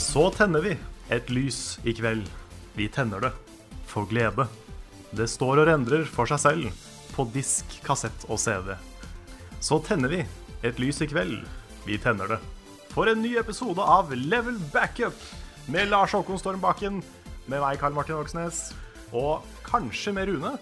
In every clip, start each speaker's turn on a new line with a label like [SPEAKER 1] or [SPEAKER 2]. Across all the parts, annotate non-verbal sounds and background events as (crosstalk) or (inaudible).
[SPEAKER 1] Så tenner vi et lys i kveld. Vi tenner det for glede. Det står og rendrer for seg selv på disk, kassett og CD. Så tenner vi et lys i kveld. Vi tenner det for en ny episode av Level Backup med Lars Håkon Stormbakken, med meg, Karl Martin Hoksnes, og kanskje med Rune.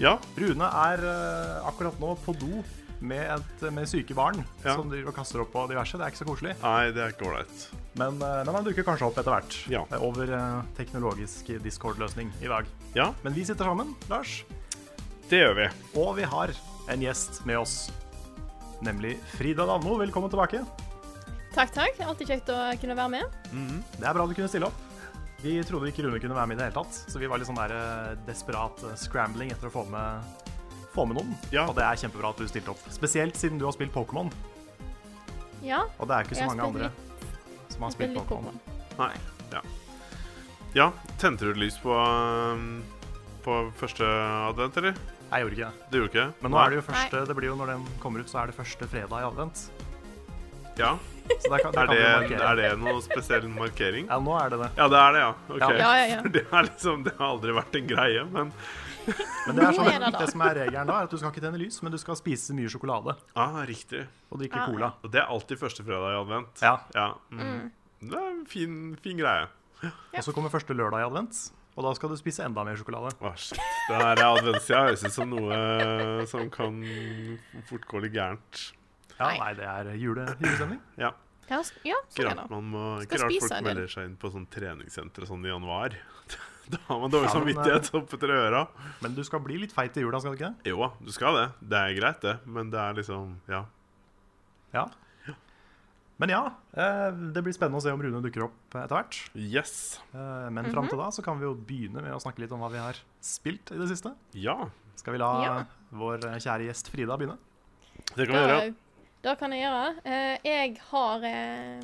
[SPEAKER 2] Ja,
[SPEAKER 1] Rune er eh, akkurat nå på do med, et, med syke barn
[SPEAKER 2] Ja.
[SPEAKER 1] som driver og kaster opp på diverse. Det er ikke så koselig.
[SPEAKER 2] nei, det er ikke ålreit.
[SPEAKER 1] Men, eh, men han dukker kanskje opp etter hvert
[SPEAKER 2] Ja.
[SPEAKER 1] eh, over eh, teknologisk Discord-løsning i dag.
[SPEAKER 2] Ja,
[SPEAKER 1] Men vi sitter sammen, Lars,
[SPEAKER 2] det gjør vi.
[SPEAKER 1] og vi har en gjest med oss. Nemlig Frida Danmo. Velkommen tilbake.
[SPEAKER 3] Takk, takk. Alltid kjekt å kunne være med.
[SPEAKER 1] Det er bra du kunne stille opp. Vi trodde ikke Rune kunne være med i det hele tatt, så vi var litt sånn der eh, desperat eh, scrambling etter å få med, få med noen.
[SPEAKER 2] Ja.
[SPEAKER 1] Og det er kjempebra at du stilte opp. Spesielt siden du har spilt Pokémon,
[SPEAKER 3] Ja.
[SPEAKER 1] og det er ikke
[SPEAKER 3] Jeg
[SPEAKER 1] så
[SPEAKER 3] har
[SPEAKER 1] mange
[SPEAKER 3] spilt
[SPEAKER 1] andre som har spilt
[SPEAKER 3] litt
[SPEAKER 1] Pokémon.
[SPEAKER 2] Nei. Ja. ja, tente du lys på, um, på første advent, eller?
[SPEAKER 1] Jeg gjorde ikke det.
[SPEAKER 2] Det gjorde ikke jeg.
[SPEAKER 1] Men nå er det jo første, det blir jo når den kommer ut, så er det første fredag i advent.
[SPEAKER 2] Ja,
[SPEAKER 1] Så der kan, der
[SPEAKER 2] er
[SPEAKER 1] kan
[SPEAKER 2] det,
[SPEAKER 1] vi markere.
[SPEAKER 2] er det noe spesiell markering?
[SPEAKER 1] Ja, nå er det det.
[SPEAKER 2] Ja, det er det, ja. Ok.
[SPEAKER 3] Ja, ja, ja.
[SPEAKER 2] (laughs) Det, er liksom, det har aldri vært en greie, men
[SPEAKER 1] Men det, er
[SPEAKER 3] Nå
[SPEAKER 1] sånn,
[SPEAKER 3] er det da.
[SPEAKER 1] det som er regelen da, er at du skal ikke tenne lys, men du skal spise mye sjokolade
[SPEAKER 2] ah, riktig.
[SPEAKER 1] og drikke
[SPEAKER 3] Ja.
[SPEAKER 1] cola.
[SPEAKER 2] Og det er alltid første fredag i advent.
[SPEAKER 1] Ja,
[SPEAKER 2] mm. Det er en fin, fin greie.
[SPEAKER 1] Og så kommer første lørdag i advent, og da skal du spise enda mer sjokolade.
[SPEAKER 2] Å, shit. Det her adventstida høres ut som noe eh, som kan fort gå litt gærent.
[SPEAKER 1] Ja,
[SPEAKER 3] Nei.
[SPEAKER 1] Nei, det er jule, julestemning.
[SPEAKER 2] Ja.
[SPEAKER 3] Ja, s- ja,
[SPEAKER 2] Ikke
[SPEAKER 3] sånn er
[SPEAKER 2] rart,
[SPEAKER 3] det.
[SPEAKER 2] man må, ikke
[SPEAKER 3] Skal
[SPEAKER 2] rart
[SPEAKER 3] spise
[SPEAKER 2] folk
[SPEAKER 3] en del.
[SPEAKER 2] melder seg inn på sånn treningssenter og sånn i januar. (laughs) Da har man dårlig
[SPEAKER 1] Ja, men,
[SPEAKER 3] eh.
[SPEAKER 2] samvittighet oppetter øra.
[SPEAKER 1] Men du skal bli litt feit i jula, skal du ikke det?
[SPEAKER 2] Jo da, du skal det. Det er greit, det. Men det er liksom Ja.
[SPEAKER 1] Ja. Men ja, eh, det blir spennende å se om Rune dukker opp etter hvert.
[SPEAKER 2] Yes.
[SPEAKER 1] Eh, Men fram
[SPEAKER 3] Mhm.
[SPEAKER 1] til da så kan vi jo begynne med å snakke litt om hva vi har spilt i det siste.
[SPEAKER 2] Ja.
[SPEAKER 1] Skal vi la
[SPEAKER 3] Ja.
[SPEAKER 1] vår eh, kjære gjest Frida begynne?
[SPEAKER 2] Det kan vi
[SPEAKER 3] Da,
[SPEAKER 2] gjøre.
[SPEAKER 3] da kan jeg gjøre. Eh, jeg har eh,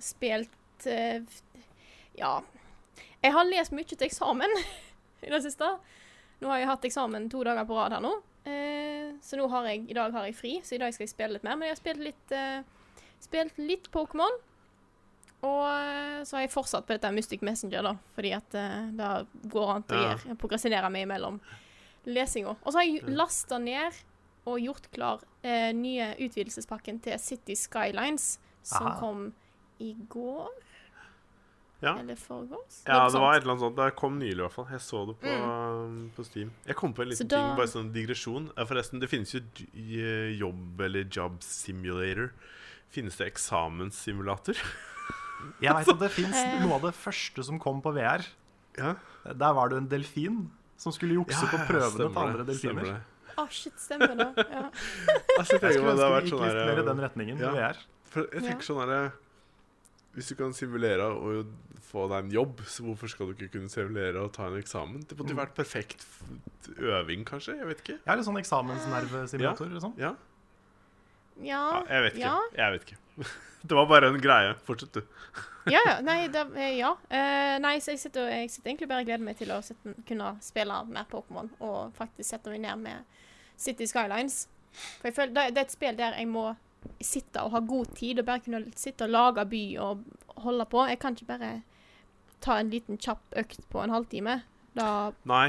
[SPEAKER 3] spilt eh, Ja. Jeg har lest mye til eksamen (laughs) i det siste. Nå har jeg hatt eksamen to dager på rad her nå. Eh, så nå har jeg, i dag har jeg fri, så i dag skal jeg spille litt mer. Men jeg har spilt litt, eh, spilt litt Pokémon. Og eh, så har jeg fortsatt på dette Mystic Messenger, da. Fordi at eh, det går an å
[SPEAKER 2] Ja.
[SPEAKER 3] gjøre- progressinere meg imellom lesinga. Og så har jeg lasta ned og gjort klar eh, nye utvidelsespakken til City Skylines, som
[SPEAKER 1] Aha.
[SPEAKER 3] kom i går.
[SPEAKER 2] Ja.
[SPEAKER 3] Eller foregårs?
[SPEAKER 2] Ja,
[SPEAKER 3] Noe
[SPEAKER 2] det var
[SPEAKER 3] sånt.
[SPEAKER 2] et eller annet sånt. Det kom nylig, i hvert fall. Jeg så det på, um, på Steam. Jeg kom på en
[SPEAKER 3] Mm. Så
[SPEAKER 2] liten
[SPEAKER 3] da-
[SPEAKER 2] ting, bare sånn digresjon. Ja, Forresten, det finnes jo j- jobb- eller job simulator. Finnes det eksamenssimulator?
[SPEAKER 1] Jeg veit at det fins
[SPEAKER 3] (laughs) Eh.
[SPEAKER 1] noe av det første som kom på VR.
[SPEAKER 2] Ja.
[SPEAKER 1] Der var det en delfin som skulle jukse på prøvene til andre delfiner.
[SPEAKER 3] Å, Ah, shit, stemmer det. Ja.
[SPEAKER 2] (laughs) Altså,
[SPEAKER 1] Jeg
[SPEAKER 2] jeg tenker
[SPEAKER 1] skulle ønske
[SPEAKER 2] meg det har
[SPEAKER 1] vi
[SPEAKER 2] vært
[SPEAKER 1] gikk
[SPEAKER 2] sånn
[SPEAKER 1] litt mer i
[SPEAKER 2] her
[SPEAKER 1] den retningen
[SPEAKER 2] ja.
[SPEAKER 1] med VR.
[SPEAKER 2] For jeg
[SPEAKER 3] Ja.
[SPEAKER 2] tenker sånn her Hvis du kan simulere og få deg en jobb, så hvorfor skal du ikke kunne simulere og ta en eksamen? Det måtte jo vært perfekt f- øving, kanskje? Jeg vet ikke.
[SPEAKER 1] Jeg har litt sånn eksamensnervesimulator. Liksom.
[SPEAKER 2] Ja,
[SPEAKER 3] Ja.
[SPEAKER 2] ja jeg vet ikke.
[SPEAKER 3] Ja.
[SPEAKER 2] Jeg vet ikke. (laughs) Det var bare en greie. Fortsett, du.
[SPEAKER 3] ja, ja. Nei, da, eh, ja. Eh, nei, så jeg sitter, og- jeg sitter egentlig bare og gleder meg til å sette, kunne spille mer Pokémon, og faktisk sette meg ned med City Skylines. For jeg føler, det, det er et spill der jeg må sitte og ha god tid, og bare kunne sitte og lage by og holde på. Jeg kan ikke bare ta en liten kjapp økt på en halvtime. Da,
[SPEAKER 2] Nei,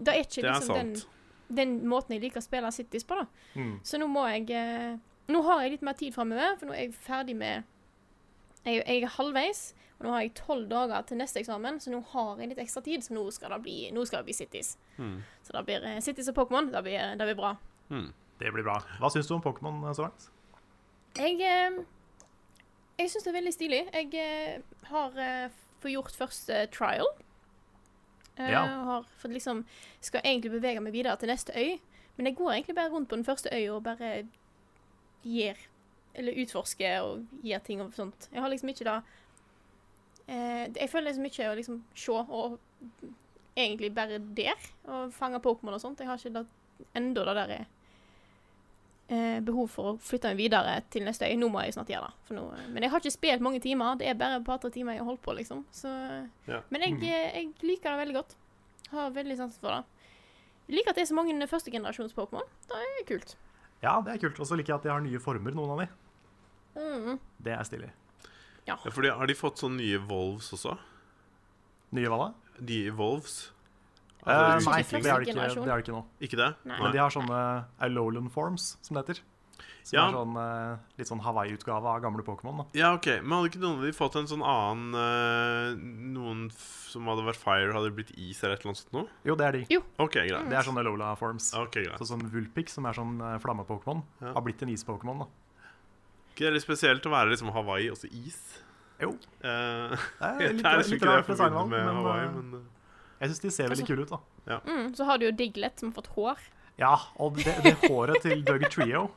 [SPEAKER 3] da er ikke
[SPEAKER 2] det er
[SPEAKER 3] liksom den,
[SPEAKER 2] sant.
[SPEAKER 3] den måten jeg liker å spille Cities på, da.
[SPEAKER 1] Mm.
[SPEAKER 3] Så nå må jeg eh, Nå har jeg litt mer tid framover, for nå er jeg ferdig med jeg, jeg er halvveis, og nå har jeg tolv dager til neste eksamen, så nå har jeg litt ekstra tid, så nå skal det bli, nå skal det bli Cities.
[SPEAKER 2] Mm.
[SPEAKER 3] Så det blir eh, Cities og Pokémon. Det blir, eh, det blir bra.
[SPEAKER 2] Mm.
[SPEAKER 1] Det blir bra. Hva syns du om Pokémon eh, så langt?
[SPEAKER 3] Jeg, eh, jeg syns det er veldig stilig. Jeg eh, har eh, fått gjort første trial. Eh,
[SPEAKER 1] Ja.
[SPEAKER 3] og Har fått liksom Skal egentlig bevege meg videre til neste øy, men jeg går egentlig bare rundt på den første øya og bare gir Eller utforsker og gir ting og sånt. Jeg har liksom ikke da eh, Jeg føler liksom ikke å liksom se og egentlig bare der og fange Pokémon og sånt. Jeg har ikke da enda det der er eh, behov for å flytte meg videre til neste øy. Nå må jeg snart gjøre det. For nå, eh, men jeg har ikke spilt mange timer. Det er bare et par-tre timer jeg har holdt på, liksom. Så,
[SPEAKER 2] Ja.
[SPEAKER 3] Men jeg, eh, jeg liker det veldig godt. Har veldig sansen for det. Jeg liker at det er så mange førstegenerasjons Pokémon. Det er kult.
[SPEAKER 1] Ja, det er kult. Og så liker jeg at de har nye former, noen av de.
[SPEAKER 3] Mm.
[SPEAKER 1] Det er stilig.
[SPEAKER 3] Ja.
[SPEAKER 2] Ja, fordi, har de fått sånne nye Volves også?
[SPEAKER 1] Nye hva da?
[SPEAKER 2] De Volves?
[SPEAKER 1] Eh,
[SPEAKER 2] Altså,
[SPEAKER 1] nei,
[SPEAKER 2] utvikling-
[SPEAKER 1] det er det ikke,
[SPEAKER 3] generasjon.
[SPEAKER 1] det er det ikke nå.
[SPEAKER 2] Ikke det?
[SPEAKER 3] Nei.
[SPEAKER 1] Men de har sånne Alolan forms, som det heter. Som
[SPEAKER 2] Ja.
[SPEAKER 1] er sånn, eh, litt sånn Hawaii-utgave av gamle Pokémon. da.
[SPEAKER 2] Ja, ok. Men hadde ikke noen av de fått en sånn annen eh, Noen f som hadde vært fire, hadde blitt is eller et eller annet sånt noe?
[SPEAKER 1] Jo, det er de.
[SPEAKER 2] OK, greit.
[SPEAKER 1] Det er sånne Alola forms.
[SPEAKER 2] Ok, greit.
[SPEAKER 1] Sånn som Vulpix, som er sånn eh, flamme-Pokémon,
[SPEAKER 2] Ja.
[SPEAKER 1] har blitt en is-Pokémon. da.
[SPEAKER 2] Ikke det er litt spesielt å være liksom Hawaii, også is?
[SPEAKER 1] Jo.
[SPEAKER 2] Eh,
[SPEAKER 1] Det
[SPEAKER 2] det
[SPEAKER 1] er litt,
[SPEAKER 2] er
[SPEAKER 1] litt,
[SPEAKER 2] liksom
[SPEAKER 1] litt
[SPEAKER 2] ikke det
[SPEAKER 1] rar
[SPEAKER 2] (laughs) jeg forbinder
[SPEAKER 1] designvalg,
[SPEAKER 2] med
[SPEAKER 1] men,
[SPEAKER 2] Hawaii,
[SPEAKER 1] eh,
[SPEAKER 2] men eh,
[SPEAKER 1] jeg syns de ser veldig
[SPEAKER 3] Altså-
[SPEAKER 1] kule ut. da.
[SPEAKER 3] Mm, så har du jo Diglett, som har fått hår.
[SPEAKER 1] Ja, og det, det håret til Doug Trio,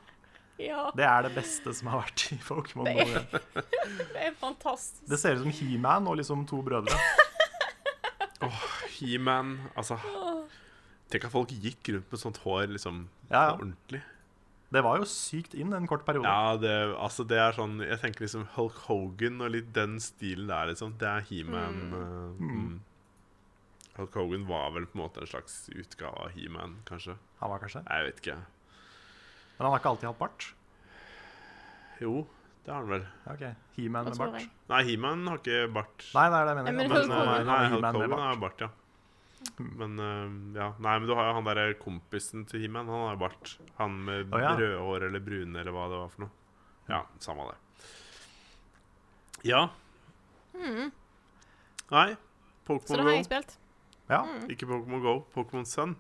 [SPEAKER 3] Ja,
[SPEAKER 1] det er det beste som har vært i Pokémon.
[SPEAKER 3] Det
[SPEAKER 1] Det,
[SPEAKER 3] det er fantastisk.
[SPEAKER 1] det ser ut som He-Man og liksom to brødre.
[SPEAKER 2] He-Man Altså Tenk at folk gikk rundt med sånt hår liksom
[SPEAKER 1] Ja, ja.
[SPEAKER 2] ordentlig.
[SPEAKER 1] Det var jo sykt inn en kort periode.
[SPEAKER 2] Ja, det, altså det er sånn Jeg tenker liksom Hulk Hogan og litt den stilen der, liksom. Det er He-Man. eh, mm. Hulk Hogan var vel på en måte en slags utgave av He-Man, kanskje?
[SPEAKER 1] Han var kanskje. det.
[SPEAKER 2] Jeg vet ikke.
[SPEAKER 1] Men han har ikke alltid hatt bart.
[SPEAKER 2] Jo, det har han vel.
[SPEAKER 1] Ja, Ok, He-Man
[SPEAKER 3] Hva
[SPEAKER 1] med
[SPEAKER 3] tror
[SPEAKER 1] bart.
[SPEAKER 3] jeg?
[SPEAKER 2] Nei, He-Man har ikke bart.
[SPEAKER 1] Nei, det er det jeg
[SPEAKER 3] Nei,
[SPEAKER 1] mener.
[SPEAKER 3] men
[SPEAKER 1] Han-
[SPEAKER 2] Men,
[SPEAKER 3] Hulk
[SPEAKER 2] eh,
[SPEAKER 3] Hogan.
[SPEAKER 1] han
[SPEAKER 2] nei,
[SPEAKER 1] er
[SPEAKER 2] Hulk
[SPEAKER 1] He-Man med
[SPEAKER 2] Hogan
[SPEAKER 1] bart.
[SPEAKER 2] har bart, ja. Men eh, ja. Nei, men du har jo han derre kompisen til He-Man. Han har bart. Han med
[SPEAKER 1] Å, ja.
[SPEAKER 2] røde hår eller brune eller hva det var for noe. Ja, samme det. Ja. Nei.
[SPEAKER 3] Mm. Så det
[SPEAKER 2] Pokémon
[SPEAKER 3] har
[SPEAKER 2] Go.
[SPEAKER 3] jeg spilt.
[SPEAKER 1] Ja,
[SPEAKER 2] Ikke Pokémon Go. Pokémon Sun.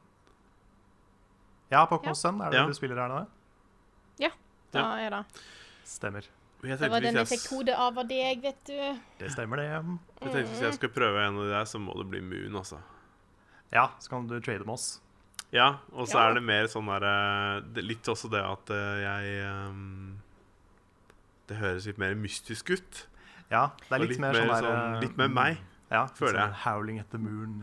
[SPEAKER 1] ja Pokémon Sun er det
[SPEAKER 2] Ja.
[SPEAKER 1] du spiller her nå? ja?
[SPEAKER 3] Da er det.
[SPEAKER 1] Stemmer.
[SPEAKER 2] Jeg
[SPEAKER 3] Det
[SPEAKER 2] tenkte,
[SPEAKER 3] var
[SPEAKER 2] hvis
[SPEAKER 3] den
[SPEAKER 2] jeg,
[SPEAKER 3] jeg fikk hodet av av deg, vet du.
[SPEAKER 1] Det stemmer, det.
[SPEAKER 2] jeg tenkte hvis jeg skal prøve en av de der, så må det bli Moon, altså.
[SPEAKER 1] Ja, så kan du trade med oss.
[SPEAKER 2] Ja, og så
[SPEAKER 3] Ja.
[SPEAKER 2] er det mer sånn der eh, det- Litt også det at eh, jeg ehm, Det høres litt mer mystisk ut.
[SPEAKER 1] Ja, det er
[SPEAKER 2] Og
[SPEAKER 1] litt, mer sånn, der, eh,
[SPEAKER 2] Litt mer meg.
[SPEAKER 1] Ja,
[SPEAKER 2] føler
[SPEAKER 1] sånn
[SPEAKER 2] jeg.
[SPEAKER 1] Howling at the
[SPEAKER 2] (laughs)
[SPEAKER 1] moon.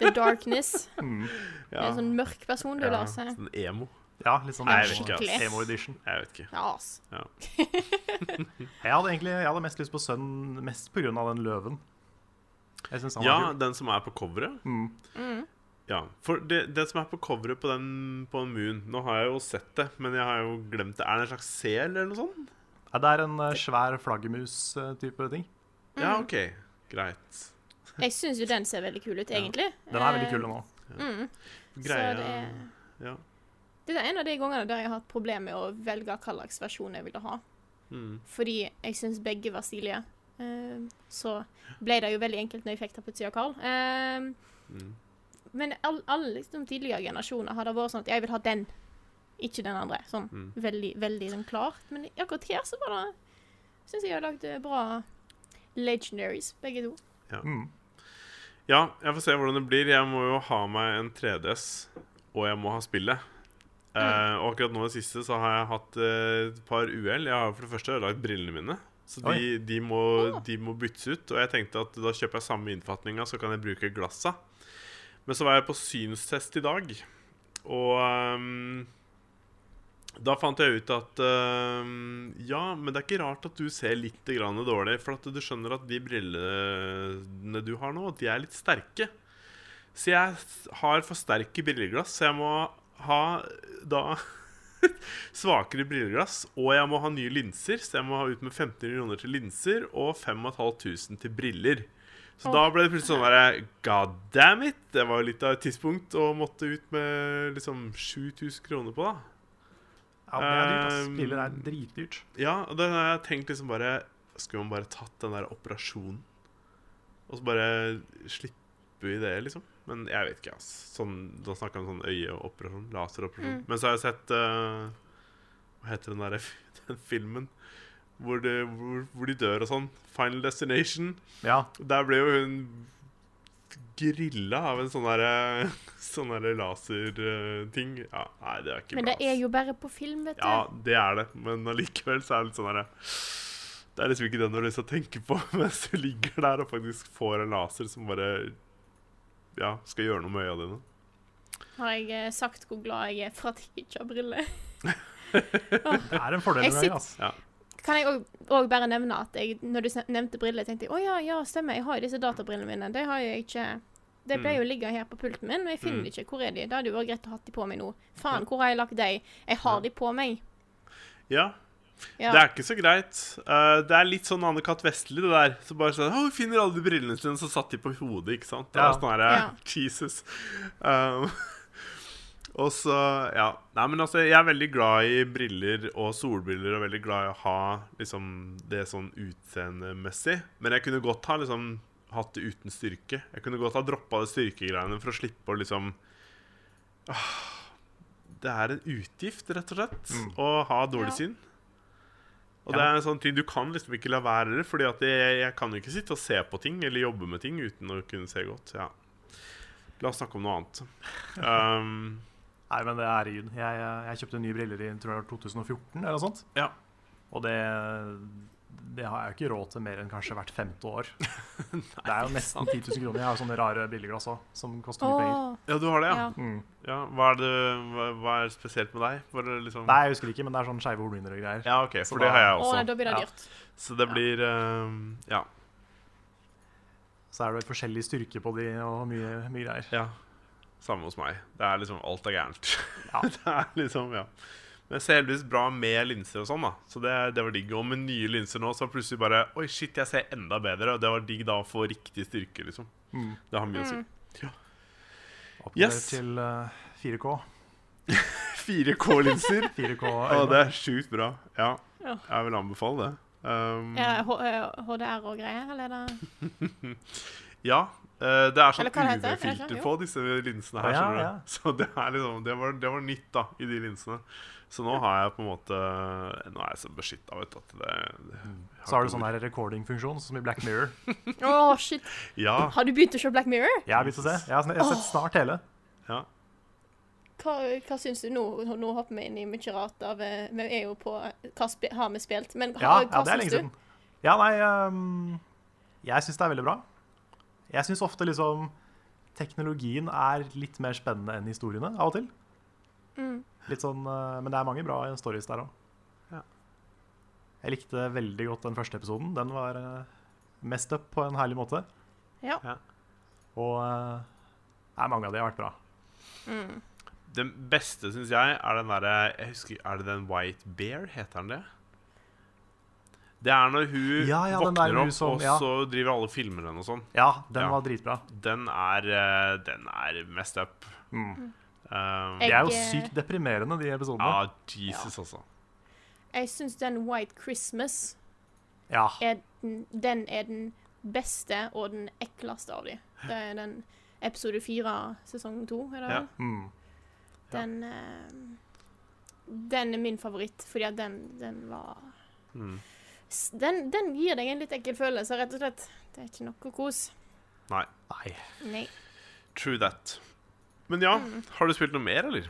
[SPEAKER 3] The Darkness.
[SPEAKER 1] Mm.
[SPEAKER 3] Du er en sånn mørk person, du,
[SPEAKER 2] Ja,
[SPEAKER 3] Lars. Ja,
[SPEAKER 2] Sånn emo.
[SPEAKER 1] Ja, litt sånn
[SPEAKER 2] Nei, jeg
[SPEAKER 1] emo-
[SPEAKER 2] vet ikke,
[SPEAKER 3] ass.
[SPEAKER 1] emo edition.
[SPEAKER 2] Jeg vet ikke.
[SPEAKER 3] ass.
[SPEAKER 1] Jeg hadde egentlig jeg hadde mest lyst på sønnen, mest pga. den løven. Jeg syns han
[SPEAKER 2] Ja,
[SPEAKER 1] var kul.
[SPEAKER 2] den som er på coveret.
[SPEAKER 1] Mm.
[SPEAKER 2] Ja, for det, det som er på coveret på den på Moon Nå har jeg jo sett det, men jeg har jo glemt det. Er det en slags sel eller noe sånt?
[SPEAKER 1] Ja, det er en eh, svær flaggermus-type ting.
[SPEAKER 3] Mm.
[SPEAKER 2] Ja, OK. Greit.
[SPEAKER 3] Jeg syns jo den ser veldig kul ut, egentlig.
[SPEAKER 1] Den er veldig kul
[SPEAKER 3] Eh,
[SPEAKER 1] nå.
[SPEAKER 2] Greia
[SPEAKER 3] Så det-
[SPEAKER 2] Ja.
[SPEAKER 3] Dette er en av de gangene der jeg har hatt problemer med å velge hva slags versjon jeg ville ha.
[SPEAKER 2] Mm.
[SPEAKER 3] Fordi jeg syns begge var stilige. Eh, så ble det jo veldig enkelt når jeg fikk Tapezia Carl. Eh,
[SPEAKER 2] Mm.
[SPEAKER 3] men alle all, liksom, tidligere generasjoner har det vært sånn at jeg vil ha den, ikke den andre. Sånn
[SPEAKER 2] Mm.
[SPEAKER 3] veldig, veldig sånn klart. Men akkurat her så var det Syns jeg har lagd eh, bra legendaries, begge to.
[SPEAKER 2] Eh,
[SPEAKER 1] Mm.
[SPEAKER 2] ja, jeg får se hvordan det blir. Jeg må jo ha meg en 3DS, og jeg må ha spillet. Eh, og akkurat nå i det siste så har jeg hatt eh, et par uhell. Jeg har for det første ødelagt brillene mine. Så de,
[SPEAKER 1] Oi.
[SPEAKER 2] de, må,
[SPEAKER 3] Ah.
[SPEAKER 2] de må byttes ut. Og jeg tenkte at da kjøper jeg samme innfatninga, så kan jeg bruke glassa. Men så var jeg på synstest i dag, og ehm, da fant jeg ut at ehm, Ja, men det er ikke rart at du ser litt grann dårlig. For at du skjønner at de brillene du har nå, de er litt sterke. Så jeg s- har for sterke brilleglass, så jeg må ha da (laughs) svakere brilleglass. Og jeg må ha nye linser, så jeg må ha ut med 1500 kroner til linser og 5500 til briller. Så da ble det plutselig sånn der God damn it! Det var jo litt av et tidspunkt å måtte ut med liksom 7000 kroner på, da.
[SPEAKER 1] Ja, det er dyrt. ass.
[SPEAKER 2] Um,
[SPEAKER 1] Briller er dritdyrt.
[SPEAKER 2] Ja, og da har jeg tenkt liksom bare Skulle man bare tatt den der operasjonen? Og så bare slippe i det, liksom? Men jeg vet ikke, ass. Sånn, da snakker jeg om sånn øyeoperasjon,
[SPEAKER 3] Mm.
[SPEAKER 2] laseroperasjon. Men så har jeg sett eh, Hva heter den derre (laughs) den filmen? Hvor, det, hvor, hvor de dør og sånn. Final Destination.
[SPEAKER 1] Ja,
[SPEAKER 2] Der ble jo hun grilla av en sånn derre sånn der (laughs) laserting. Ja, nei, det er ikke
[SPEAKER 3] Men
[SPEAKER 2] bra.
[SPEAKER 3] det er jo bare på film, vet du.
[SPEAKER 2] Ja, det er det, men allikevel så er det litt sånn herre Det er liksom ikke den du har lyst til å tenke på (laughs) mens du ligger der og faktisk får en laser som bare Ja, skal gjøre noe med øya dine.
[SPEAKER 3] Har jeg eh, sagt hvor glad jeg er for at jeg ikke har briller?
[SPEAKER 1] det er en fordel
[SPEAKER 3] Jeg
[SPEAKER 1] med det.
[SPEAKER 3] sitter-
[SPEAKER 1] ass.
[SPEAKER 3] Kan jeg òg- òg bare nevne at jeg, når du sn- nevnte briller, tenkte jeg å ja, ja, stemmer, jeg har jo disse databrillene mine. De har jeg ikke De ble
[SPEAKER 2] Mm.
[SPEAKER 3] jo ligge her på pulten min, men jeg finner
[SPEAKER 2] Mm.
[SPEAKER 3] ikke. Hvor er de? Det hadde jo vært greit å ha de på meg nå. Faen, hvor har jeg lagt de? Jeg har de på meg.
[SPEAKER 2] Ja.
[SPEAKER 3] Ja.
[SPEAKER 2] Det er ikke så greit. Eh, det er litt sånn Anne-Kat. Vestli, det der. Så bare sånn, «Å, 'Finner alle de brillene sine', så satt de på hodet, ikke sant? Det
[SPEAKER 1] Ja.
[SPEAKER 2] var sånn her,
[SPEAKER 3] Ja.
[SPEAKER 2] Jesus. Um, (laughs) og så, ja. Nei, men altså, jeg er veldig glad i briller og solbriller, og veldig glad i å ha liksom, det sånn utseendemessig. Men jeg kunne godt ha liksom, hatt det uten styrke. Jeg kunne godt ha droppa det styrkegreiene for å slippe å liksom Ah, Det er en utgift, rett og slett,
[SPEAKER 1] Mm.
[SPEAKER 2] å ha dårlig
[SPEAKER 3] Ja.
[SPEAKER 2] syn. Og
[SPEAKER 1] Ja.
[SPEAKER 2] det er en sånn ting Du kan liksom ikke la være det, Fordi at jeg, jeg kan jo ikke sitte og se på ting eller jobbe med ting uten å kunne se godt. Ja. La oss snakke om noe annet. Um,
[SPEAKER 1] Nei, men det er herregud. Jeg, eh, jeg kjøpte nye briller i tror jeg, var 2014 eller noe sånt.
[SPEAKER 2] Ja.
[SPEAKER 1] Og det, det har jeg jo ikke råd til mer enn kanskje hvert femte
[SPEAKER 2] (laughs)
[SPEAKER 1] år. det er jo nesten 10 000 kroner. Jeg har jo sånne rare brilleglass òg, som koster mye penger.
[SPEAKER 3] Åh,
[SPEAKER 2] ja, du har det, ja?
[SPEAKER 3] ja.
[SPEAKER 1] Mm.
[SPEAKER 2] ja hva, er det, hva, hva er spesielt med deg? Var det liksom
[SPEAKER 1] Nei, jeg husker ikke, men det er sånn skeive hornhinner og greier.
[SPEAKER 2] Ja, OK,
[SPEAKER 1] Så
[SPEAKER 2] for det
[SPEAKER 1] da-
[SPEAKER 2] har jeg
[SPEAKER 3] Åh, nei,
[SPEAKER 2] også.
[SPEAKER 3] da blir det
[SPEAKER 1] Ja.
[SPEAKER 3] dyrt.
[SPEAKER 2] Så det blir um, Ja.
[SPEAKER 1] Så er det vel forskjellig styrke på de og mye, mye greier.
[SPEAKER 2] ja. Samme hos meg. Det er liksom Alt er gærent. (laughs)
[SPEAKER 1] Ja.
[SPEAKER 2] det er liksom, ja. Men jeg ser heldigvis bra med linser og sånn, da. Så det, det var digg. Og med nye linser nå, så plutselig bare Oi, shit, jeg ser enda bedre. Og det var digg da å få riktig styrke, liksom.
[SPEAKER 1] Mm.
[SPEAKER 2] Det har mye å si. (laughs)
[SPEAKER 3] Mm.
[SPEAKER 1] Oppgradert
[SPEAKER 2] Yes.
[SPEAKER 1] til eh, 4K.
[SPEAKER 3] (laughs)
[SPEAKER 2] 4K-linser. (laughs)
[SPEAKER 1] 4K
[SPEAKER 2] Å,
[SPEAKER 1] øyne.
[SPEAKER 2] det er sjukt bra. Ja.
[SPEAKER 3] Ja.
[SPEAKER 2] Jeg vil anbefale det. Um,
[SPEAKER 3] Ja, H- eh, HDR og greier, eller er det
[SPEAKER 2] ja. eh, det er sånn
[SPEAKER 3] Eller hva det heter? Er det ikke
[SPEAKER 2] UV-filter
[SPEAKER 3] det? Jo.
[SPEAKER 2] på disse linsene
[SPEAKER 1] Å,
[SPEAKER 2] her.
[SPEAKER 1] ja,
[SPEAKER 2] skjønner du?
[SPEAKER 1] ja.
[SPEAKER 2] (laughs) Så det, er liksom, det, var, det var nytt da, i de linsene. Så nå har jeg på en måte Nå er jeg så beskytta, vet du. At det, det, jeg
[SPEAKER 1] Så har du
[SPEAKER 2] ikke
[SPEAKER 1] sånn
[SPEAKER 2] ord.
[SPEAKER 1] her recording-funksjon, som i Black Mirror.
[SPEAKER 3] Åh, shit.
[SPEAKER 2] (laughs) Ja.
[SPEAKER 3] Har du begynt å se Black Mirror?
[SPEAKER 1] Jeg har begynt å se. Jeg har, sn- jeg har sett snart hele.
[SPEAKER 2] ja.
[SPEAKER 3] Hva, hva syns du nå? Nå hopper vi inn i mye rart av eh, Vi er jo på hva spe, har vi spilt, men
[SPEAKER 1] Ja,
[SPEAKER 3] hva,
[SPEAKER 1] ja,
[SPEAKER 3] hva
[SPEAKER 1] det er
[SPEAKER 3] syns
[SPEAKER 1] lenge
[SPEAKER 3] du?
[SPEAKER 1] siden. Ja, nei ehm, Jeg syns det er veldig bra. Jeg syns ofte liksom teknologien er litt mer spennende enn historiene av og til.
[SPEAKER 3] Mm.
[SPEAKER 1] Litt sånn, eh, Men det er mange bra stories der òg.
[SPEAKER 2] Ja.
[SPEAKER 1] Jeg likte veldig godt den første episoden. Den var eh, messed up på en herlig måte.
[SPEAKER 3] Ja.
[SPEAKER 2] Ja.
[SPEAKER 1] Og eh, nei, mange av de har vært bra.
[SPEAKER 3] Mm.
[SPEAKER 2] Den beste, syns jeg, er den derre Jeg husker, Er det den White Bear? Heter den det? Det er når hun
[SPEAKER 1] Ja, ja, den der
[SPEAKER 2] våkner
[SPEAKER 1] hun
[SPEAKER 2] opp,
[SPEAKER 1] som-
[SPEAKER 2] og
[SPEAKER 1] ja.
[SPEAKER 2] så driver alle filmer henne og sånn.
[SPEAKER 1] Ja, den
[SPEAKER 2] Ja.
[SPEAKER 1] var dritbra.
[SPEAKER 2] Den er eh, Den er messed up.
[SPEAKER 1] Mm.
[SPEAKER 2] Um,
[SPEAKER 1] De
[SPEAKER 3] Jeg-
[SPEAKER 2] ja,
[SPEAKER 1] er jo
[SPEAKER 3] eh,
[SPEAKER 1] sykt deprimerende, de episodene.
[SPEAKER 2] Jesus, altså.
[SPEAKER 3] Jeg syns den White Christmas
[SPEAKER 1] Ja.
[SPEAKER 3] er den, den er den beste og den ekleste av de. Det er den episode fire, sesong to, er det
[SPEAKER 2] Ja.
[SPEAKER 3] vel?
[SPEAKER 1] Mm.
[SPEAKER 2] Ja.
[SPEAKER 3] Den eh, Den er min favoritt, fordi at den, den var
[SPEAKER 2] Mm.
[SPEAKER 3] s- den, den gir deg en litt ekkel følelse, rett og slett. Det er ikke noe kos.
[SPEAKER 1] Nei.
[SPEAKER 3] Nei.
[SPEAKER 2] True that. Men ja,
[SPEAKER 3] Mm.
[SPEAKER 2] har du spilt noe mer, eller?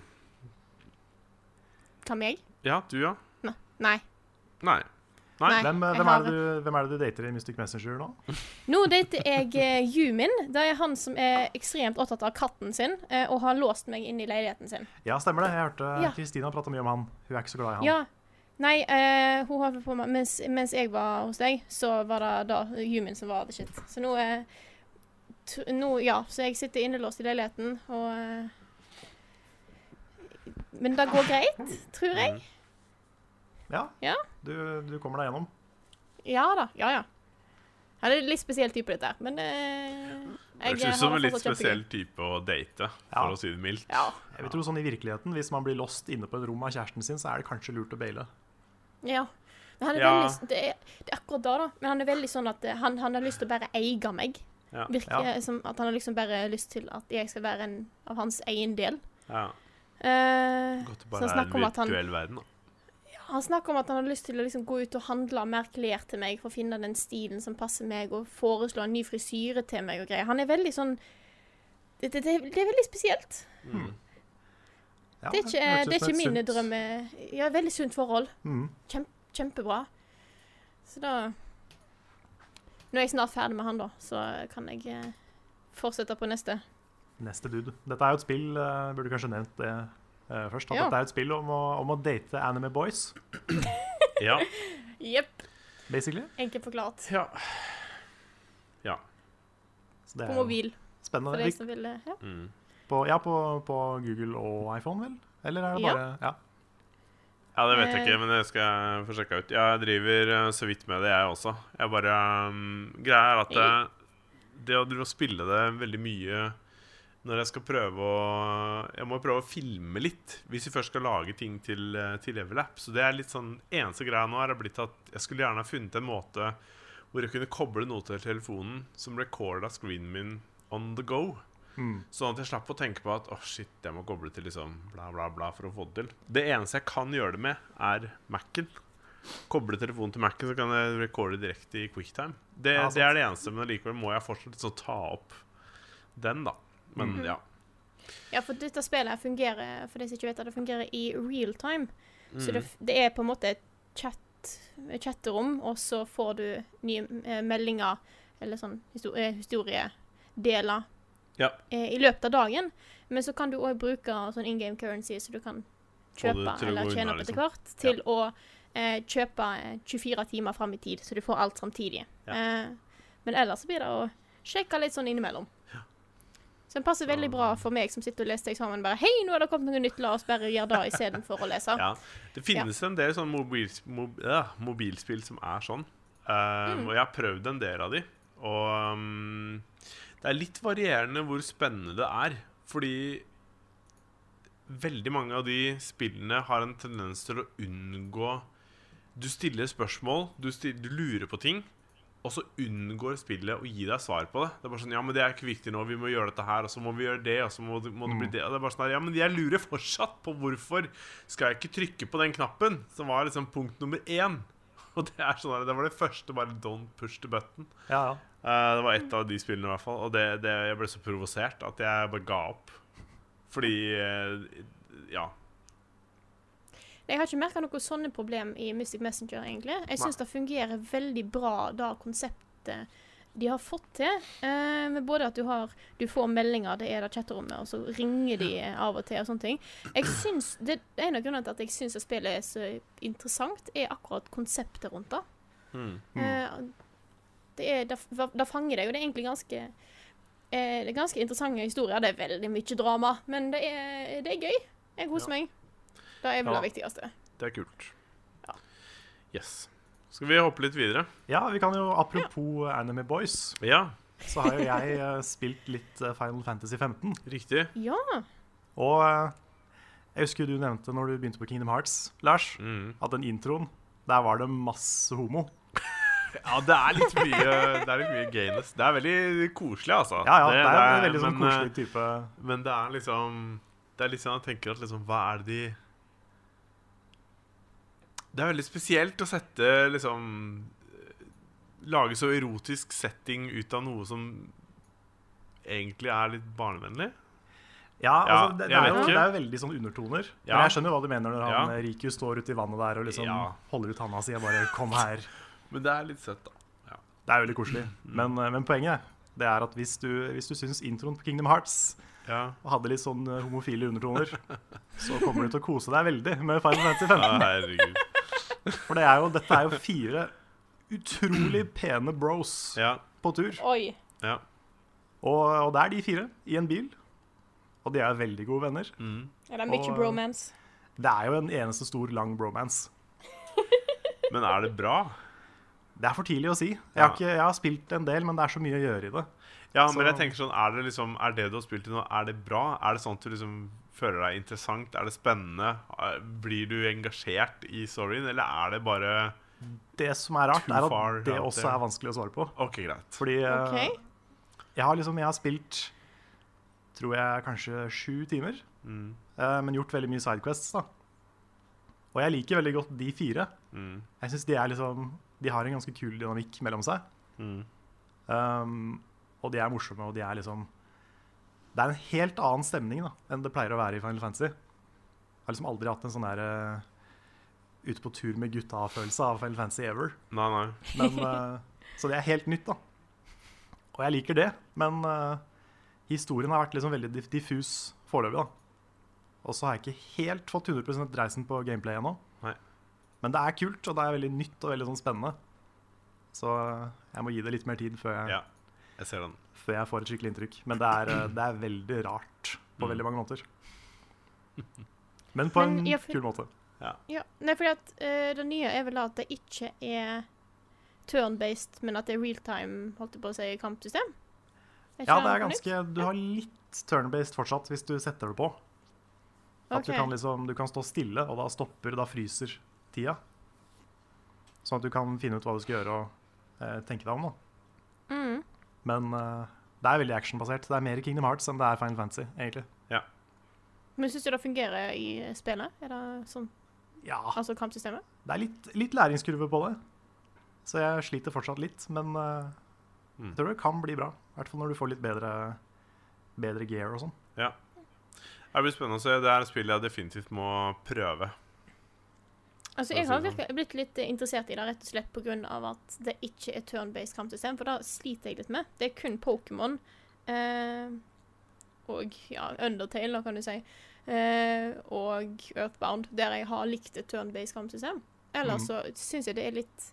[SPEAKER 3] Hva med meg?
[SPEAKER 2] Ja, du, ja?
[SPEAKER 3] Nei.
[SPEAKER 2] Nei. Nei.
[SPEAKER 1] Hvem, eh,
[SPEAKER 3] jeg
[SPEAKER 1] hvem,
[SPEAKER 3] har-
[SPEAKER 1] er det du, hvem er det du dater i Mystic Messenger nå?
[SPEAKER 3] Nå dater jeg eh, Yumin. Det er han som er ekstremt opptatt av katten sin eh, og har låst meg inne i leiligheten sin.
[SPEAKER 1] Ja, stemmer det. Jeg hørte
[SPEAKER 3] Ja.
[SPEAKER 1] Kristina prate mye om han. Hun er ikke så glad i han.
[SPEAKER 3] Ja. Nei, eh, hun har på meg mens, mens jeg var hos deg, så var det da Yumin som var the shit. Så nå, eh, t nå Ja, så jeg sitter innelåst i leiligheten og eh, Men det går greit, tror
[SPEAKER 2] Mm.
[SPEAKER 3] jeg.
[SPEAKER 1] Ja.
[SPEAKER 3] Ja.
[SPEAKER 1] Du, du kommer deg gjennom.
[SPEAKER 3] Ja da. Ja, ja. Ja, det er en litt spesiell type, dette her, men eh,
[SPEAKER 2] Det
[SPEAKER 3] har
[SPEAKER 2] høres ut som
[SPEAKER 3] det
[SPEAKER 2] en litt
[SPEAKER 3] fortsatt kjempegøy.
[SPEAKER 2] spesiell type å date,
[SPEAKER 1] Ja.
[SPEAKER 2] for å si det mildt.
[SPEAKER 3] Ja.
[SPEAKER 1] Jeg vil tro sånn i virkeligheten, Hvis man blir lost inne på et rom av kjæresten sin, så er det kanskje lurt å baile.
[SPEAKER 3] Ja. Men han er
[SPEAKER 2] Ja.
[SPEAKER 3] veldig det er, det er akkurat da, da. Men han er veldig sånn at eh, han, han har lyst til å bare eie meg.
[SPEAKER 2] Ja.
[SPEAKER 3] Virker
[SPEAKER 1] Ja.
[SPEAKER 3] som at han har liksom bare lyst til at jeg skal være en av hans egen del.
[SPEAKER 2] Ja.
[SPEAKER 3] Eh,
[SPEAKER 2] Godt det
[SPEAKER 3] Så
[SPEAKER 2] bare er
[SPEAKER 3] snakk
[SPEAKER 2] en
[SPEAKER 3] om at han-
[SPEAKER 2] virtuell verden, da.
[SPEAKER 3] han snakker om at han har lyst til å liksom gå ut og handle mer klær til meg for å finne den stilen som passer meg, og foreslå en ny frisyre til meg og greier. Han er veldig sånn Det, det, det, det er veldig spesielt.
[SPEAKER 2] Mm.
[SPEAKER 1] Ja,
[SPEAKER 3] det er ikke,
[SPEAKER 1] hørtes ut
[SPEAKER 3] det er
[SPEAKER 1] som
[SPEAKER 3] ikke
[SPEAKER 1] et
[SPEAKER 3] mine
[SPEAKER 1] sunt-
[SPEAKER 3] drømme... Ja, veldig sunt forhold.
[SPEAKER 1] Mm.
[SPEAKER 3] kjempebra. Så da Nå er jeg snart ferdig med han, da, så kan jeg eh, fortsette på neste.
[SPEAKER 1] Neste dude. Dette er jo et spill eh, Burde kanskje nevnt det eh, først. At
[SPEAKER 3] Ja.
[SPEAKER 1] Dette er et spill om å, om å date anime boys,
[SPEAKER 2] Ja.
[SPEAKER 3] Jepp.
[SPEAKER 1] basically.
[SPEAKER 3] Enkelt forklart.
[SPEAKER 2] ja.
[SPEAKER 1] Så det
[SPEAKER 3] På
[SPEAKER 1] er jo
[SPEAKER 3] mobil, for
[SPEAKER 1] spennende.
[SPEAKER 3] de
[SPEAKER 1] Vi-
[SPEAKER 3] som vil eh, ja.
[SPEAKER 2] Mm.
[SPEAKER 1] På, ja, på, på Google og iPhone, vel? Eller er det
[SPEAKER 3] Ja.
[SPEAKER 1] bare Ja.
[SPEAKER 2] Ja, det vet jeg ikke, men det skal jeg få sjekka ut. Jeg driver eh, så vidt med det, jeg også. Jeg bare um, Greia er at det, det å drive og spille det veldig mye når jeg skal prøve å Jeg må jo prøve å filme litt hvis vi først skal lage ting til, eh, til Levelap. Så det er litt sånn Eneste greia nå er blitt at jeg skulle gjerne ha funnet en måte hvor jeg kunne koble noe til telefonen som recorda screenen min on the go.
[SPEAKER 1] Mm.
[SPEAKER 2] Sånn at jeg slapp å tenke på at åh shit, jeg må koble til liksom bla, bla, bla for å få det til. Det eneste jeg kan gjøre det med, er Mac-en. Koble telefonen til Mac-en, så kan jeg recorde direkte i quicktime. Det,
[SPEAKER 1] Ja, sant.
[SPEAKER 2] det er det eneste, men likevel må jeg fortsatt liksom ta opp den, da. Men
[SPEAKER 3] Mhm.
[SPEAKER 2] ja.
[SPEAKER 3] Ja, for dette spillet her fungerer for de som ikke vet at det fungerer i real time. Så
[SPEAKER 2] Mm.
[SPEAKER 3] det, f- det er på en måte et chat, et chatterom, og så får du nye eh, meldinger eller sånn histor eh, historiedeler
[SPEAKER 2] Ja.
[SPEAKER 3] eh, i løpet av dagen. Men så kan du òg bruke sånn in game currency, så du
[SPEAKER 2] Få
[SPEAKER 3] kan
[SPEAKER 2] det
[SPEAKER 3] kjøpe
[SPEAKER 2] til å
[SPEAKER 3] eller
[SPEAKER 2] gå
[SPEAKER 3] tjene
[SPEAKER 2] unna,
[SPEAKER 3] opp etter
[SPEAKER 2] liksom.
[SPEAKER 3] hvert, til å eh, kjøpe eh, 24 timer fram i tid, så du får alt samtidig.
[SPEAKER 2] Ja.
[SPEAKER 3] Eh, men ellers så blir det å sjekke litt sånn innimellom. Så den passer veldig bra for meg som sitter og leser eksamen. bare, Hei, nå er det kommet noe nytt, la oss bare gjøre det istedenfor å lese.
[SPEAKER 2] ja. Det finnes en del sånne mobils, mob, ja, mobilspill som er sånn. Um, Og jeg har prøvd en del av de. Og um, det er litt varierende hvor spennende det er. Fordi veldig mange av de spillene har en tendens til å unngå Du stiller spørsmål, du, sti- du lurer på ting. Og så unngår spillet å gi deg svar på det. Det er bare sånn, ja, men det er ikke viktig nå, vi må gjøre dette her, og så må vi gjøre det, og så må, det- må det bli det. Og det er bare sånn, her, ja, men jeg lurer fortsatt på hvorfor skal jeg ikke trykke på den knappen, som var liksom punkt nummer én. (laughs) Og det er sånn her, det var det første, bare don't push the button.
[SPEAKER 1] Ja, ja.
[SPEAKER 2] Eh, det var ett av de spillene i hvert fall, og det, det, jeg ble så provosert at jeg bare ga opp. Fordi, eh, ja,
[SPEAKER 3] Jeg har ikke merka noe sånne problem i Mystic Messenger, egentlig. Jeg syns det fungerer veldig bra, det konseptet de har fått til. Eh, med både at du har Du får meldinger, det er det chatterommet, og så ringer de av og til og sånne ting. Jeg syns det, det er En av grunnene til at jeg syns spillet er så interessant, er akkurat konseptet rundt det.
[SPEAKER 2] Mm.
[SPEAKER 3] Eh, det, er, det, f- det fanger deg, og det er egentlig ganske eh, Det er ganske interessante historier. Det er veldig mye drama, men det er, det er gøy. Jeg koser meg. Det er vel
[SPEAKER 1] Ja.
[SPEAKER 3] det viktigste.
[SPEAKER 2] det er kult.
[SPEAKER 3] Ja.
[SPEAKER 2] Yes. Skal vi hoppe litt videre?
[SPEAKER 1] ja, vi kan jo Apropos Anime Boys,
[SPEAKER 2] Ja,
[SPEAKER 1] så har jo jeg eh, spilt litt eh, Final Fantasy 15.
[SPEAKER 2] riktig.
[SPEAKER 3] Ja.
[SPEAKER 1] Og eh, jeg husker du nevnte når du begynte på Kingdom Hearts, Lars,
[SPEAKER 2] Mm.
[SPEAKER 1] at den introen, der var det masse homo.
[SPEAKER 2] Ja, det er litt mye, det er litt mye gayness. Det er veldig koselig, altså.
[SPEAKER 1] Ja, ja, det, er en veldig sånn
[SPEAKER 2] men, eh,
[SPEAKER 1] koselig type
[SPEAKER 2] Men det er liksom Det er litt sånn jeg tenker at liksom Hva er det de Det er veldig spesielt å sette liksom Lage så erotisk setting ut av noe som egentlig er litt barnevennlig.
[SPEAKER 1] Ja,
[SPEAKER 2] Ja,
[SPEAKER 1] altså, det, det,
[SPEAKER 2] jeg
[SPEAKER 1] er
[SPEAKER 2] vet
[SPEAKER 1] jo,
[SPEAKER 2] ikke.
[SPEAKER 1] det er jo veldig sånn undertoner.
[SPEAKER 2] Ja.
[SPEAKER 1] Men jeg skjønner jo hva du mener når han
[SPEAKER 2] Ja.
[SPEAKER 1] eh, Riku står ute i vannet der og liksom
[SPEAKER 2] Ja.
[SPEAKER 1] holder ut handa si og bare 'kom her'.
[SPEAKER 2] Men det er litt søtt, da.
[SPEAKER 1] Det er veldig koselig.
[SPEAKER 2] Mm.
[SPEAKER 1] Men, eh, men poenget det er at hvis du, hvis du syns introen på Kingdom Hearts
[SPEAKER 2] Ja.
[SPEAKER 1] hadde litt sånn eh, homofile undertoner, så kommer du til å kose deg veldig med Final Fantasy 15.
[SPEAKER 2] Ja, Herregud.
[SPEAKER 1] For det er jo, dette er jo fire utrolig pene bros
[SPEAKER 2] (laughs) Ja.
[SPEAKER 1] på tur.
[SPEAKER 3] Oi.
[SPEAKER 2] ja.
[SPEAKER 1] Og, og det er de fire i en bil. Og de er veldig gode venner.
[SPEAKER 2] Mm.
[SPEAKER 3] Er det
[SPEAKER 1] Og,
[SPEAKER 3] mye
[SPEAKER 1] eh,
[SPEAKER 3] bromance?
[SPEAKER 1] Det er jo en eneste stor, lang bromance.
[SPEAKER 2] Men er det bra?
[SPEAKER 1] Det er for tidlig å si. Jeg har,
[SPEAKER 2] Ja.
[SPEAKER 1] ikke, jeg har spilt en del, men det er så mye å gjøre i det.
[SPEAKER 2] Ja,
[SPEAKER 1] Så-
[SPEAKER 2] men jeg tenker sånn Er det liksom Er det du har spilt i nå, er det bra? Er det sånn at du liksom føler deg interessant? Er det spennende? Er- Blir du engasjert i storyen, eller er det bare
[SPEAKER 1] Det som er rart,
[SPEAKER 2] Too
[SPEAKER 1] er
[SPEAKER 2] far
[SPEAKER 1] at det
[SPEAKER 2] out
[SPEAKER 1] også
[SPEAKER 2] there.
[SPEAKER 1] er vanskelig å svare på.
[SPEAKER 2] OK, greit.
[SPEAKER 1] Fordi eh,
[SPEAKER 3] OK.
[SPEAKER 1] jeg har liksom jeg har spilt tror jeg kanskje sju timer,
[SPEAKER 2] Mm.
[SPEAKER 1] eh, men gjort veldig mye sidequests, da. Og jeg liker veldig godt de fire.
[SPEAKER 2] Mm.
[SPEAKER 1] Jeg synes de er liksom De har en ganske kul dynamikk mellom seg.
[SPEAKER 2] Mm.
[SPEAKER 1] Um, og de er morsomme, og de er liksom Det er en helt annen stemning da enn det pleier å være i Final Fantasy. Jeg har liksom aldri hatt en sånn der eh, ute på tur med gutta-følelse av Final Fantasy ever.
[SPEAKER 2] Nei, nei.
[SPEAKER 1] Men, eh, så det er helt nytt, da. Og jeg liker det, men eh, historien har vært liksom veldig diff- diffus foreløpig, da. Og så har jeg ikke helt fått 100 dreisen på gameplay ennå.
[SPEAKER 2] Nei.
[SPEAKER 1] Men det er kult, og det er veldig nytt og veldig sånn spennende. Så eh, jeg må gi det litt mer tid før jeg,
[SPEAKER 2] Ja, jeg ser den.
[SPEAKER 1] før jeg får et skikkelig inntrykk. Men det er, eh, det er
[SPEAKER 2] Mm. (laughs)
[SPEAKER 1] veldig rart på veldig mange måter. Men på
[SPEAKER 3] Men
[SPEAKER 1] en
[SPEAKER 3] jeg-
[SPEAKER 1] kul måte.
[SPEAKER 3] Ja, Nei, fordi at eh, det nye er vel da at det ikke er turn-based, men at det er real-time, holdt jeg på å si, kampsystem. ikke
[SPEAKER 1] Ja, det er
[SPEAKER 3] noe nytt?
[SPEAKER 1] ganske Du har litt turn-based fortsatt hvis du setter det på. At
[SPEAKER 3] Ok.
[SPEAKER 1] du kan liksom Du kan stå stille, og da stopper Da fryser tida. Sånn at du kan finne ut hva du skal gjøre og eh, tenke deg om, da.
[SPEAKER 3] Mm.
[SPEAKER 1] Men eh, det er veldig actionbasert. Det er mer Kingdom Hearts enn det er Final Fantasy, egentlig.
[SPEAKER 3] Men syns du det fungerer i spillet? Er det sånn,
[SPEAKER 1] Ja,
[SPEAKER 3] altså kampsystemet?
[SPEAKER 1] det er litt, litt læringskurve på det. Så jeg sliter fortsatt litt, men eh,
[SPEAKER 2] Mm.
[SPEAKER 1] jeg tror det kan bli bra. I hvert fall når du får litt bedre, bedre gear og sånn.
[SPEAKER 2] Det blir spennende å se. Det er et spill jeg definitivt må prøve.
[SPEAKER 3] Altså,
[SPEAKER 2] For å
[SPEAKER 3] jeg
[SPEAKER 2] si
[SPEAKER 3] har
[SPEAKER 2] det sånn.
[SPEAKER 3] virkelig blitt litt eh, interessert i det rett og slett pga. at det ikke er turn-based kampsystem, for da sliter jeg litt med. Det er kun Pokémon eh, og ja, Undertale, da, kan du si, eh, og Earthbound, der jeg har likt et turn-based kampsystem. Ellers
[SPEAKER 1] Mhm.
[SPEAKER 3] så syns jeg det er litt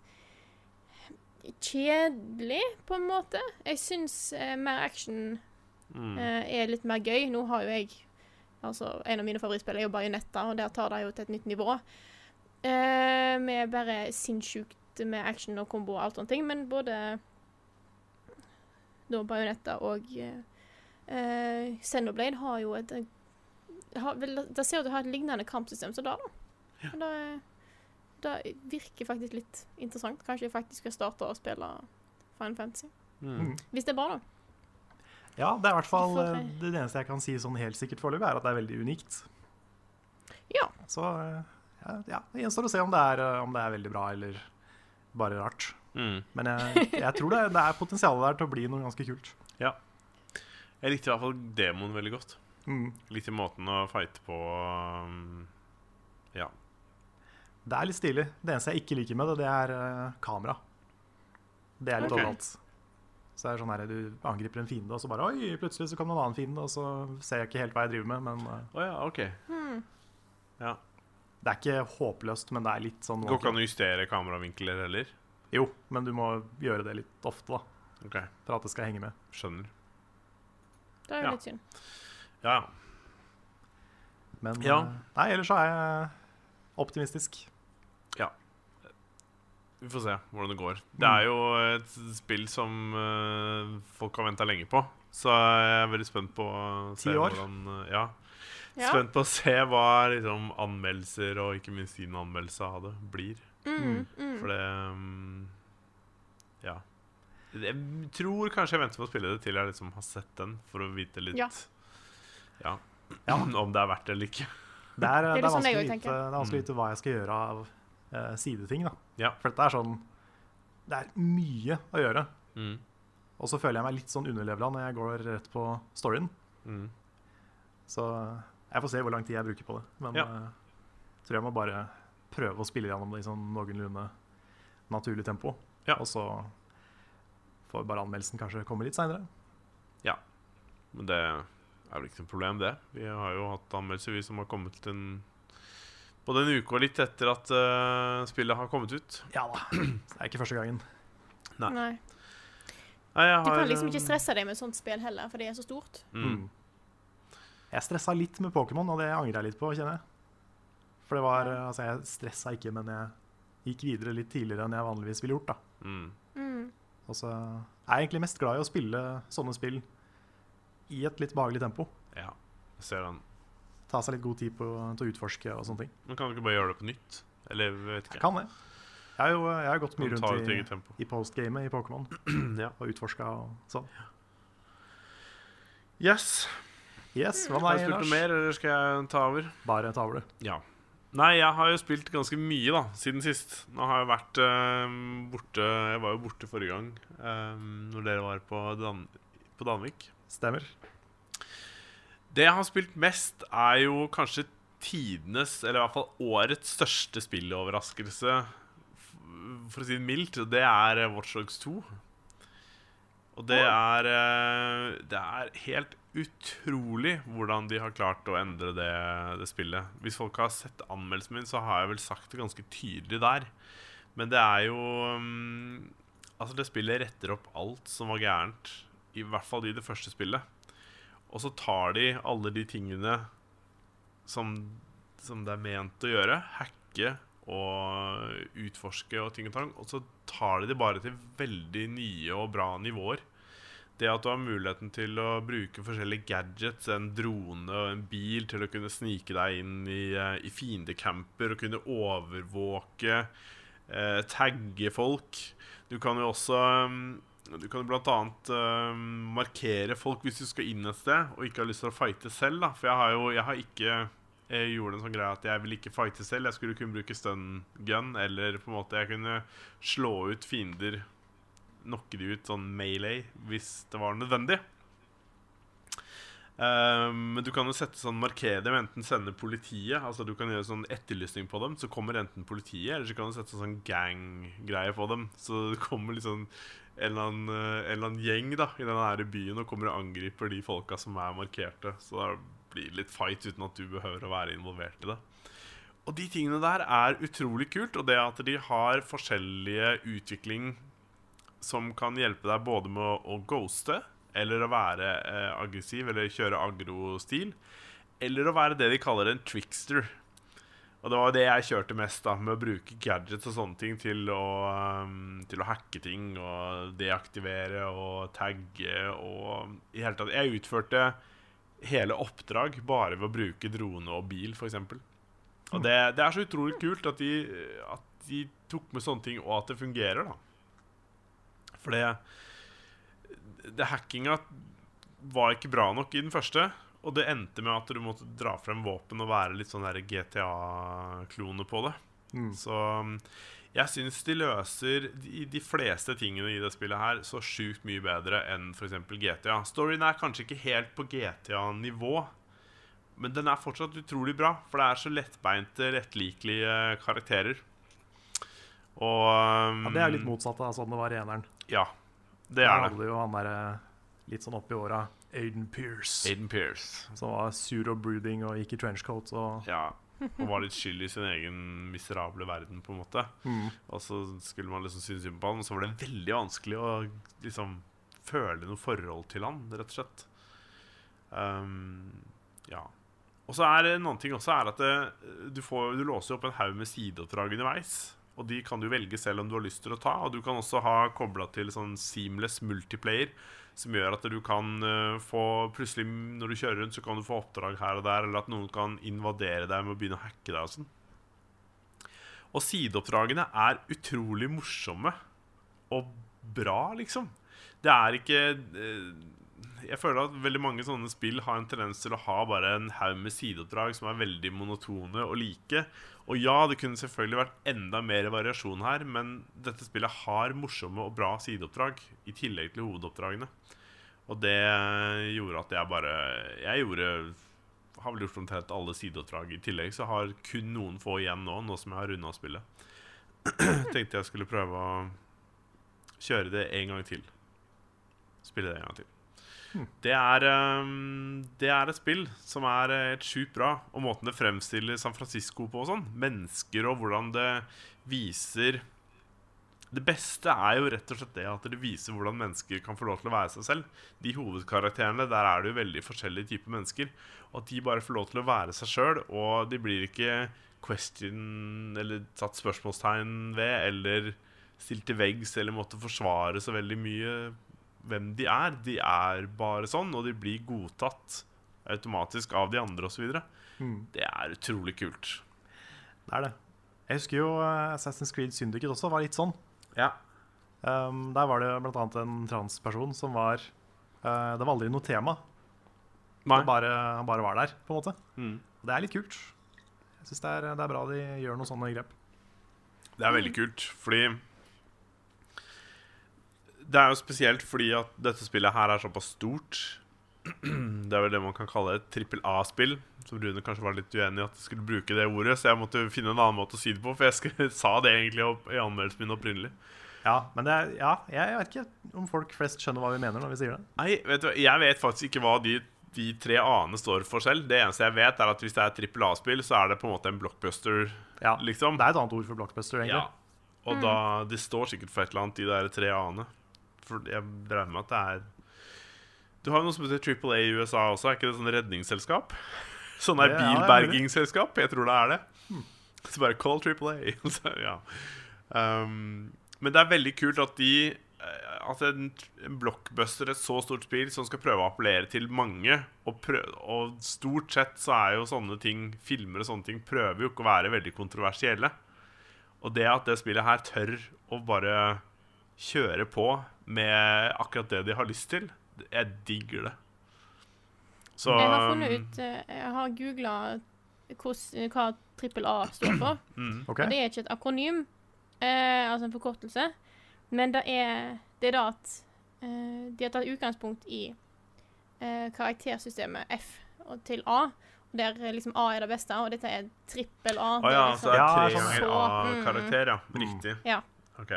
[SPEAKER 3] kjedelig, på en måte. Jeg syns eh, mer action
[SPEAKER 2] Mm.
[SPEAKER 3] eh, er litt mer gøy. Nå har jo jeg Altså, en av mine favorittspill er jo Bajonetta, og der tar de jo til et nytt nivå. Eh, med bare sinnssykt med action og kombo og alt sånne ting, men både da Bajonetta og eh, eh, Xenoblade har jo et eh, har, vel, Det ser ut til å ha et lignende kampsystem som det, da. Og Det, det virker faktisk litt interessant. Kanskje jeg faktisk skal starte å spille Final Fantasy.
[SPEAKER 2] Mm.
[SPEAKER 3] Hvis det er bra, da.
[SPEAKER 1] Ja, det er i hvert fall
[SPEAKER 3] Vi får
[SPEAKER 1] eh, det eneste jeg kan si sånn helt sikkert foreløpig, er at det er veldig unikt.
[SPEAKER 3] Ja.
[SPEAKER 1] Så eh, ja, ja, det gjenstår å se om det, er, eh, om det er veldig bra eller bare rart.
[SPEAKER 2] Mm.
[SPEAKER 1] Men jeg, jeg tror det, det er potensial der til å bli noe ganske kult.
[SPEAKER 2] Jeg likte i hvert fall demoen veldig godt.
[SPEAKER 1] Mm.
[SPEAKER 2] Likte måten å fighte på. Um,
[SPEAKER 1] Det er litt stilig. Det eneste jeg ikke liker med det, det er eh, kamera. Det er litt
[SPEAKER 2] Ok.
[SPEAKER 1] overalt. Så det er sånn her, Du angriper en fiende, og så bare Oi, plutselig så kom det en annen fiende, og så ser jeg ikke helt hva jeg driver med. Men eh,
[SPEAKER 2] Å ja, OK.
[SPEAKER 3] Hmm.
[SPEAKER 1] Det er ikke håpløst, men det er litt sånn
[SPEAKER 2] Går ikke an å justere kameravinkler heller.
[SPEAKER 1] Jo, men du må gjøre det litt ofte, da.
[SPEAKER 2] OK,
[SPEAKER 1] For at det skal henge med.
[SPEAKER 2] skjønner.
[SPEAKER 3] Det er jo
[SPEAKER 2] Ja.
[SPEAKER 3] litt synd.
[SPEAKER 2] Ja, ja.
[SPEAKER 1] Men
[SPEAKER 2] Ja.
[SPEAKER 1] eh, nei, ellers så er jeg optimistisk.
[SPEAKER 2] Vi får se hvordan det går. Det er jo et spill som eh, folk har venta lenge på. Så jeg er veldig spent på å se
[SPEAKER 1] Ti år?
[SPEAKER 2] hvordan eh, Ja.
[SPEAKER 3] Ja.
[SPEAKER 2] Spent på å se hva liksom, anmeldelser, og ikke minst din anmeldelse av det, blir.
[SPEAKER 3] Mm, mm.
[SPEAKER 2] For det mm, Ja. Jeg tror kanskje jeg venter med å spille det til jeg liksom har sett den, for å vite litt
[SPEAKER 3] Ja.
[SPEAKER 2] ja, (clears throat) om det er verdt det eller ikke.
[SPEAKER 1] Det er, det er,
[SPEAKER 3] litt sånn
[SPEAKER 1] vanskelig,
[SPEAKER 3] jeg
[SPEAKER 1] å vite, det
[SPEAKER 3] også
[SPEAKER 1] er vanskelig å vite hva jeg skal gjøre av eh, sideting, da.
[SPEAKER 2] Ja.
[SPEAKER 1] For dette er sånn Det er mye å gjøre.
[SPEAKER 2] Mm.
[SPEAKER 1] Og så føler jeg meg litt sånn underlevela når jeg går rett på storyen.
[SPEAKER 2] Mm.
[SPEAKER 1] Så jeg får se hvor lang tid jeg bruker på det. Men
[SPEAKER 2] Ja.
[SPEAKER 1] eh, jeg tror jeg må bare prøve å spille gjennom det i sånn noenlunde naturlig tempo.
[SPEAKER 2] Ja.
[SPEAKER 1] Og så får bare anmeldelsen kanskje komme litt seinere.
[SPEAKER 2] Men det er vel ikke noe problem, det. Vi har jo hatt anmeldelser, vi som har kommet til en både en uke og litt etter at eh, spillet har kommet ut.
[SPEAKER 1] Ja da. Det er ikke første gangen.
[SPEAKER 2] Nei.
[SPEAKER 3] Nei.
[SPEAKER 2] Nei, jeg
[SPEAKER 3] Du kan
[SPEAKER 2] har,
[SPEAKER 3] liksom ikke
[SPEAKER 2] eh,
[SPEAKER 3] stresse deg med sånt spill heller, for det er så stort.
[SPEAKER 2] Mm.
[SPEAKER 1] Jeg stressa litt med Pokémon, og det angrer jeg litt på, kjenner jeg. For det var eh, Altså, jeg stressa ikke, men jeg gikk videre litt tidligere enn jeg vanligvis ville gjort, da.
[SPEAKER 2] Mm.
[SPEAKER 3] Mm.
[SPEAKER 1] Og så er jeg egentlig mest glad i å spille sånne spill i et litt behagelig tempo.
[SPEAKER 2] Ja, jeg ser den.
[SPEAKER 1] Ta seg litt god tid på, til å utforske og sånne ting.
[SPEAKER 2] Men kan du ikke bare gjøre det på nytt? Eller jeg vet
[SPEAKER 1] Jeg
[SPEAKER 2] ikke.
[SPEAKER 1] kan det. Jeg har jo jeg har gått mye
[SPEAKER 2] Du tar ditt
[SPEAKER 1] rundt i,
[SPEAKER 2] eget tempo.
[SPEAKER 1] i postgamet i Pokémon
[SPEAKER 2] (clears throat) ja.
[SPEAKER 1] og utforska og sånn.
[SPEAKER 2] Yes.
[SPEAKER 1] Yes, hva
[SPEAKER 2] Har
[SPEAKER 1] med deg,
[SPEAKER 2] du spilt noe
[SPEAKER 1] Lars?
[SPEAKER 2] mer, eller skal jeg ta over?
[SPEAKER 1] Bare ta over, du.
[SPEAKER 2] Ja. Nei, jeg har jo spilt ganske mye da, siden sist. Nå har jeg vært eh, borte Jeg var jo borte forrige gang, eh, når dere var på, Dan på Danvik.
[SPEAKER 1] Stemmer.
[SPEAKER 2] Det jeg har spilt mest, er jo kanskje tidenes, eller i hvert fall årets største spilloverraskelse, f- for å si det mildt, og det er eh, Watchdogs 2. Og det er eh, Det er helt utrolig hvordan de har klart å endre det, det spillet. Hvis folk har sett anmeldelsen min, så har jeg vel sagt det ganske tydelig der. Men det er jo mm, Altså, det spillet retter opp alt som var gærent, i hvert fall i det første spillet. Og så tar de alle de tingene som, som det er ment å gjøre, hack, søke og utforske og ting og tang. Og så tar de det bare til veldig nye og bra nivåer. Det at du har muligheten til å bruke forskjellige gadgets, en drone og en bil, til å kunne snike deg inn i, eh, i fiendecamper og kunne overvåke, eh, tagge folk. Du kan jo også um, Du kan jo blant annet um, markere folk hvis du skal inn et sted og ikke har lyst til å fighte selv. da For jeg har jo jeg har ikke jeg gjorde en sånn greie at jeg ville ikke fighte selv. Jeg skulle kunne bruke stun gun, eller på en måte jeg kunne slå ut fiender knocke de ut sånn melee hvis det var nødvendig. Ehm, Men du kan jo sette sånn markere dem, enten sende politiet Altså du kan gjøre sånn etterlysning på dem, så kommer enten politiet, eller så kan du sette sånn gang-greie på dem. Så det kommer liksom en eller annen, eh, en eller annen gjeng da i den her byen og kommer og angriper de folka som er markerte. Så da blir det litt fight uten at du behøver å være involvert i det. Og de tingene der er utrolig kult, og det at de har forskjellige utvikling som kan hjelpe deg både med å, å ghoste, eller å være eh, aggressiv, eller kjøre agro-stil, eller å være det de kaller en trickster. Og det var jo det jeg kjørte mest, da, med å bruke gadgets og sånne ting til å, um, til å hacke ting og deaktivere og tagge og i hele tatt. Jeg utførte hele oppdrag bare ved å bruke drone og bil, f.eks. Og det, det er så utrolig kult at de, at de tok med sånne ting, og at det fungerer, da. For det, det hackinga var ikke bra nok i den første. Og det endte med at du måtte dra frem våpen og være litt sånn der GTA-klone på det.
[SPEAKER 1] Mm.
[SPEAKER 2] Så um, jeg syns de løser de, de fleste tingene i det spillet her så sjukt mye bedre enn f.eks. GTA. Storyen er kanskje ikke helt på GTA-nivå, men den er fortsatt utrolig bra. For det er så lettbeinte, lettlikelige karakterer. Og um,
[SPEAKER 1] Ja, det er jo litt motsatt av sånn det var i eneren.
[SPEAKER 2] Ja, det
[SPEAKER 1] Der
[SPEAKER 2] er det.
[SPEAKER 1] hadde du jo han derre litt sånn oppi åra Aiden Pierce,
[SPEAKER 2] Aiden Pierce.
[SPEAKER 1] som var sur og brooding og gikk i trenchcoat og
[SPEAKER 2] Ja. Og var litt skyld i sin egen miserable verden, på en måte.
[SPEAKER 1] mm.
[SPEAKER 2] Og så skulle man liksom synes synd på han, og så var det veldig vanskelig å liksom føle noe forhold til han, rett og slett. Ehm, ja. Og så er det en annen ting også er at det, du, får, du låser jo opp en haug med sideoppdrag underveis. Og de kan du velge selv om du har lyst til å ta. Og du kan også ha kobla til sånn seamless multiplayer, som gjør at du kan eh, få Plutselig når du kjører rundt, så kan du få oppdrag her og der, eller at noen kan invadere deg med å begynne å hacke deg og sånn. Og sideoppdragene er utrolig morsomme og bra, liksom. Det er ikke eh, Jeg føler at veldig mange sånne spill har en tendens til å ha bare en haug med sideoppdrag som er veldig monotone og like. Og ja, det kunne selvfølgelig vært enda mer variasjon her, men dette spillet har morsomme og bra sideoppdrag i tillegg til hovedoppdragene. Og det gjorde at jeg bare Jeg gjorde har vel gjort omtrent alle sideoppdrag. I tillegg så har kun noen få igjen nå, nå som jeg har runda spillet. (clears throat) Tenkte jeg skulle prøve å kjøre det en gang til. Spille det en gang til.
[SPEAKER 1] Hmm.
[SPEAKER 2] Det, er, ehm, det er et spill som er eh, helt sjukt bra, og måten det fremstiller San Francisco på og sånn. Mennesker og hvordan det viser Det beste er jo rett og slett det at det viser hvordan mennesker kan få lov til å være seg selv. De hovedkarakterene, der er det jo veldig forskjellige typer mennesker. Og at de bare får lov til å være seg sjøl, og de blir ikke question eller satt spørsmålstegn ved, eller stilt til veggs eller måtte forsvare så veldig mye hvem de er. De er bare sånn, og de blir godtatt automatisk av de andre osv.
[SPEAKER 1] Mm.
[SPEAKER 2] Det er utrolig kult.
[SPEAKER 1] Det er det. Jeg husker jo eh, Assassin's Creed Syndicate også var litt sånn.
[SPEAKER 2] Ja.
[SPEAKER 1] Um, der var det blant annet en transperson som var eh, Det var aldri noe tema.
[SPEAKER 2] Nei.
[SPEAKER 1] Han bare, han bare var der, på en måte.
[SPEAKER 2] Mm.
[SPEAKER 1] Det er litt kult. Jeg syns det, er- det er bra de gjør noen sånne grep.
[SPEAKER 2] Det er veldig kult, fordi Det er jo spesielt fordi at dette spillet her er såpass stort. Det er vel det man kan kalle et trippel A-spill. Som Rune kanskje var litt uenig i at jeg skulle bruke det ordet, så jeg måtte finne en annen måte å si det på, for jeg sk- (laughs) sa det egentlig opp, i anmeldelsen min opprinnelig.
[SPEAKER 1] Ja, men det er, ja, jeg vet ikke om folk flest skjønner hva vi mener når vi sier det.
[SPEAKER 2] Nei, vet du hva, jeg vet faktisk ikke hva de, de tre A-ene står for selv. Det eneste jeg vet, er at hvis det er et trippel A-spill, så er det på en måte en blockbuster,
[SPEAKER 1] Ja,
[SPEAKER 2] liksom.
[SPEAKER 1] Det er et annet ord for blockbuster, egentlig.
[SPEAKER 2] Ja. Og da Det står sikkert for et eller annet i de der tre A-ene. For jeg regner med at det er Du har jo noe som heter Triple A i USA også, er ikke det sånn redningsselskap? (laughs) Sånn der
[SPEAKER 1] Det- ja, det er mulig.
[SPEAKER 2] bilbergingsselskap? Jeg tror det er det. Så bare call Triple A. (laughs) Så, ja. um, men det er veldig kult at de eh, At en, en blockbuster, et så stort spill som skal prøve å appellere til mange og, prø- og stort sett så er jo sånne ting filmer og sånne ting prøver jo ikke å være veldig kontroversielle. Og det at det spillet her tør å bare kjøre på med akkurat det de har lyst til, jeg digger det. Så um,
[SPEAKER 3] Jeg har funnet ut eh, Jeg har googla hva trippel A står
[SPEAKER 2] (clears throat)
[SPEAKER 3] for.
[SPEAKER 2] mm.
[SPEAKER 1] OK?
[SPEAKER 3] Og det er ikke et akronym, eh, altså en forkortelse, men det er det er da at eh, de har tatt utgangspunkt i eh, karaktersystemet F og til A, og der eh, liksom A er det beste, og dette er trippel A.
[SPEAKER 2] Å ja, så
[SPEAKER 3] det
[SPEAKER 2] det
[SPEAKER 3] er liksom,
[SPEAKER 1] Ja,
[SPEAKER 2] er
[SPEAKER 1] sånn.
[SPEAKER 2] tre ganger
[SPEAKER 3] Så, mm.
[SPEAKER 2] A-karakter, ja. Riktig.
[SPEAKER 3] ja.
[SPEAKER 2] Ok.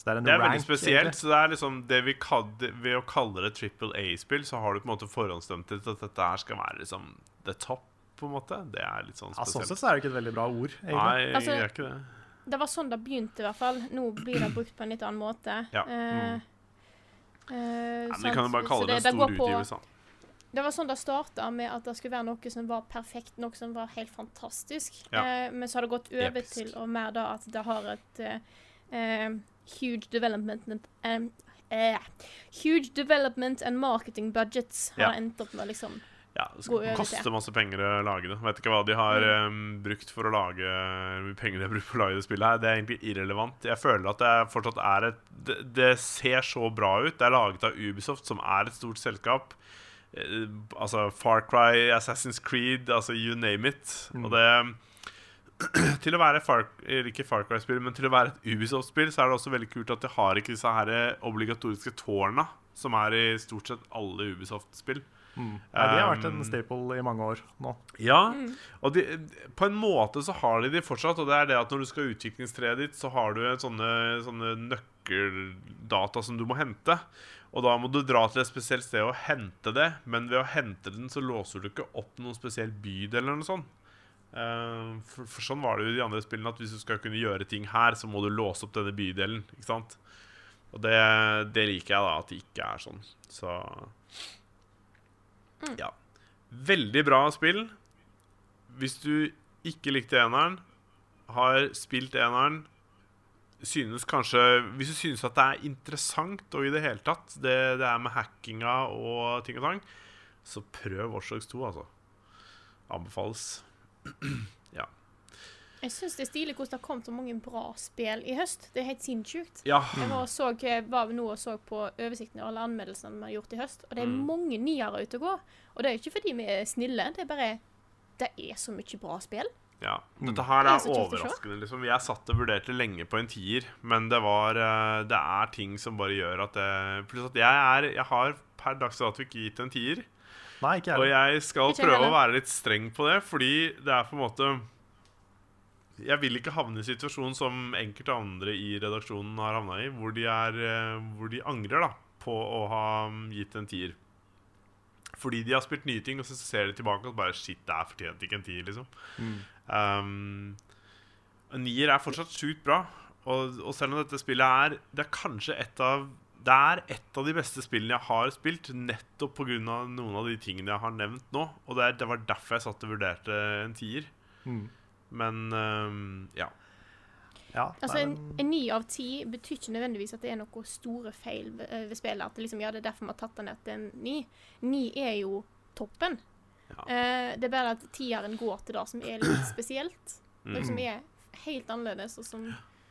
[SPEAKER 1] Så det er, en
[SPEAKER 2] Det er veldig
[SPEAKER 1] rank,
[SPEAKER 2] spesielt.
[SPEAKER 1] egentlig.
[SPEAKER 2] Så det er liksom det vi kall- det- Ved å kalle det triple A-spill, så har du på en måte forhåndsdømt til at dette her skal være liksom the top, på en måte. Det er litt sånn
[SPEAKER 1] Ja, sånn
[SPEAKER 2] spesielt.
[SPEAKER 1] sett så er det ikke et veldig bra ord, egentlig.
[SPEAKER 2] Nei,
[SPEAKER 3] Altså-
[SPEAKER 2] det er ikke det.
[SPEAKER 3] Det var sånn det begynte, i hvert fall. Nå blir det brukt på en litt annen måte.
[SPEAKER 2] Ja. mm.
[SPEAKER 3] Eh, eh,
[SPEAKER 2] Ja, men vi
[SPEAKER 3] sant?
[SPEAKER 2] kan jo bare
[SPEAKER 3] Så
[SPEAKER 2] kalle det en
[SPEAKER 3] går
[SPEAKER 2] stor
[SPEAKER 3] på-
[SPEAKER 2] utgivelse. da.
[SPEAKER 3] Det var sånn det starta, med at det skulle være noe som var perfekt, noe som var helt fantastisk.
[SPEAKER 2] Ja.
[SPEAKER 3] Eh, men så har det gått over
[SPEAKER 2] Episk.
[SPEAKER 3] til og mer da at det har et eh, eh, huge development and, eh, Huge development and marketing budgets har
[SPEAKER 2] Ja.
[SPEAKER 3] endt opp med, liksom.
[SPEAKER 2] Ja, det
[SPEAKER 3] Gå over
[SPEAKER 2] skal koste
[SPEAKER 3] til.
[SPEAKER 2] masse penger å lage det. Vet ikke hva de har em, brukt for å lage Hvor mye penger de har brukt for å lage det spillet her. Det er egentlig irrelevant. Jeg føler at det er fortsatt er et det, det ser så bra ut. Det er laget av Ubisoft, som er et stort selskap. Eh, altså Far Cry, Assassin's Creed, altså you name it. Og det (clears throat) Til å være Far, eller ikke Far Cry-spill, men til å være et Ubisoft-spill, så er det også veldig kult at de har ikke disse her eh, obligatoriske tårna, som er i stort sett alle Ubisoft-spill.
[SPEAKER 1] Mm. Nei, de har vært
[SPEAKER 2] Um,
[SPEAKER 1] en staple i mange år nå.
[SPEAKER 2] Ja, og de, på en måte så har de de fortsatt, og det er det at når du skal ha utviklingstreet ditt, så har du sånne, sånne nøkkeldata som du må hente. Og da må du dra til et spesielt sted og hente det, men ved å hente den så låser du ikke opp noen spesiell bydel eller noe sånt. Eh, for, for sånn var det jo i de andre spillene, at hvis du skal kunne gjøre ting her, så må du låse opp denne bydelen, ikke sant? Og det, det liker jeg da, at det ikke er sånn. Så ja. Veldig bra spill. Hvis du ikke likte eneren, har spilt eneren Synes kanskje Hvis du synes at det er interessant og i det hele tatt, det, det er med hackinga og ting og tang, så prøv Watchdogs 2, altså. Anbefales. ja.
[SPEAKER 3] Jeg syns det er stilig hvordan det har kommet så mange bra spill i høst. Det er helt sinnssykt.
[SPEAKER 2] ja.
[SPEAKER 3] Jeg
[SPEAKER 1] Mm.
[SPEAKER 3] var, og så, eh, var nå og så på oversikten over alle anmeldelsene vi har gjort i høst, og det er
[SPEAKER 1] Mm.
[SPEAKER 3] mange niere ute og går. Og det er ikke fordi vi er snille, det er bare Det er så mye bra spill.
[SPEAKER 2] Ja. Dette her
[SPEAKER 3] Det er
[SPEAKER 2] er
[SPEAKER 3] så kjekt å se.
[SPEAKER 2] overraskende. Liksom. Jeg satt og vurderte lenge på en tier, men det, var, eh, det er ting som bare gjør at det Pluss at jeg, er, jeg har per dags dato ikke gitt en tier.
[SPEAKER 1] Nei, ikke
[SPEAKER 2] Og
[SPEAKER 1] jeg.
[SPEAKER 2] jeg skal
[SPEAKER 3] Ikke jeg
[SPEAKER 2] prøve å
[SPEAKER 3] heller.
[SPEAKER 2] være litt streng på det, fordi det er på en måte Jeg vil ikke havne i situasjonen som enkelte andre i redaksjonen har havna i, hvor de, er, eh, hvor de angrer da på å ha mm, gitt en tier. Fordi de har spilt nye ting, og så ser de tilbake og bare Shit, det er fortjent ikke en tier, liksom. Um, en Nier er fortsatt sjukt bra. Og, og selv om dette spillet er Det er kanskje et av Det er et av de beste spillene jeg har spilt, nettopp pga. noen av de tingene jeg har nevnt nå. Og det, er, det var derfor jeg satt og vurderte en tier.
[SPEAKER 1] Mm.
[SPEAKER 2] Men um, ja.
[SPEAKER 1] Ja,
[SPEAKER 3] Altså,
[SPEAKER 1] nei,
[SPEAKER 3] en,
[SPEAKER 1] men-
[SPEAKER 3] en ni av ti betyr ikke nødvendigvis at det er noen store feil ved, eh, ved spillet. At det liksom, ja, det er derfor vi har tatt den ned til en ni. Ni er jo toppen.
[SPEAKER 2] Ja.
[SPEAKER 3] Eh, det er bare at tieren går til det som er
[SPEAKER 1] (clears throat)
[SPEAKER 3] litt spesielt, og som er helt annerledes, og som,
[SPEAKER 1] Mm.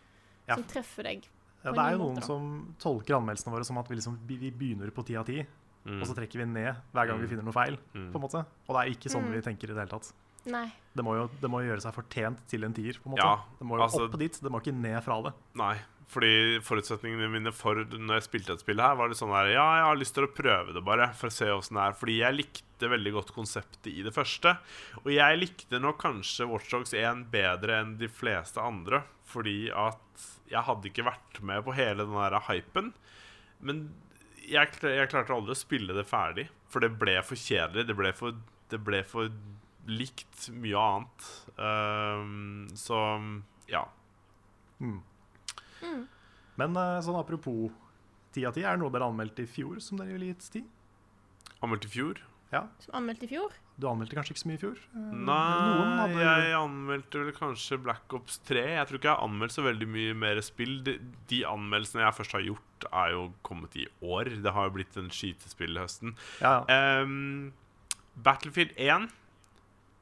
[SPEAKER 1] Ja.
[SPEAKER 3] som treffer deg.
[SPEAKER 1] Ja,
[SPEAKER 3] på
[SPEAKER 1] det er jo
[SPEAKER 3] noen
[SPEAKER 1] noen
[SPEAKER 3] måter, da.
[SPEAKER 1] som tolker anmeldelsene våre som at vi, liksom, vi vi begynner på ti av ti,
[SPEAKER 2] Mm.
[SPEAKER 1] og så trekker vi ned hver gang vi finner noe feil. på en måte. Og det er ikke sånn
[SPEAKER 3] Mm.
[SPEAKER 1] vi tenker i det hele tatt.
[SPEAKER 3] Nei.
[SPEAKER 1] Det må jo, det må jo gjøre seg fortjent til en tier. på en måte.
[SPEAKER 2] Ja,
[SPEAKER 1] det må jo
[SPEAKER 2] altså-
[SPEAKER 1] opp dit, det må ikke ned fra det.
[SPEAKER 2] Nei. Fordi forutsetningene mine for når jeg spilte et spill her, var litt sånn der Ja, jeg har lyst til å prøve det, bare, for å se åssen det er. Fordi jeg likte veldig godt konseptet i det første. Og jeg likte nok kanskje Watchdogs 1 bedre enn de fleste andre. Fordi at jeg hadde ikke vært med på hele den der hypen. Men jeg, kl- jeg klarte aldri å spille det ferdig. For det ble for kjedelig. Det ble for, det ble for likt mye annet. Ehm, så ja.
[SPEAKER 1] Men eh, sånn apropos ti av ti, er det noe dere anmeldte i fjor som dere ville gitt ti?
[SPEAKER 2] Anmeldt i fjor.
[SPEAKER 1] Ja,
[SPEAKER 3] som anmeldte i fjor.
[SPEAKER 1] Du anmeldte kanskje ikke så mye i fjor?
[SPEAKER 3] Mm.
[SPEAKER 1] Eh, noen
[SPEAKER 2] Mm, Nei,
[SPEAKER 1] hadde-
[SPEAKER 2] jeg anmeldte vel kanskje Black Ops 3. Jeg tror ikke jeg har anmeldt så veldig mye mer spill. De, de anmeldelsene jeg først har gjort, er jo kommet i år. Det har jo blitt en skytespillhøsten.
[SPEAKER 1] ja, ja.
[SPEAKER 2] Ehm, Battlefield 1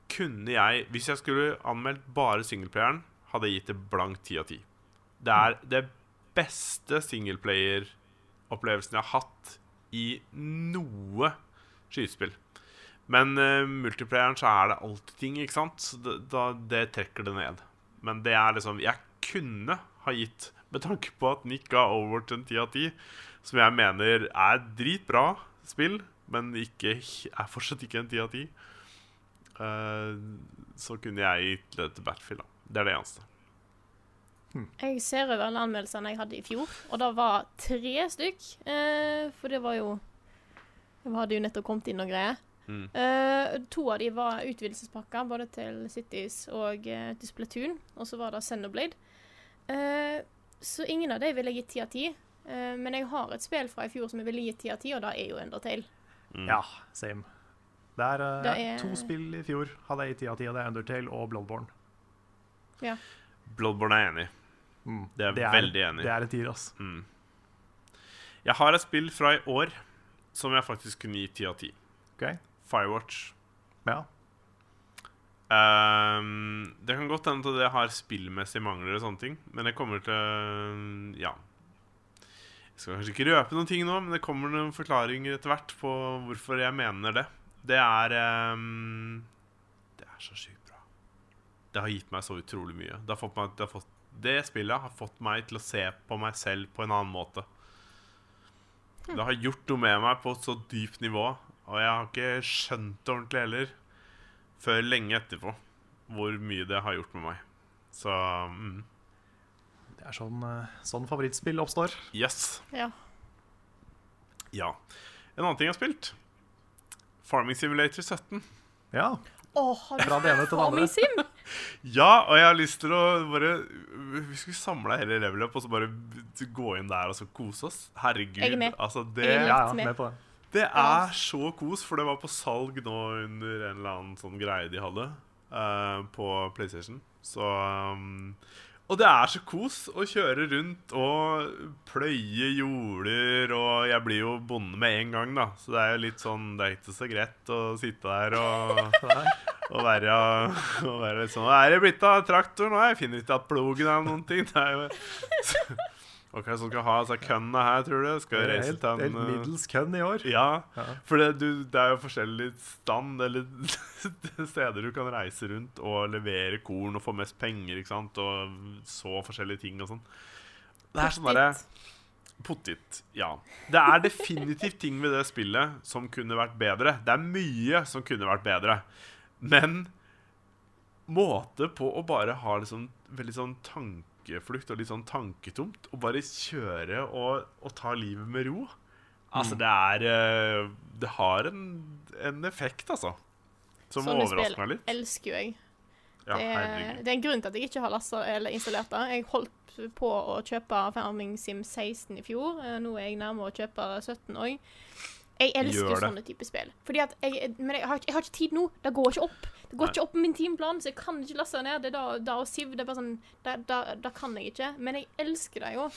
[SPEAKER 2] kunne jeg Hvis jeg skulle anmeldt bare singelplayeren, hadde jeg gitt det blankt 10 av 10. Det er
[SPEAKER 1] Mm.
[SPEAKER 2] det beste singleplayer-opplevelsen jeg har hatt i noe skytespill. Men eh, multiplayeren så er det alltid ting, ikke sant? Så det, da, det trekker det ned. Men det er liksom Jeg kunne ha gitt, (laughs) med tanke på at Nick ga Overwatch en 10 av 10, som jeg mener er dritbra spill, men ikke, er fortsatt ikke en 10 av 10, eh, så kunne jeg gitt det til Battlefield, da. Det er det eneste.
[SPEAKER 3] Jeg ser over alle anmeldelsene jeg hadde i fjor, og det var tre stykk. Eh, for det var jo De hadde jo nettopp kommet inn og greier.
[SPEAKER 2] Mm.
[SPEAKER 3] Eh, to av de var utvidelsespakker, både til Cities og eh, til Splatoon. Og så var det Xenoblade. Eh, så ingen av de ville jeg gitt ti av ti. Eh, men jeg har et spill fra i fjor som jeg ville gitt ti av ti, og det er jo Undertale.
[SPEAKER 2] Mm.
[SPEAKER 1] ja, same. Det er, eh,
[SPEAKER 3] Det er-
[SPEAKER 1] to spill i fjor hadde jeg i ti av ti, og det er Undertale og Bloodborne.
[SPEAKER 2] Bloodborne er enig.
[SPEAKER 1] Mm.
[SPEAKER 2] Det er veldig enig.
[SPEAKER 1] Det er en tier, ass.
[SPEAKER 2] Mm. Jeg har et spill fra i år som jeg faktisk kunne gi 10 av 10.
[SPEAKER 1] Ok.
[SPEAKER 2] Firewatch.
[SPEAKER 1] Ja.
[SPEAKER 2] Ehm, det kan godt hende at det har spillmessige mangler og sånne ting, men det kommer til Ja. Jeg skal kanskje ikke røpe noen ting nå, men det kommer noen forklaringer etter hvert på hvorfor jeg mener det. Det er ehm, Det er så sjukt bra. Det har gitt meg så utrolig mye. Det, har fått meg, det, har fått, det spillet har fått meg til å se på meg selv på en annen måte. Det har gjort noe med meg på et så dypt nivå, og jeg har ikke skjønt det ordentlig heller før lenge etterpå hvor mye det har gjort med meg. Så mm,
[SPEAKER 1] Det er sånn, eh, sånn favorittspill oppstår.
[SPEAKER 2] yes.
[SPEAKER 3] Ja.
[SPEAKER 2] Ja. En annen ting jeg har spilt, Farming Simulator 17.
[SPEAKER 1] Ja,
[SPEAKER 3] Åh, har du
[SPEAKER 1] Fra det ene til det andre.
[SPEAKER 3] Farming
[SPEAKER 1] (laughs)
[SPEAKER 3] Sim?
[SPEAKER 2] Ja, og jeg har lyst til å bare Vi skulle samle hele level up og så bare gå inn der og så kose oss. Herregud.
[SPEAKER 3] Jeg er med.
[SPEAKER 2] Altså, det,
[SPEAKER 3] Jeg er
[SPEAKER 1] ja, ja,
[SPEAKER 3] med.
[SPEAKER 1] med på det.
[SPEAKER 2] det er så kos, for det var på salg nå under en eller annen sånn greie de hadde eh, på PlayStation. Så um, Og det er så kos å kjøre rundt og pløye jorder, og jeg blir jo bonde med en gang, da. Så det er jo litt sånn Det er ikke så greit å sitte der og
[SPEAKER 1] Nei.
[SPEAKER 2] å være, å være litt sånn Hva er det blitt av traktoren? Nei, jeg finner ikke at plogen er noen ting. Det er jo (laughs) Hva er det som skal ha altså, kønna her, tror du? Skal jeg reise
[SPEAKER 1] Helt,
[SPEAKER 2] til
[SPEAKER 1] helt
[SPEAKER 2] en eh,
[SPEAKER 1] middels kønn i år.
[SPEAKER 2] Ja,
[SPEAKER 1] Ja.
[SPEAKER 2] for det, du, det er jo forskjellig stand eller (laughs) steder du kan reise rundt og levere korn og få mest penger, ikke sant, og så forskjellige ting og sånn. Det er sånn derre Pottit, ja. Det er definitivt ting ved det spillet som kunne vært bedre. Det er mye som kunne vært bedre. Men måte på å bare ha liksom veldig sånn tankeflukt og litt sånn tanketomt, og bare kjøre og, og ta livet med ro Altså, det er eh, Det har en, en effekt, altså. Som
[SPEAKER 3] Sånne
[SPEAKER 2] overrasker
[SPEAKER 3] spill eh,
[SPEAKER 2] meg litt.
[SPEAKER 3] Elsker jo jeg.
[SPEAKER 2] Ja,
[SPEAKER 3] det, er,
[SPEAKER 2] herregud.
[SPEAKER 3] det er en grunn til at jeg ikke har lasta eller installert det. Jeg holdt på å kjøpe Farming Sim 16 i fjor. eh, Nå er jeg nærmere å kjøpe 17 òg. Jeg elsker
[SPEAKER 2] Gjør det.
[SPEAKER 3] sånne typer spill. Fordi at jeg, men jeg har, ikke- jeg har ikke tid nå. Det går ikke opp. Det går
[SPEAKER 2] Nei.
[SPEAKER 3] ikke opp på min timeplan, så jeg kan ikke laste det ned. Det er da, da og Siv, det er bare sånn Det, det, det kan jeg ikke. Men jeg elsker det jo.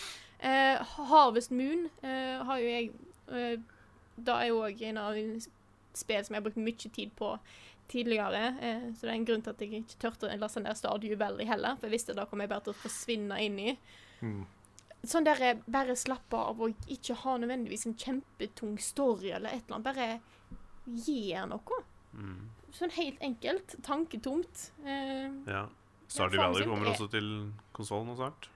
[SPEAKER 3] Eh, Harvest Moon eh, har jo jeg eh, Det er jo òg en av mine spill som jeg har brukt mye tid på tidligere. Eh, så det er en grunn til at jeg ikke turte å laste ned Stardew Valley heller, for jeg visste da kom jeg bare til å forsvinne inn i.
[SPEAKER 1] Mm.
[SPEAKER 3] Sånn der eh, bare slappe av og ikke ha nødvendigvis en kjempetung story eller et eller annet. Bare gjør noe.
[SPEAKER 2] Mm,
[SPEAKER 3] Sånn helt enkelt. Tanketomt. Eh,
[SPEAKER 2] ja. Stardew
[SPEAKER 3] Farming
[SPEAKER 2] Valley
[SPEAKER 3] Sim
[SPEAKER 2] kommer
[SPEAKER 3] er-
[SPEAKER 2] også til konsollen nå snart.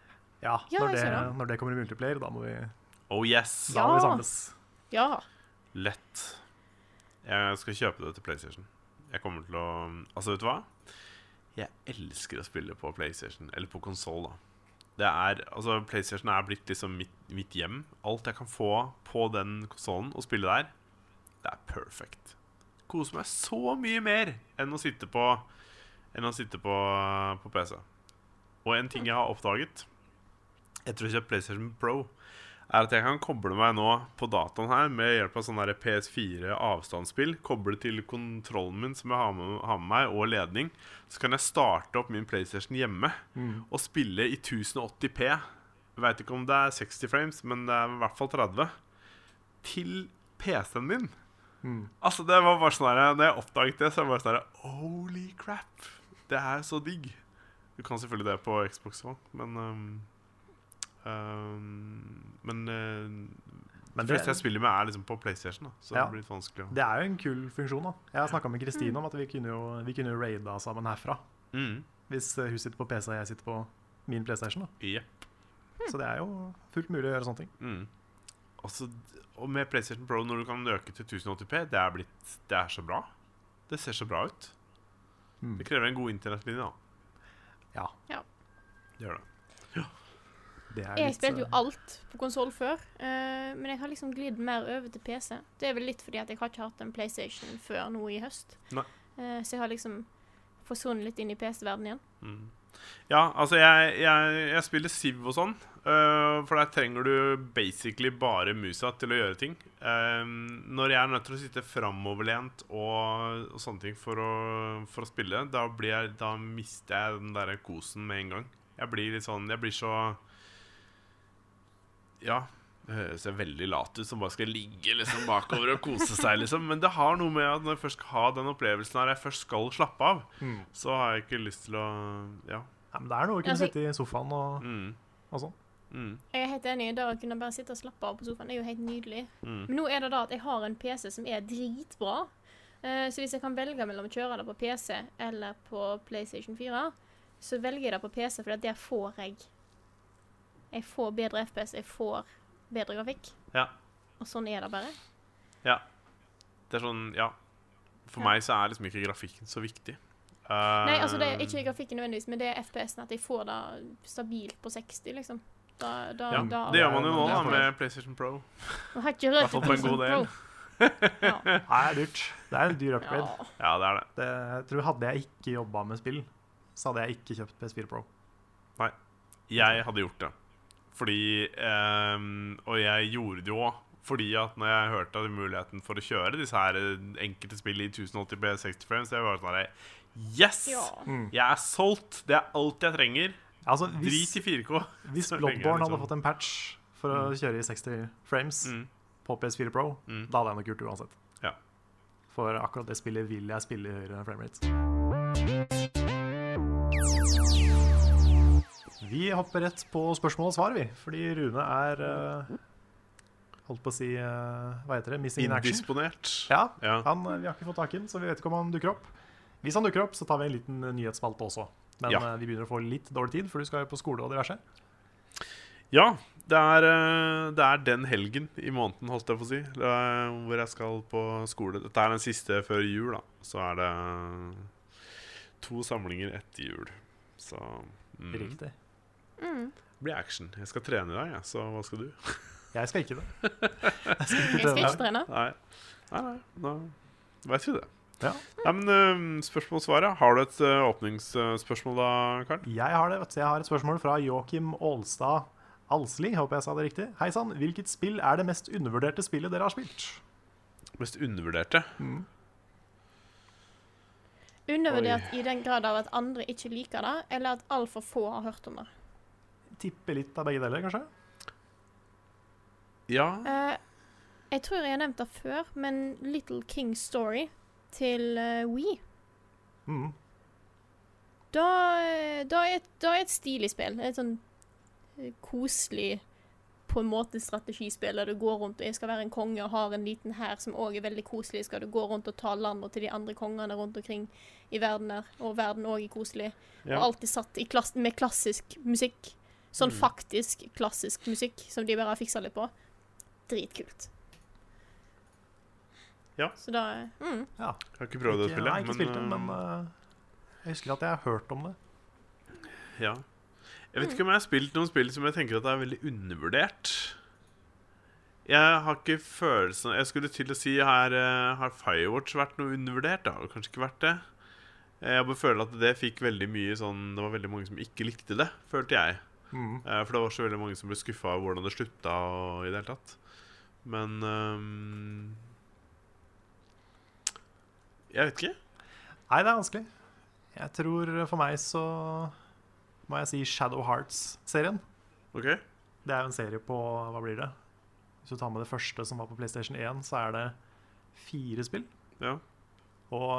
[SPEAKER 1] Ja,
[SPEAKER 3] Ja,
[SPEAKER 1] når det,
[SPEAKER 3] jeg ser det.
[SPEAKER 1] når det kommer i multiplayer, da må vi,
[SPEAKER 2] Oh yes!
[SPEAKER 1] da må
[SPEAKER 3] Ja.
[SPEAKER 1] vi samles.
[SPEAKER 3] ja.
[SPEAKER 2] Lett. Jeg skal kjøpe det til PlayStation. Jeg kommer til å Altså, vet du hva? Jeg elsker å spille på PlayStation, eller på konsoll, da. Det er, altså PlayStation er blitt liksom mitt, mitt hjem. Alt jeg kan få på den konsollen og spille der, det er perfect. Koser meg så mye mer enn å sitte på Enn å sitte på, på PC. Og en ting jeg har oppdaget etter å ha kjøpt PlayStation Pro, er at jeg kan koble meg nå på dataen her med hjelp av sånn der PS4 avstandsspill. Koble til kontrollen min som jeg har med, har med meg, og ledning. Så kan jeg starte opp min PlayStation hjemme og spille i 1080P. Veit ikke om det er 60 frames, men det er i hvert fall 30. Til PC-en min. Altså, det var bare sånn her Når jeg oppdaget det, så var jeg bare sånn her Holy crap! Det er så digg. Du kan selvfølgelig det på Xbox òg, men um, øhm, øhm, Ehm, Men øh,
[SPEAKER 1] Men
[SPEAKER 2] de
[SPEAKER 1] det,
[SPEAKER 2] fleste jeg spiller med, er liksom på PlayStation, da, så
[SPEAKER 1] Ja.
[SPEAKER 2] det blir litt vanskelig å
[SPEAKER 1] det er jo en kul funksjon. da. Jeg har snakka med Kristine
[SPEAKER 3] Mm.
[SPEAKER 1] om at vi kunne jo vi kunne jo raida sammen herfra.
[SPEAKER 2] mm.
[SPEAKER 1] Hvis eh, hun sitter på PC og jeg sitter på min PlayStation. da.
[SPEAKER 2] Jepp.
[SPEAKER 3] Hmm.
[SPEAKER 1] Så det er jo fullt mulig å gjøre sånne ting.
[SPEAKER 2] Mm. Altså, d- og med PlayStation Pro, når du kan øke til 1080p, det er, blitt, det er så bra. Det ser så bra ut.
[SPEAKER 1] Mm.
[SPEAKER 2] Det krever en god internettlinje, da.
[SPEAKER 1] Ja,
[SPEAKER 2] Det gjør det.
[SPEAKER 1] det er
[SPEAKER 3] Jeg
[SPEAKER 1] litt,
[SPEAKER 3] spilte jo
[SPEAKER 1] eh,
[SPEAKER 3] alt på konsoll før, eh, men jeg har liksom glidd mer over til PC. Det er vel litt fordi at jeg har ikke hatt en PlayStation før nå i høst.
[SPEAKER 2] Nei.
[SPEAKER 3] Eh, så jeg har liksom forsvunnet litt inn i PC-verdenen igjen.
[SPEAKER 2] Mm. Ja, altså, jeg, jeg, jeg spiller Siv og sånn. øh, for der trenger du basically bare musa til å gjøre ting. Ehm, når jeg er nødt til å sitte framoverlent og, og sånne ting for å, for å spille, da, blir jeg, da mister jeg den der kosen med en gang. Jeg blir litt sånn Jeg blir så Ja. Det høres jo veldig lat ut som bare skal ligge liksom bakover og kose seg, liksom. Men det har noe med at når jeg først skal ha den opplevelsen her, jeg først skal slappe av,
[SPEAKER 1] Mm.
[SPEAKER 2] så har jeg ikke lyst til å Ja.
[SPEAKER 1] ja, men Det er noe å kunne
[SPEAKER 3] Altså,
[SPEAKER 1] sitte i sofaen og,
[SPEAKER 2] Mm.
[SPEAKER 1] og sånn.
[SPEAKER 2] Mm.
[SPEAKER 3] Jeg er helt enig. Det å kunne bare sitte og slappe av på sofaen det er jo helt nydelig.
[SPEAKER 2] Mm.
[SPEAKER 3] Men nå er det da at jeg har en PC som er dritbra. Eh, Så hvis jeg kan velge mellom å kjøre det på PC eller på PlayStation 4, så velger jeg det på PC, for der får jeg Jeg får bedre FPS, jeg får bedre grafikk.
[SPEAKER 2] Ja.
[SPEAKER 3] Og sånn er det bare.
[SPEAKER 2] ja. Det er sånn Ja. For
[SPEAKER 3] Ja.
[SPEAKER 2] meg så er liksom ikke grafikken så viktig. Eh,
[SPEAKER 3] Nei, altså det er ikke
[SPEAKER 2] Um.
[SPEAKER 3] grafikken nødvendigvis, men det er FPS-en, at jeg får det stabilt på 60, liksom. Da, da,
[SPEAKER 2] ja,
[SPEAKER 3] da,
[SPEAKER 2] Det gjør man jo nå, da,
[SPEAKER 1] Ja.
[SPEAKER 2] med PlayStation Pro.
[SPEAKER 3] Jeg har ikke
[SPEAKER 2] hvert
[SPEAKER 3] rørt
[SPEAKER 2] fall på en god del.
[SPEAKER 3] Ja.
[SPEAKER 1] Det er dyrt. Det er en dyr (laughs) upgrade.
[SPEAKER 2] Ja,
[SPEAKER 3] Ja.
[SPEAKER 2] det er det.
[SPEAKER 1] Det, jeg tror Hadde jeg ikke jobba med spill, så hadde jeg ikke kjøpt PS4 Pro.
[SPEAKER 2] Jeg hadde gjort det. Fordi ehm, Og jeg gjorde det jo òg. Fordi at når jeg hørte at muligheten for å kjøre disse her eh, enkelte spill i 1080p 60 frames, det var sånn her Yes!
[SPEAKER 3] ja.
[SPEAKER 2] Jeg er solgt! Det er alt jeg trenger.
[SPEAKER 1] Mm. Altså,
[SPEAKER 2] Drit
[SPEAKER 1] hvis,
[SPEAKER 2] i 4K.
[SPEAKER 1] hvis
[SPEAKER 2] så lenge,
[SPEAKER 1] Bloodborne hadde
[SPEAKER 2] liksom.
[SPEAKER 1] fått en patch for å kjøre i 60 frames
[SPEAKER 2] Mm.
[SPEAKER 1] på PS4 Pro,
[SPEAKER 2] Mm.
[SPEAKER 1] da hadde jeg nok gjort det uansett.
[SPEAKER 2] Ja.
[SPEAKER 1] For akkurat det spillet vil jeg spille i høyere framerate. Vi hopper rett på spørsmål og svar, vi. Fordi Rune er eh, Holdt på å si eh, Hva heter det? Missing in action.
[SPEAKER 2] Indisponert.
[SPEAKER 1] Ja,
[SPEAKER 2] Ja.
[SPEAKER 1] Han, eh, vi har ikke fått tak i den, så vi vet ikke om han dukker opp. Hvis han dukker opp, så tar vi en liten nyhetsspalte også. Men
[SPEAKER 2] Ja.
[SPEAKER 1] eh, vi begynner å få litt dårlig tid, for du skal jo på skole og diverse.
[SPEAKER 2] Ja, det er, eh, det er den helgen i måneden, holdt jeg på å si, det er hvor jeg skal på skole. Dette er den siste før jul, da. Så er det eh, to samlinger etter jul. Så mm, det
[SPEAKER 1] Riktig.
[SPEAKER 3] Mm.
[SPEAKER 2] blir action. Jeg skal trene i dag, jeg, så hva skal du?
[SPEAKER 1] Jeg skal ikke det.
[SPEAKER 3] Jeg skal ikke trene.
[SPEAKER 2] Nei, nei, nei da veit vi det.
[SPEAKER 1] Ja.
[SPEAKER 2] Nei, men eh, spørsmål og svar, ja. Har du et eh, åpningsspørsmål da, Karen?
[SPEAKER 1] Jeg har det, vet du. Jeg har et spørsmål fra Joakim Aalstad Alsli. Håper jeg sa det riktig. Hei sann, hvilket spill er det mest undervurderte spillet dere har spilt? Mm.
[SPEAKER 2] Mest undervurderte?
[SPEAKER 3] Undervurdert i den grad av at andre ikke liker det, eller at altfor få har hørt om det.
[SPEAKER 1] Tipper litt av begge deler, kanskje?
[SPEAKER 2] Ja.
[SPEAKER 3] Eh, jeg tror jeg har nevnt det før, men Little King's Story til uh, We
[SPEAKER 1] Mm.
[SPEAKER 3] Da, da, er, et- da er et stilig spill. Et sånn eh, koselig på en måte strategispill der du går rundt og jeg skal være en konge og har en liten hær som òg er veldig koselig. Skal du gå rundt og ta landa til de andre kongene rundt omkring i verden der, og verden òg er koselig.
[SPEAKER 2] ja.
[SPEAKER 3] Og alltid satt i klass med klassisk musikk. Sånn
[SPEAKER 2] Mm.
[SPEAKER 3] faktisk klassisk musikk som de bare har fiksa litt på. Dritkult.
[SPEAKER 2] Ja.
[SPEAKER 3] Så da mm.
[SPEAKER 1] Ja.
[SPEAKER 2] Jeg har ikke prøvd det
[SPEAKER 1] Ikke-
[SPEAKER 2] spillet.
[SPEAKER 1] Nei, ikke spilt det,
[SPEAKER 2] eh,
[SPEAKER 1] men eh, jeg husker at jeg har hørt om det.
[SPEAKER 2] Ja. Jeg vet ikke om jeg har spilt noen spill som jeg tenker at er veldig undervurdert. Jeg har ikke følelsen Jeg skulle til å si her eh, Har Firewatch vært noe undervurdert? Det har det kanskje ikke vært det. Eh, Jeg bare føler at det fikk veldig mye sånn Det var veldig mange som ikke likte det, følte jeg.
[SPEAKER 1] Mm.
[SPEAKER 2] Eh, For det var så veldig mange som ble skuffa over hvordan det slutta og i det hele tatt. Men ehm, Jeg vet ikke.
[SPEAKER 1] Nei, det er vanskelig. Jeg tror for meg så må jeg si Shadow Hearts-serien.
[SPEAKER 2] OK?
[SPEAKER 1] Det er jo en serie på Hva blir det? Hvis du tar med det første som var på PlayStation 1, så er det fire spill.
[SPEAKER 2] Ja.
[SPEAKER 1] Og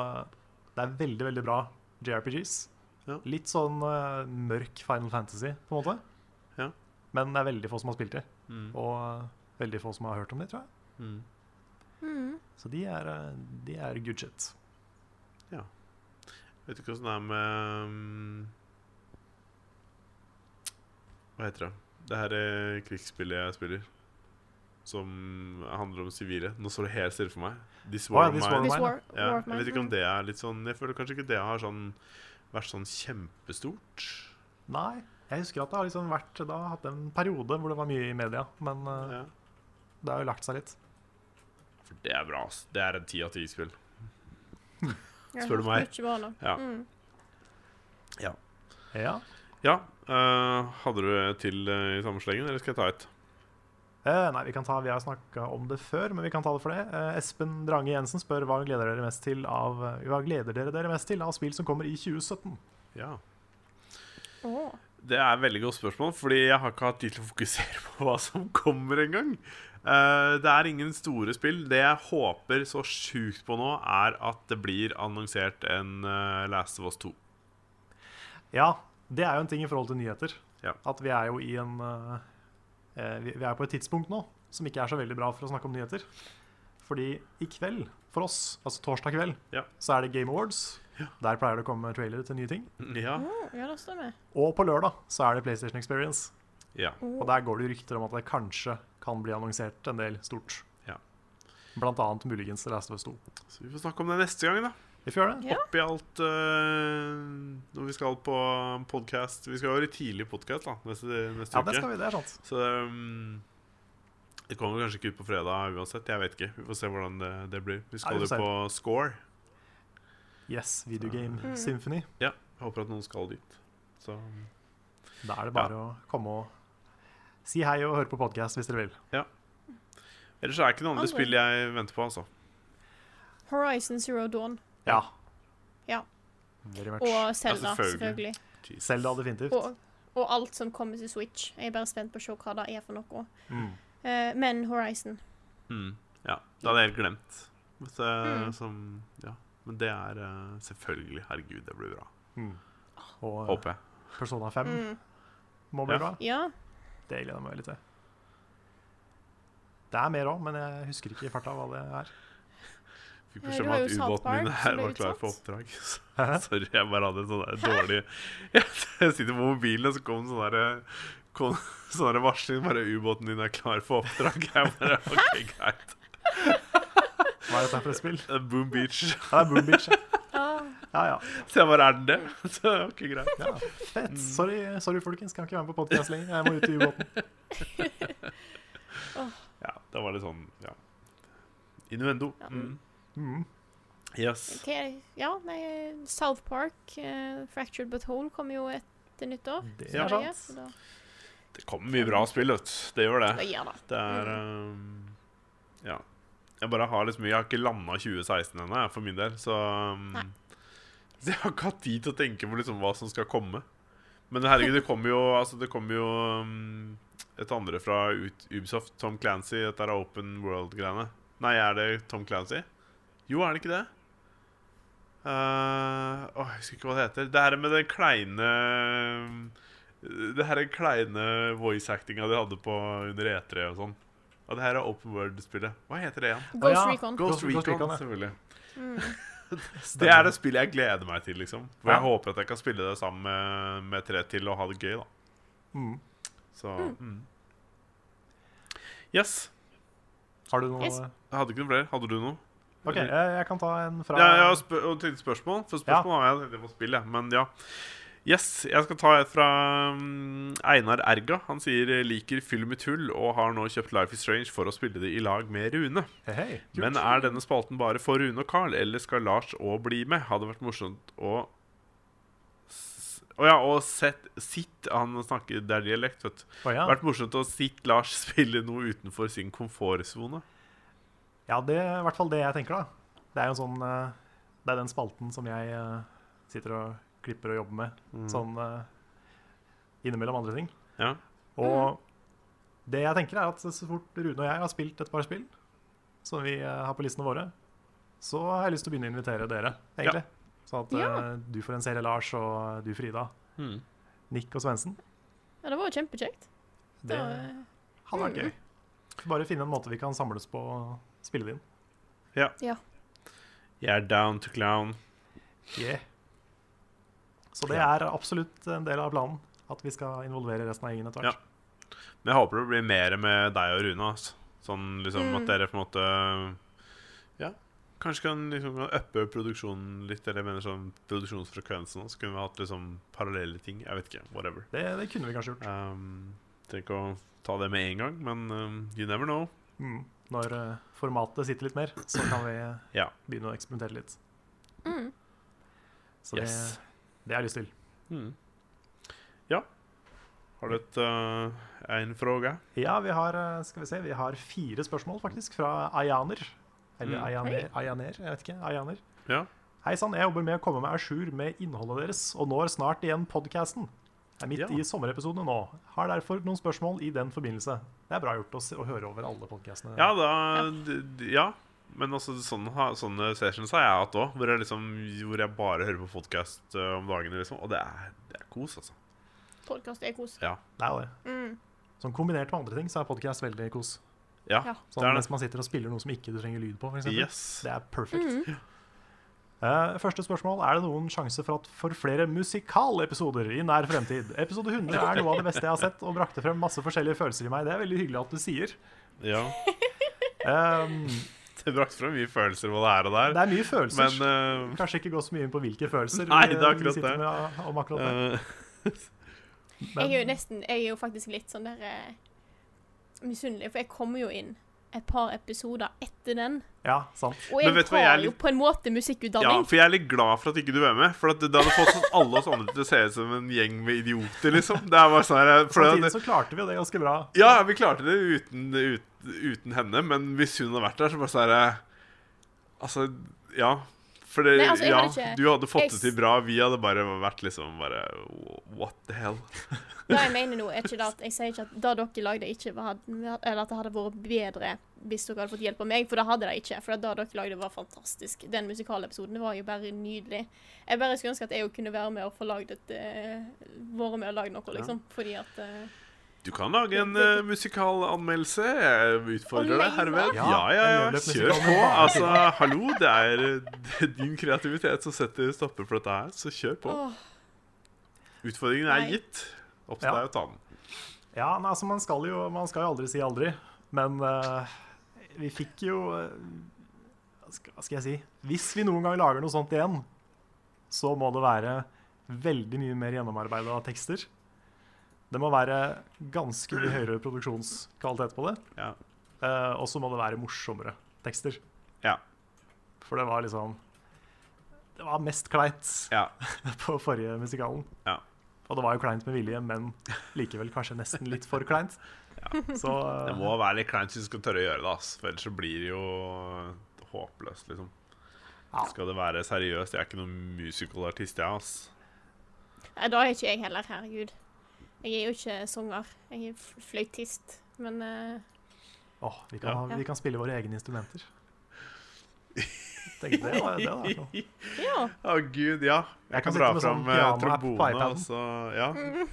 [SPEAKER 1] det er veldig, veldig bra JRPGs.
[SPEAKER 2] Ja.
[SPEAKER 1] Litt sånn eh, mørk Final Fantasy, på en måte.
[SPEAKER 2] Ja.
[SPEAKER 1] Men det er veldig få som har spilt det.
[SPEAKER 2] Mm.
[SPEAKER 1] Og eh, veldig få som har hørt om det, tror jeg.
[SPEAKER 2] Mm.
[SPEAKER 3] Mm.
[SPEAKER 1] Så de er, eh, de er good shit.
[SPEAKER 2] Vet ikke åssen det er med ehm, Hva heter det? Det her er krigsspillet jeg spiller. Som handler om sivile. Nå står det helt stille for meg. This
[SPEAKER 1] Å ja,
[SPEAKER 2] War of
[SPEAKER 1] This
[SPEAKER 2] Mine.
[SPEAKER 1] War of
[SPEAKER 3] This
[SPEAKER 1] Mine.
[SPEAKER 3] war,
[SPEAKER 2] Ja,
[SPEAKER 3] war of
[SPEAKER 2] jeg vet ikke om
[SPEAKER 3] Mine.
[SPEAKER 2] det er litt sånn Jeg føler kanskje ikke det har sånn, vært sånn kjempestort.
[SPEAKER 1] Nei, jeg husker at det har liksom vært Da har hatt en periode hvor det var mye i media, men eh,
[SPEAKER 2] Ja.
[SPEAKER 1] det har jo lagt seg litt.
[SPEAKER 2] For det er bra. ass. Det er en ti av ti-spill.
[SPEAKER 3] Jeg har
[SPEAKER 2] Spør du
[SPEAKER 3] hørt
[SPEAKER 2] meg?
[SPEAKER 3] Mm. mye bra nå.
[SPEAKER 2] Ja.
[SPEAKER 3] Mm.
[SPEAKER 1] Ja.
[SPEAKER 2] Ja. eh, hadde du et til eh, i samme slengen, eller skal jeg ta et?
[SPEAKER 1] Eh, nei, vi kan ta, vi har snakka om det før, men vi kan ta det for det. Eh, Espen Drange Jensen spør hva gleder dere mest til av Hva gleder dere dere mest til av spill som kommer i 2017?
[SPEAKER 2] Ja.
[SPEAKER 3] Åh.
[SPEAKER 2] Det er et veldig godt spørsmål, fordi jeg har ikke hatt tid til å fokusere på hva som kommer engang. Uh, det er ingen store spill. Det jeg håper så sjukt på nå, er at det blir annonsert en eh, Last of Us 2.
[SPEAKER 1] Ja, det er jo en ting i forhold til nyheter.
[SPEAKER 2] Ja.
[SPEAKER 1] At vi er jo i en eh, eh, Vi vi er på et tidspunkt nå som ikke er så veldig bra for å snakke om nyheter. Fordi i kveld, for oss, altså torsdag kveld,
[SPEAKER 2] Ja.
[SPEAKER 1] så er det Game Awards. Der pleier det å komme trailere til nye ting.
[SPEAKER 2] Ja.
[SPEAKER 3] Åh, ja, det står med.
[SPEAKER 1] Og på lørdag så er det PlayStation Experience.
[SPEAKER 2] ja.
[SPEAKER 1] Og der går det jo rykter om at det kanskje kan bli annonsert en del stort.
[SPEAKER 2] Ja.
[SPEAKER 1] Blant annet muligens The Last of Us 2.
[SPEAKER 2] Så vi får snakke om det neste gang, da.
[SPEAKER 1] Vi får gjøre det.
[SPEAKER 3] Ja.
[SPEAKER 2] oppi alt øh, når vi skal på podkast. Vi skal jo være tidlig podkast da, neste, neste
[SPEAKER 1] Ja, det
[SPEAKER 2] uke.
[SPEAKER 1] skal vi. Det er sant.
[SPEAKER 2] Så øhm, det kommer kanskje ikke ut på fredag uansett. Jeg vet ikke. Vi får se hvordan det, det blir. Vi skal
[SPEAKER 1] vi
[SPEAKER 2] jo
[SPEAKER 1] får se.
[SPEAKER 2] på Score.
[SPEAKER 1] Yes, Video Game
[SPEAKER 3] Mm.
[SPEAKER 1] Symphony.
[SPEAKER 2] Ja, jeg håper at noen skal dit. Så
[SPEAKER 1] Da er det bare å komme og si hei og høre på podkast hvis dere vil.
[SPEAKER 2] Ellers er det ikke noen andre
[SPEAKER 3] Andre.
[SPEAKER 2] spill jeg venter på, altså.
[SPEAKER 3] Horizon Zero Dawn
[SPEAKER 1] Ja.
[SPEAKER 3] Ja.
[SPEAKER 1] Very much.
[SPEAKER 3] og Zelda,
[SPEAKER 2] selvfølgelig.
[SPEAKER 3] selvfølgelig.
[SPEAKER 2] Jesus.
[SPEAKER 1] Zelda definitivt.
[SPEAKER 3] Og, og alt som kommer til Switch. Jeg er bare spent på å se hva det er for noe.
[SPEAKER 1] Mm.
[SPEAKER 3] Eh, men Horizon.
[SPEAKER 2] Mm, ja. Det hadde jeg helt glemt. Men, det-
[SPEAKER 3] Mm.
[SPEAKER 2] som, ja. Men det er øh, selvfølgelig Herregud, det blir bra.
[SPEAKER 1] Mm. Og eh,
[SPEAKER 2] Håper jeg.
[SPEAKER 1] Persona 5
[SPEAKER 3] Mm.
[SPEAKER 1] må bli
[SPEAKER 2] Ja.
[SPEAKER 1] bra.
[SPEAKER 3] Ja.
[SPEAKER 1] Det gleder jeg meg veldig til. Det er mer òg, men jeg husker ikke i farta hva det er.
[SPEAKER 2] Fikk
[SPEAKER 3] Ja,
[SPEAKER 2] beskjed
[SPEAKER 3] du
[SPEAKER 2] om
[SPEAKER 3] har
[SPEAKER 2] at
[SPEAKER 3] jo South
[SPEAKER 2] ubåten min
[SPEAKER 3] Park som
[SPEAKER 2] her
[SPEAKER 3] ble
[SPEAKER 2] var klar
[SPEAKER 3] utsatt.
[SPEAKER 2] for oppdrag. (laughs) Så-
[SPEAKER 1] Hæ?
[SPEAKER 2] Sorry, jeg bare hadde en sånn der dårlig (laughs) Jeg sitter på mobilen, og så kom sånn derre Kom (laughs) sånn der varsling. Bare 'Ubåten din er klar for oppdrag'. (laughs) Jeg bare OK, greit.
[SPEAKER 1] Hva er dette for et spill?
[SPEAKER 2] Det er Boom Beach.
[SPEAKER 1] (laughs) Ja, det er Boom Beach. ja.
[SPEAKER 3] Ah.
[SPEAKER 1] Ja, ja.
[SPEAKER 2] (laughs) Så jeg bare Er den det? (laughs) Så OK, greit.
[SPEAKER 1] Ja, fett. Sorry, sorry, folkens. Kan ikke være med på podkast lenger. Jeg må ut i ubåten.
[SPEAKER 2] Ja, det var litt sånn Ja. Innuendo.
[SPEAKER 3] Ja.
[SPEAKER 2] Mm.
[SPEAKER 1] Mm.
[SPEAKER 2] Yes.
[SPEAKER 3] Hva er det? Ja, nei, South Park, eh, Fractured But Whole, kommer jo etter nyttår.
[SPEAKER 1] Det
[SPEAKER 2] Ja.
[SPEAKER 1] er
[SPEAKER 3] Så det
[SPEAKER 1] sant.
[SPEAKER 3] så da-
[SPEAKER 2] Det kommer mye bra spill, vet du. Det gjør det.
[SPEAKER 3] Ja, ja da.
[SPEAKER 2] Det er um, Ja. Jeg bare har liksom Jeg har ikke landa 2016 ennå, jeg, for min del, så um,
[SPEAKER 3] Nei.
[SPEAKER 2] Så (laughs) jeg har ikke hatt tid til å tenke på liksom hva som skal komme. Men herregud, det kommer jo Altså, det kommer jo um, et andre fra ut- Ubisoft, Tom Clancy, dette er Open World-greiene. Nei, er det Tom Clancy? Jo, er det ikke det? Uh, åh, jeg husker ikke hva det heter. Det her med den kleine um, Det her er den kleine voice actinga de hadde på under E3 og sånn. Og det her er Open World-spillet. Hva heter det igjen?
[SPEAKER 1] Å,
[SPEAKER 3] Ghost
[SPEAKER 1] ja.
[SPEAKER 3] Recon.
[SPEAKER 1] Ghost
[SPEAKER 2] Ghost Recon,
[SPEAKER 1] Recon, ja.
[SPEAKER 2] selvfølgelig.
[SPEAKER 3] Mm.
[SPEAKER 2] Det er det spillet jeg gleder meg til, liksom. For jeg
[SPEAKER 1] Ja.
[SPEAKER 2] håper at jeg kan spille det sammen med, med tre til og ha det gøy, da.
[SPEAKER 1] Mm.
[SPEAKER 2] Så mm. Yes.
[SPEAKER 1] Har du noe
[SPEAKER 3] Yes.
[SPEAKER 2] Jeg hadde ikke noe flere. Hadde du noe?
[SPEAKER 1] OK, jeg, jeg kan ta en fra
[SPEAKER 2] Ja, jeg har spør og tenkte spørsmål. For spørsmål har jeg tenkt på spill, jeg. Men ja. Yes, jeg skal ta et fra mm, Einar Erga. Han sier eh, liker film i tull og har nå kjøpt Life is Strange for å spille det i lag med Rune.
[SPEAKER 1] Hei, hei. Kult.
[SPEAKER 2] Men er denne spalten bare for Rune og Carl, eller skal Lars òg bli med? Hadde vært morsomt å s- Å ja, og sett, sitt Han snakker der dialekt, vet du.
[SPEAKER 1] Å ja.
[SPEAKER 2] Vært morsomt å sitt Lars (laughs) spille noe utenfor sin komfortsone.
[SPEAKER 1] ja, det er i hvert fall det jeg tenker, da. Det er jo sånn eh, Det er den spalten som jeg eh, sitter og klipper og jobber med sånn eh, innimellom andre ting.
[SPEAKER 2] Ja.
[SPEAKER 1] Og det jeg tenker er at så fort Rune og jeg har spilt et par spill som vi eh, har på listene våre, så har jeg lyst til å begynne å invitere dere, egentlig. Sånn at
[SPEAKER 3] Ja.
[SPEAKER 1] eh, du får en serie, Lars, og eh, du, Frida,
[SPEAKER 2] Mm.
[SPEAKER 1] Nick og Svendsen.
[SPEAKER 3] Ja, det var jo kjempekjekt. eh,
[SPEAKER 1] Det
[SPEAKER 3] Det var-
[SPEAKER 1] hadde vært gøy. Får Bare finne en måte vi kan samles på og spille det inn.
[SPEAKER 3] Ja.
[SPEAKER 2] Jeg er down to clown.
[SPEAKER 1] Yeah. Så det
[SPEAKER 2] Ja.
[SPEAKER 1] er absolutt en del av planen, at vi skal involvere resten av gjengen etter
[SPEAKER 2] Ja.
[SPEAKER 1] hvert.
[SPEAKER 2] Men jeg håper det blir mer med deg og Rune. Altså. Sånn liksom
[SPEAKER 3] Mm.
[SPEAKER 2] at dere på en måte Ja, kanskje kan liksom uppe produksjonen litt, eller jeg mener sånn produksjonsfrekvensen. og Så kunne vi hatt liksom parallelle ting. Jeg vet ikke. Whatever.
[SPEAKER 1] Det, det kunne vi kanskje gjort.
[SPEAKER 2] Um, Trenger ikke å ta det med en gang, men um, you never know.
[SPEAKER 1] Mm. Når eh, formatet sitter litt mer, så kan vi eh,
[SPEAKER 2] Ja.
[SPEAKER 1] begynne å eksperimentere litt.
[SPEAKER 3] Mm.
[SPEAKER 1] Så
[SPEAKER 2] Yes.
[SPEAKER 1] det, det har jeg lyst til.
[SPEAKER 2] Mm. Ja. Har du et uh, en fråga?
[SPEAKER 1] Ja, vi har, eh, skal vi se, vi har fire spørsmål faktisk fra Ayaner. Eller
[SPEAKER 2] Mm.
[SPEAKER 1] Ayaner,
[SPEAKER 3] Hei.
[SPEAKER 1] Ayaner, jeg vet ikke. Ayaner.
[SPEAKER 2] Ja.
[SPEAKER 1] Hei sann, jeg jobber med å komme meg à jour med innholdet deres, og når snart igjen podkasten. Er midt
[SPEAKER 2] Ja.
[SPEAKER 1] i sommerepisodene nå. Har derfor noen spørsmål i den forbindelse. Det er bra gjort å, se, å høre over alle podkastene.
[SPEAKER 2] Ja, da d- d- Ja. Men også sånne, ha- sånne sessions har jeg hatt òg, hvor, jeg liksom, hvor jeg bare hører på podkast om dagene. Liksom. Og det er, det er kos, altså.
[SPEAKER 3] Podkast er kos.
[SPEAKER 2] Ja.
[SPEAKER 1] Det er jo det.
[SPEAKER 3] Mm.
[SPEAKER 1] Sånn kombinert med andre ting så er podkast veldig kos.
[SPEAKER 2] ja,
[SPEAKER 3] Ja.
[SPEAKER 1] Sånn
[SPEAKER 2] Det er det.
[SPEAKER 1] Mens man sitter og spiller noe som ikke du trenger lyd på, for eksempel.
[SPEAKER 2] Yes.
[SPEAKER 1] Det er perfekt. Eh, første spørsmål. Er det noen sjanse for, at for flere musikalepisoder i nær fremtid? Episode 100 er noe av det beste jeg har sett, og brakte frem masse forskjellige følelser i meg. Det er veldig hyggelig at du sier.
[SPEAKER 2] Ja.
[SPEAKER 1] Ehm,
[SPEAKER 2] Det brakte frem mye følelser både her og
[SPEAKER 1] det
[SPEAKER 2] der.
[SPEAKER 1] er mye følelser.
[SPEAKER 2] Men eh,
[SPEAKER 1] Kanskje ikke gå så mye inn på hvilke følelser
[SPEAKER 2] Nei,
[SPEAKER 1] vi-
[SPEAKER 2] det er akkurat
[SPEAKER 1] vi sitter
[SPEAKER 2] det.
[SPEAKER 1] med om akkurat det.
[SPEAKER 2] eh,
[SPEAKER 1] Men-
[SPEAKER 3] Jeg er jo nesten Jeg er jo faktisk litt sånn der eh, misunnelig, for jeg kommer jo inn et par episoder etter den.
[SPEAKER 1] Ja, sant.
[SPEAKER 3] Og
[SPEAKER 2] Men
[SPEAKER 3] jeg
[SPEAKER 2] vet du hva,
[SPEAKER 3] tar
[SPEAKER 2] jeg er
[SPEAKER 3] jo
[SPEAKER 2] litt-
[SPEAKER 3] på en måte
[SPEAKER 2] ja,
[SPEAKER 3] musikkutdanning.
[SPEAKER 2] for jeg er litt glad for at ikke du er med. For at det hadde fått sånn alle oss andre til å se ut som en gjeng med idioter, liksom. Det er bare sånn her, for det,
[SPEAKER 1] Samtidig så klarte vi jo det ganske bra.
[SPEAKER 2] Ja, vi klarte det uten, ut, uten henne, men hvis hun hadde vært der, så bare sånn her, Altså, ja. For det,
[SPEAKER 3] Nei, altså, jeg
[SPEAKER 2] ja,
[SPEAKER 3] hadde ikke-
[SPEAKER 2] du hadde fått
[SPEAKER 3] jeg
[SPEAKER 2] det
[SPEAKER 3] s-
[SPEAKER 2] til bra. Vi hadde bare vært liksom bare What the hell?
[SPEAKER 3] (laughs) Det jeg mener nå, er ikke det at jeg sier ikke at det dere lagde, ikke var, eller at det hadde vært bedre hvis dere hadde fått hjelp av meg, for det hadde det ikke. For det dere lagde, var fantastisk. Den musikalepisoden var jo bare nydelig. Jeg bare skulle ønske at jeg jo kunne være med og få lagd et eh, Vært med og lagd noe, liksom. Fordi at eh,
[SPEAKER 2] Du kan lage en eh, musikalanmeldelse. Jeg utfordrer
[SPEAKER 3] Å,
[SPEAKER 2] deg herved.
[SPEAKER 1] nei,
[SPEAKER 2] Ja,
[SPEAKER 1] hva?
[SPEAKER 2] ja,
[SPEAKER 1] En
[SPEAKER 2] ja.
[SPEAKER 1] løpløp
[SPEAKER 2] Kjør på.
[SPEAKER 1] musikal.
[SPEAKER 2] Altså, hallo, det er eh, (laughs) din kreativitet som setter stopper for dette her, så kjør på.
[SPEAKER 3] Åh,
[SPEAKER 2] Utfordringen
[SPEAKER 3] Nei.
[SPEAKER 2] er gitt. Opp til
[SPEAKER 1] Ja.
[SPEAKER 2] deg å ta den.
[SPEAKER 1] Ja, nei, altså man skal, jo, man skal jo aldri si aldri. Men eh, vi fikk jo eh, hva skal- Hva skal jeg si? Hvis vi noen gang lager noe sånt igjen, så må det være veldig mye mer gjennomarbeida tekster. Det må være ganske mye høyere produksjonskvalitet på det.
[SPEAKER 2] Ja.
[SPEAKER 1] eh, og så må det være morsommere tekster.
[SPEAKER 2] Ja.
[SPEAKER 1] For det var liksom Det var mest kleint
[SPEAKER 2] ja.
[SPEAKER 1] (laughs) på forrige musikalen.
[SPEAKER 2] Ja.
[SPEAKER 1] Og det var jo kleint med vilje, men likevel kanskje nesten litt for kleint. Så eh,
[SPEAKER 2] Det må være litt kleint hvis du skal tørre å gjøre det, ass. For ellers så blir det jo håpløst, liksom.
[SPEAKER 1] Ja.
[SPEAKER 2] Skal det være seriøst? Jeg er ikke noen musicalartist, jeg, ass.
[SPEAKER 3] Nei, da er ikke jeg heller, herregud. Jeg er jo ikke sanger. Jeg er f- fløytist. Men eh,
[SPEAKER 1] åh, vi, kan,
[SPEAKER 2] Ja.
[SPEAKER 1] ha- vi kan spille våre egne
[SPEAKER 2] (laughs)
[SPEAKER 1] instrumenter. Tenk, det, var- det var noe.
[SPEAKER 3] ja.
[SPEAKER 2] Å, gud, ja. Jeg,
[SPEAKER 1] kan
[SPEAKER 2] kan dra
[SPEAKER 1] sitte med
[SPEAKER 2] fram
[SPEAKER 1] sånn
[SPEAKER 2] eh,
[SPEAKER 1] piano-app på
[SPEAKER 2] trombone,
[SPEAKER 1] iPaden.
[SPEAKER 2] altså. Ja.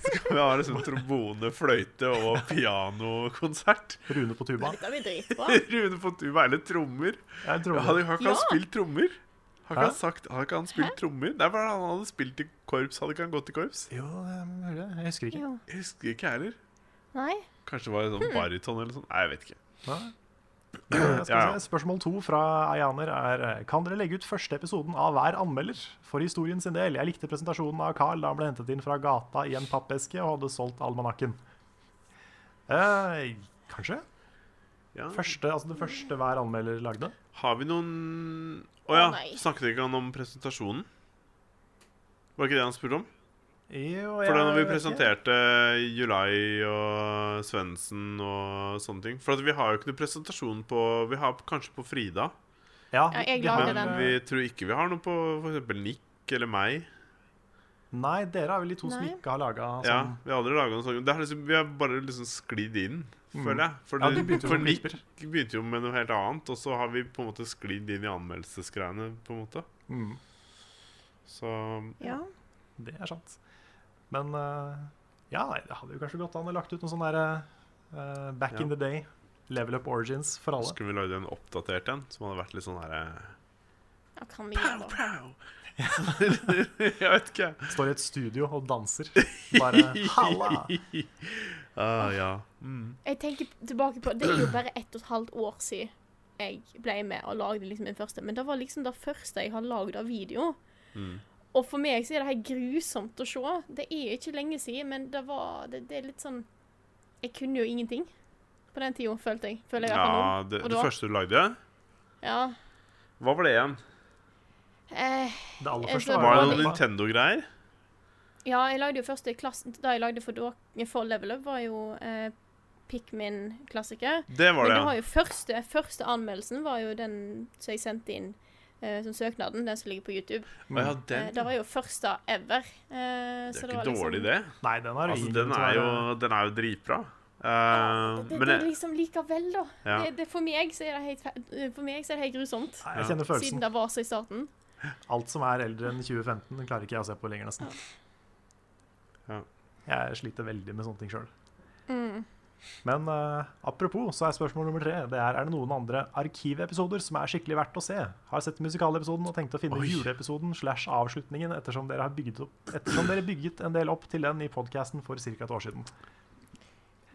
[SPEAKER 2] Så kan vi ha liksom trombone, fløyte og pianokonsert.
[SPEAKER 1] Rune på tuba.
[SPEAKER 3] Dette blir dritbra.
[SPEAKER 2] (laughs) Rune på tuba, eller trommer.
[SPEAKER 1] Jeg tror
[SPEAKER 2] Ja, hadde,
[SPEAKER 1] det.
[SPEAKER 2] har ikke han
[SPEAKER 3] Ja.
[SPEAKER 2] spilt trommer? Har ikke
[SPEAKER 1] Hæ?
[SPEAKER 2] han sagt Har ikke han spilt trommer? Nei, for han hadde spilt i korps. Hadde ikke han gått i korps?
[SPEAKER 1] Jo, det er mulig. jeg husker ikke.
[SPEAKER 3] Jo.
[SPEAKER 2] Jeg husker ikke jeg heller.
[SPEAKER 3] Nei.
[SPEAKER 2] Kanskje det var en
[SPEAKER 3] Hmm.
[SPEAKER 2] sånn bariton eller sånn. Nei, jeg vet ikke.
[SPEAKER 1] Ja. Men, Eh, Skal
[SPEAKER 2] Ja, ja.
[SPEAKER 1] vi se. Spørsmål to fra Ayaner er eh, Kan dere legge ut første episoden av hver anmelder for historien sin del. Jeg likte presentasjonen av Carl da han ble hentet inn fra gata i en pappeske og hadde solgt almanakken. Eh, kanskje?
[SPEAKER 2] Ja.
[SPEAKER 1] Første, altså det første hver anmelder lagde?
[SPEAKER 2] Har vi noen Å
[SPEAKER 3] Å,
[SPEAKER 2] ja,
[SPEAKER 3] nei.
[SPEAKER 2] snakket ikke han om presentasjonen? Var ikke det han spurte om?
[SPEAKER 1] Jo,
[SPEAKER 2] For da
[SPEAKER 1] jeg
[SPEAKER 2] når vi
[SPEAKER 1] vet ikke.
[SPEAKER 2] presenterte Julai og Svendsen og sånne ting For at vi har jo ikke noe presentasjon på Vi har kanskje på Frida,
[SPEAKER 1] Ja,
[SPEAKER 3] Ja, jeg
[SPEAKER 1] vi
[SPEAKER 3] lager
[SPEAKER 1] har-
[SPEAKER 2] men
[SPEAKER 3] den.
[SPEAKER 2] vi tror ikke vi har noe på f.eks. Nick eller meg.
[SPEAKER 1] Nei, dere er vel de to som
[SPEAKER 3] Nei.
[SPEAKER 1] ikke har laga sånn.
[SPEAKER 2] Ja, Vi har aldri laget noe sånt. Det har liksom, vi har bare liksom sklidd inn, føler jeg. For,
[SPEAKER 1] Mm. Ja,
[SPEAKER 2] det-
[SPEAKER 1] de begynte jo
[SPEAKER 2] for
[SPEAKER 1] med
[SPEAKER 2] Nick
[SPEAKER 1] klipper.
[SPEAKER 2] begynte jo med noe helt annet, og så har vi på en måte sklidd inn i anmeldelsesgreiene, på en måte.
[SPEAKER 1] Mm,
[SPEAKER 2] Så
[SPEAKER 3] Ja.
[SPEAKER 1] det er sant. Men eh, ja, nei, det hadde jo kanskje gått an å lagt ut noe sånn der eh, Back in
[SPEAKER 2] Ja.
[SPEAKER 1] the day. Level up origins for alle.
[SPEAKER 2] skulle vi lagd en oppdatert en som hadde vært litt sånn herre
[SPEAKER 3] ja kan vi gjøre det?
[SPEAKER 2] (laughs) Jeg vet ikke.
[SPEAKER 1] Står i et studio og
[SPEAKER 2] (laughs)
[SPEAKER 1] danser. Bare halla!
[SPEAKER 2] Ah, ja. Mm.
[SPEAKER 3] Jeg tenker tilbake på Det er jo bare ett og et halvt år siden jeg ble med og lagde liksom min første. Men det var liksom det første jeg har lagd av video.
[SPEAKER 2] Mm.
[SPEAKER 3] Og for meg så er det helt grusomt å se. Det er ikke lenge siden, men det var Det, det er litt sånn Jeg kunne jo ingenting på den tida, følte jeg. Føler jeg i hvert fall nå.
[SPEAKER 2] Ja, det,
[SPEAKER 3] Og
[SPEAKER 2] det
[SPEAKER 3] da-
[SPEAKER 2] første du lagde?
[SPEAKER 3] Ja.
[SPEAKER 2] Hva var det igjen?
[SPEAKER 3] Eh,
[SPEAKER 1] Det aller
[SPEAKER 3] Jeg
[SPEAKER 1] første
[SPEAKER 3] tror
[SPEAKER 2] Var
[SPEAKER 1] jo
[SPEAKER 2] det
[SPEAKER 3] det-
[SPEAKER 2] noen
[SPEAKER 1] dette.
[SPEAKER 2] Nintendo-greier?
[SPEAKER 3] ja, jeg lagde jo første klass... Da jeg lagde for, dere- for Level Up, var jo eh, Pikmin-klassiker.
[SPEAKER 2] Det var
[SPEAKER 3] Men
[SPEAKER 2] det,
[SPEAKER 3] det var
[SPEAKER 2] ja.
[SPEAKER 3] jo første, første anmeldelsen var jo den som jeg sendte inn eh, som søknaden. Den som ligger på YouTube.
[SPEAKER 2] Å,
[SPEAKER 1] Mm.
[SPEAKER 2] ja den,
[SPEAKER 3] Eh, det var jo første ever. Eh,
[SPEAKER 2] det
[SPEAKER 3] så
[SPEAKER 2] er ikke
[SPEAKER 3] det var liksom,
[SPEAKER 2] dårlig, det.
[SPEAKER 1] Nei, den er,
[SPEAKER 2] Altså,
[SPEAKER 1] ingen
[SPEAKER 2] den
[SPEAKER 1] grunn til å
[SPEAKER 2] er jo,
[SPEAKER 1] være-
[SPEAKER 2] den er jo dritbra. Eh,
[SPEAKER 3] Det,
[SPEAKER 2] men
[SPEAKER 3] det er
[SPEAKER 2] jeg,
[SPEAKER 3] liksom likevel, da.
[SPEAKER 2] ja.
[SPEAKER 3] Det, det, for meg så er det helt, fe- eh, for meg så er det helt grusomt.
[SPEAKER 1] Nei, Jeg kjenner
[SPEAKER 3] Siden
[SPEAKER 1] følelsen.
[SPEAKER 3] det var så i starten.
[SPEAKER 1] Alt som er eldre enn 2015, den klarer ikke jeg å se på lenger, nesten.
[SPEAKER 2] Ja.
[SPEAKER 1] Jeg sliter veldig med sånne ting sjøl.
[SPEAKER 3] Mm.
[SPEAKER 1] Men eh, apropos, så er spørsmål nummer tre det er, er det noen andre arkivepisoder som er skikkelig verdt å se. Har sett musikalepisoden og tenkt å finne
[SPEAKER 2] Oi.
[SPEAKER 1] juleepisoden slash avslutningen ettersom dere har bygget, opp, ettersom dere bygget en del opp til den i podkasten for ca. et år siden.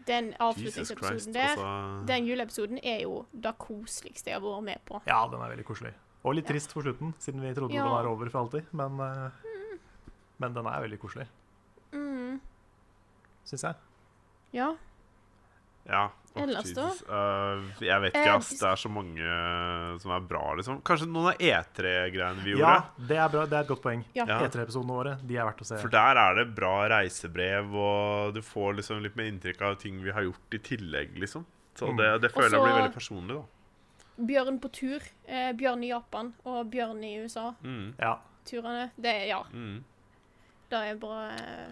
[SPEAKER 3] Den
[SPEAKER 2] Jesus Christ,
[SPEAKER 3] avslutningsepisoden der,
[SPEAKER 2] altså.
[SPEAKER 3] den juleepisoden, er jo det koseligste jeg har vært med på.
[SPEAKER 1] Ja, den er veldig koselig. Og litt trist for slutten, siden vi trodde
[SPEAKER 3] Ja.
[SPEAKER 1] den var over for alltid. Men, eh, men den er veldig koselig,
[SPEAKER 3] Mm.
[SPEAKER 1] syns jeg.
[SPEAKER 3] Ja.
[SPEAKER 2] Ja. Åh,
[SPEAKER 3] Ellers da?
[SPEAKER 2] Jesus. Eh, jeg vet
[SPEAKER 3] Eh,
[SPEAKER 2] ikke, ass. Det er så mange som er bra, liksom. Kanskje noen av E3-greiene vi gjorde?
[SPEAKER 1] Ja, det er bra, det er et godt poeng.
[SPEAKER 3] Ja.
[SPEAKER 2] Ja.
[SPEAKER 1] E3-episodene våre de er verdt å se.
[SPEAKER 2] For der er det bra reisebrev, og du får liksom litt mer inntrykk av ting vi har gjort i tillegg, liksom. Så
[SPEAKER 1] Mm.
[SPEAKER 2] det, det
[SPEAKER 3] Og
[SPEAKER 2] føler jeg
[SPEAKER 3] så-
[SPEAKER 2] blir veldig personlig, da.
[SPEAKER 3] Bjørn på tur. Eh, bjørn i Japan og bjørn i USA.
[SPEAKER 2] Mm.
[SPEAKER 1] Ja.
[SPEAKER 3] Turene. Det er Ja.
[SPEAKER 2] Mm.
[SPEAKER 3] Det er bra eh,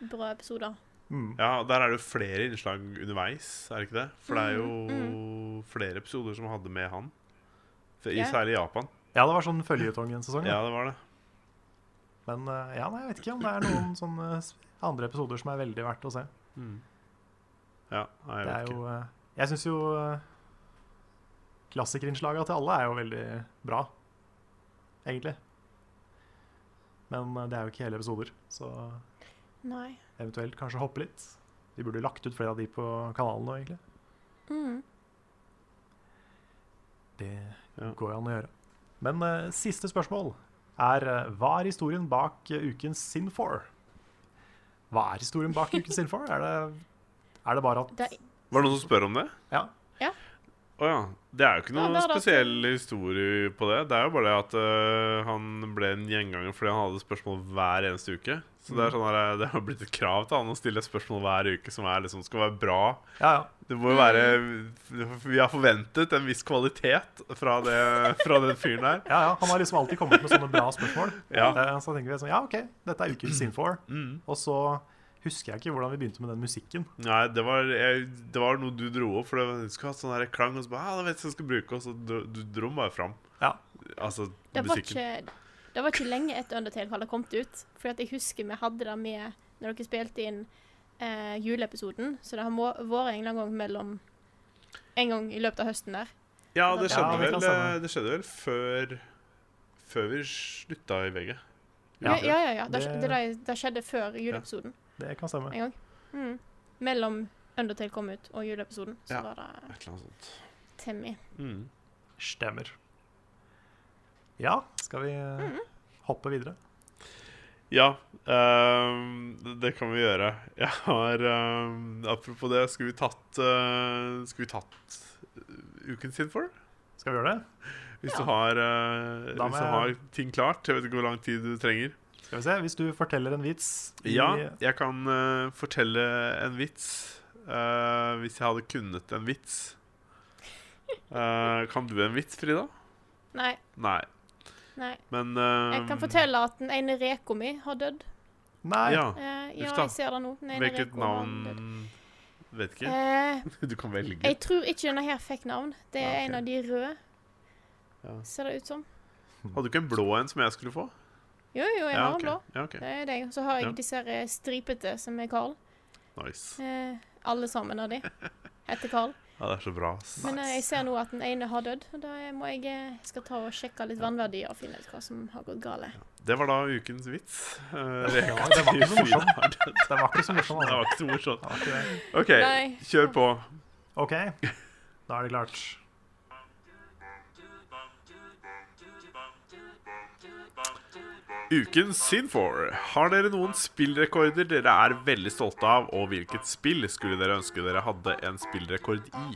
[SPEAKER 3] Bra episoder.
[SPEAKER 1] Mm.
[SPEAKER 2] Ja, og der er det jo flere innslag underveis, er det ikke det? For det er jo
[SPEAKER 3] Mm,
[SPEAKER 2] flere episoder som hadde med han. For, i,
[SPEAKER 3] Ja.
[SPEAKER 2] Særlig i Japan.
[SPEAKER 1] ja, det var sånn føljetong en sesong. da.
[SPEAKER 2] Ja, det var det.
[SPEAKER 1] Men eh, ja, nei, jeg vet ikke om det er
[SPEAKER 2] (clears throat)
[SPEAKER 1] noen sånne s- andre episoder som er veldig verdt å se.
[SPEAKER 2] Mm. Ja, nei, jeg
[SPEAKER 1] Det er
[SPEAKER 2] vet ikke.
[SPEAKER 1] jo, eh, jeg syns jo eh, klassikerinnslagene til alle er jo veldig bra, egentlig. Men eh, det er jo ikke hele episoder, så
[SPEAKER 3] Nei.
[SPEAKER 1] eventuelt kanskje hoppe litt. Vi burde lagt ut flere av de på kanalen nå, egentlig.
[SPEAKER 3] Mm.
[SPEAKER 1] Det
[SPEAKER 2] Ja.
[SPEAKER 1] går jo an å gjøre. Men eh, siste spørsmål er eh, hva er historien bak eh, ukens Sin 4? Hva er historien
[SPEAKER 2] (laughs)
[SPEAKER 1] bak ukens Sin 4? Er det, er det bare at
[SPEAKER 3] Det,
[SPEAKER 2] Var det noen som spør om det?
[SPEAKER 1] Ja.
[SPEAKER 2] Å ja. Det er jo ikke
[SPEAKER 3] Ja,
[SPEAKER 2] noen
[SPEAKER 3] det er det.
[SPEAKER 2] spesiell historie på det. Det er jo bare det at øh, han ble en gjenganger fordi han hadde spørsmål hver eneste uke. Så
[SPEAKER 3] Mm.
[SPEAKER 2] det er sånn her, det har blitt et krav til han å stille et spørsmål hver uke som er liksom, skal være bra.
[SPEAKER 1] Ja, ja.
[SPEAKER 2] Det må jo være Vi har forventet en viss kvalitet fra, det, fra den fyren der.
[SPEAKER 1] Ja, ja, Han har liksom alltid kommet med sånne bra spørsmål.
[SPEAKER 2] (laughs) Ja.
[SPEAKER 1] Eh, Så tenker vi sånn, ja, OK, dette er ukens Sinfor.
[SPEAKER 2] Mm.
[SPEAKER 1] Og så husker jeg ikke hvordan vi begynte med den musikken.
[SPEAKER 2] Nei, det var, jeg, det var noe du dro opp, for det var- du skulle hatt sånn her klang. Og så bare, ja, da vet jeg hva jeg skal bruke Og så dro, du dro den bare fram.
[SPEAKER 1] Ja.
[SPEAKER 2] Altså
[SPEAKER 3] det, var
[SPEAKER 2] musikken.
[SPEAKER 3] ikke, det var ikke lenge etter Undertale hadde kommet ut. For at jeg husker vi hadde det med når dere spilte inn eh, juleepisoden. Så det har må- vært en eller annen gang mellom En gang i løpet av høsten der.
[SPEAKER 2] Ja, det skjedde,
[SPEAKER 1] Ja, det kan
[SPEAKER 2] vel,
[SPEAKER 1] stemme.
[SPEAKER 2] eh, det skjedde vel før Før vi slutta i VG.
[SPEAKER 1] Ja.
[SPEAKER 3] Ja, ja, ja. ja. Det,
[SPEAKER 1] Det-
[SPEAKER 3] det, det, det skjedde før juleepisoden
[SPEAKER 1] Det kan stemme.
[SPEAKER 3] en gang. Mm. Mellom Undertale kom ut og juleepisoden. Så
[SPEAKER 2] Ja.
[SPEAKER 3] var det
[SPEAKER 2] Et eller annet sånt.
[SPEAKER 3] Timmy.
[SPEAKER 2] Mm.
[SPEAKER 1] Stemmer. Ja, skal vi eh,
[SPEAKER 2] Mm.
[SPEAKER 1] hoppe videre?
[SPEAKER 2] Ja, ehm, det, det kan vi gjøre. Jeg har ehm, Apropos det, skulle vi tatt eh, Skulle vi tatt eh, uken sin for?
[SPEAKER 1] Skal vi gjøre det?
[SPEAKER 2] Hvis, du, har, eh,
[SPEAKER 1] Da må
[SPEAKER 2] hvis du
[SPEAKER 1] jeg-
[SPEAKER 2] har ting klart. Jeg vet ikke hvor lang tid du trenger.
[SPEAKER 1] Skal vi se, hvis du forteller en vits i-
[SPEAKER 2] Ja, jeg kan eh, fortelle en vits. eh, hvis jeg hadde kunnet en vits.
[SPEAKER 1] (laughs)
[SPEAKER 2] Eh, kan du en vits, Frida?
[SPEAKER 3] Nei.
[SPEAKER 2] Nei.
[SPEAKER 3] nei.
[SPEAKER 2] Men eh,
[SPEAKER 3] Jeg kan fortelle at den ene reka mi har dødd.
[SPEAKER 1] Nei.
[SPEAKER 2] Ja.
[SPEAKER 3] Eh,
[SPEAKER 2] Uff
[SPEAKER 3] ja,
[SPEAKER 2] da.
[SPEAKER 3] jeg ser det nå. Den ene
[SPEAKER 2] Hvilket
[SPEAKER 3] reka har
[SPEAKER 2] navn
[SPEAKER 3] dødd.
[SPEAKER 2] Vet ikke.
[SPEAKER 3] Eh,
[SPEAKER 2] (laughs) Du kan velge.
[SPEAKER 3] jeg tror ikke denne her fikk navn. Det er
[SPEAKER 2] Ja, ok.
[SPEAKER 3] en av de røde,
[SPEAKER 2] Ja.
[SPEAKER 3] ser det ut som.
[SPEAKER 2] Hadde du ikke en blå en som jeg skulle få?
[SPEAKER 3] Jo, jo, jeg har en
[SPEAKER 2] ok.
[SPEAKER 3] blå.
[SPEAKER 2] Ja, ok.
[SPEAKER 3] Det er deg. Så har jeg
[SPEAKER 2] Ja.
[SPEAKER 3] disse her eh, stripete som er Carl.
[SPEAKER 2] Nice.
[SPEAKER 3] Eh, alle sammen
[SPEAKER 2] (laughs)
[SPEAKER 3] av de heter Carl.
[SPEAKER 2] Ja, det er så bra. ass.
[SPEAKER 3] Men eh, jeg ser nå at den ene har dødd. og Da må jeg eh, skal ta og sjekke litt vannverdier og finne ut hva som har gått gale.
[SPEAKER 2] Det var da ukens vits. Eh,
[SPEAKER 1] Det var, det var ikke så morsomt.
[SPEAKER 2] (laughs) det
[SPEAKER 1] Det var ikke så morsomt.
[SPEAKER 2] var
[SPEAKER 1] Altså.
[SPEAKER 2] ikke så morsomt.
[SPEAKER 1] Det var ikke det.
[SPEAKER 2] OK,
[SPEAKER 3] Nei.
[SPEAKER 2] kjør på.
[SPEAKER 1] OK, da er det klart.
[SPEAKER 2] Ukens Sinfor. Har dere noen spillrekorder dere er veldig stolte av, og hvilket spill skulle dere ønske dere hadde en spillrekord i?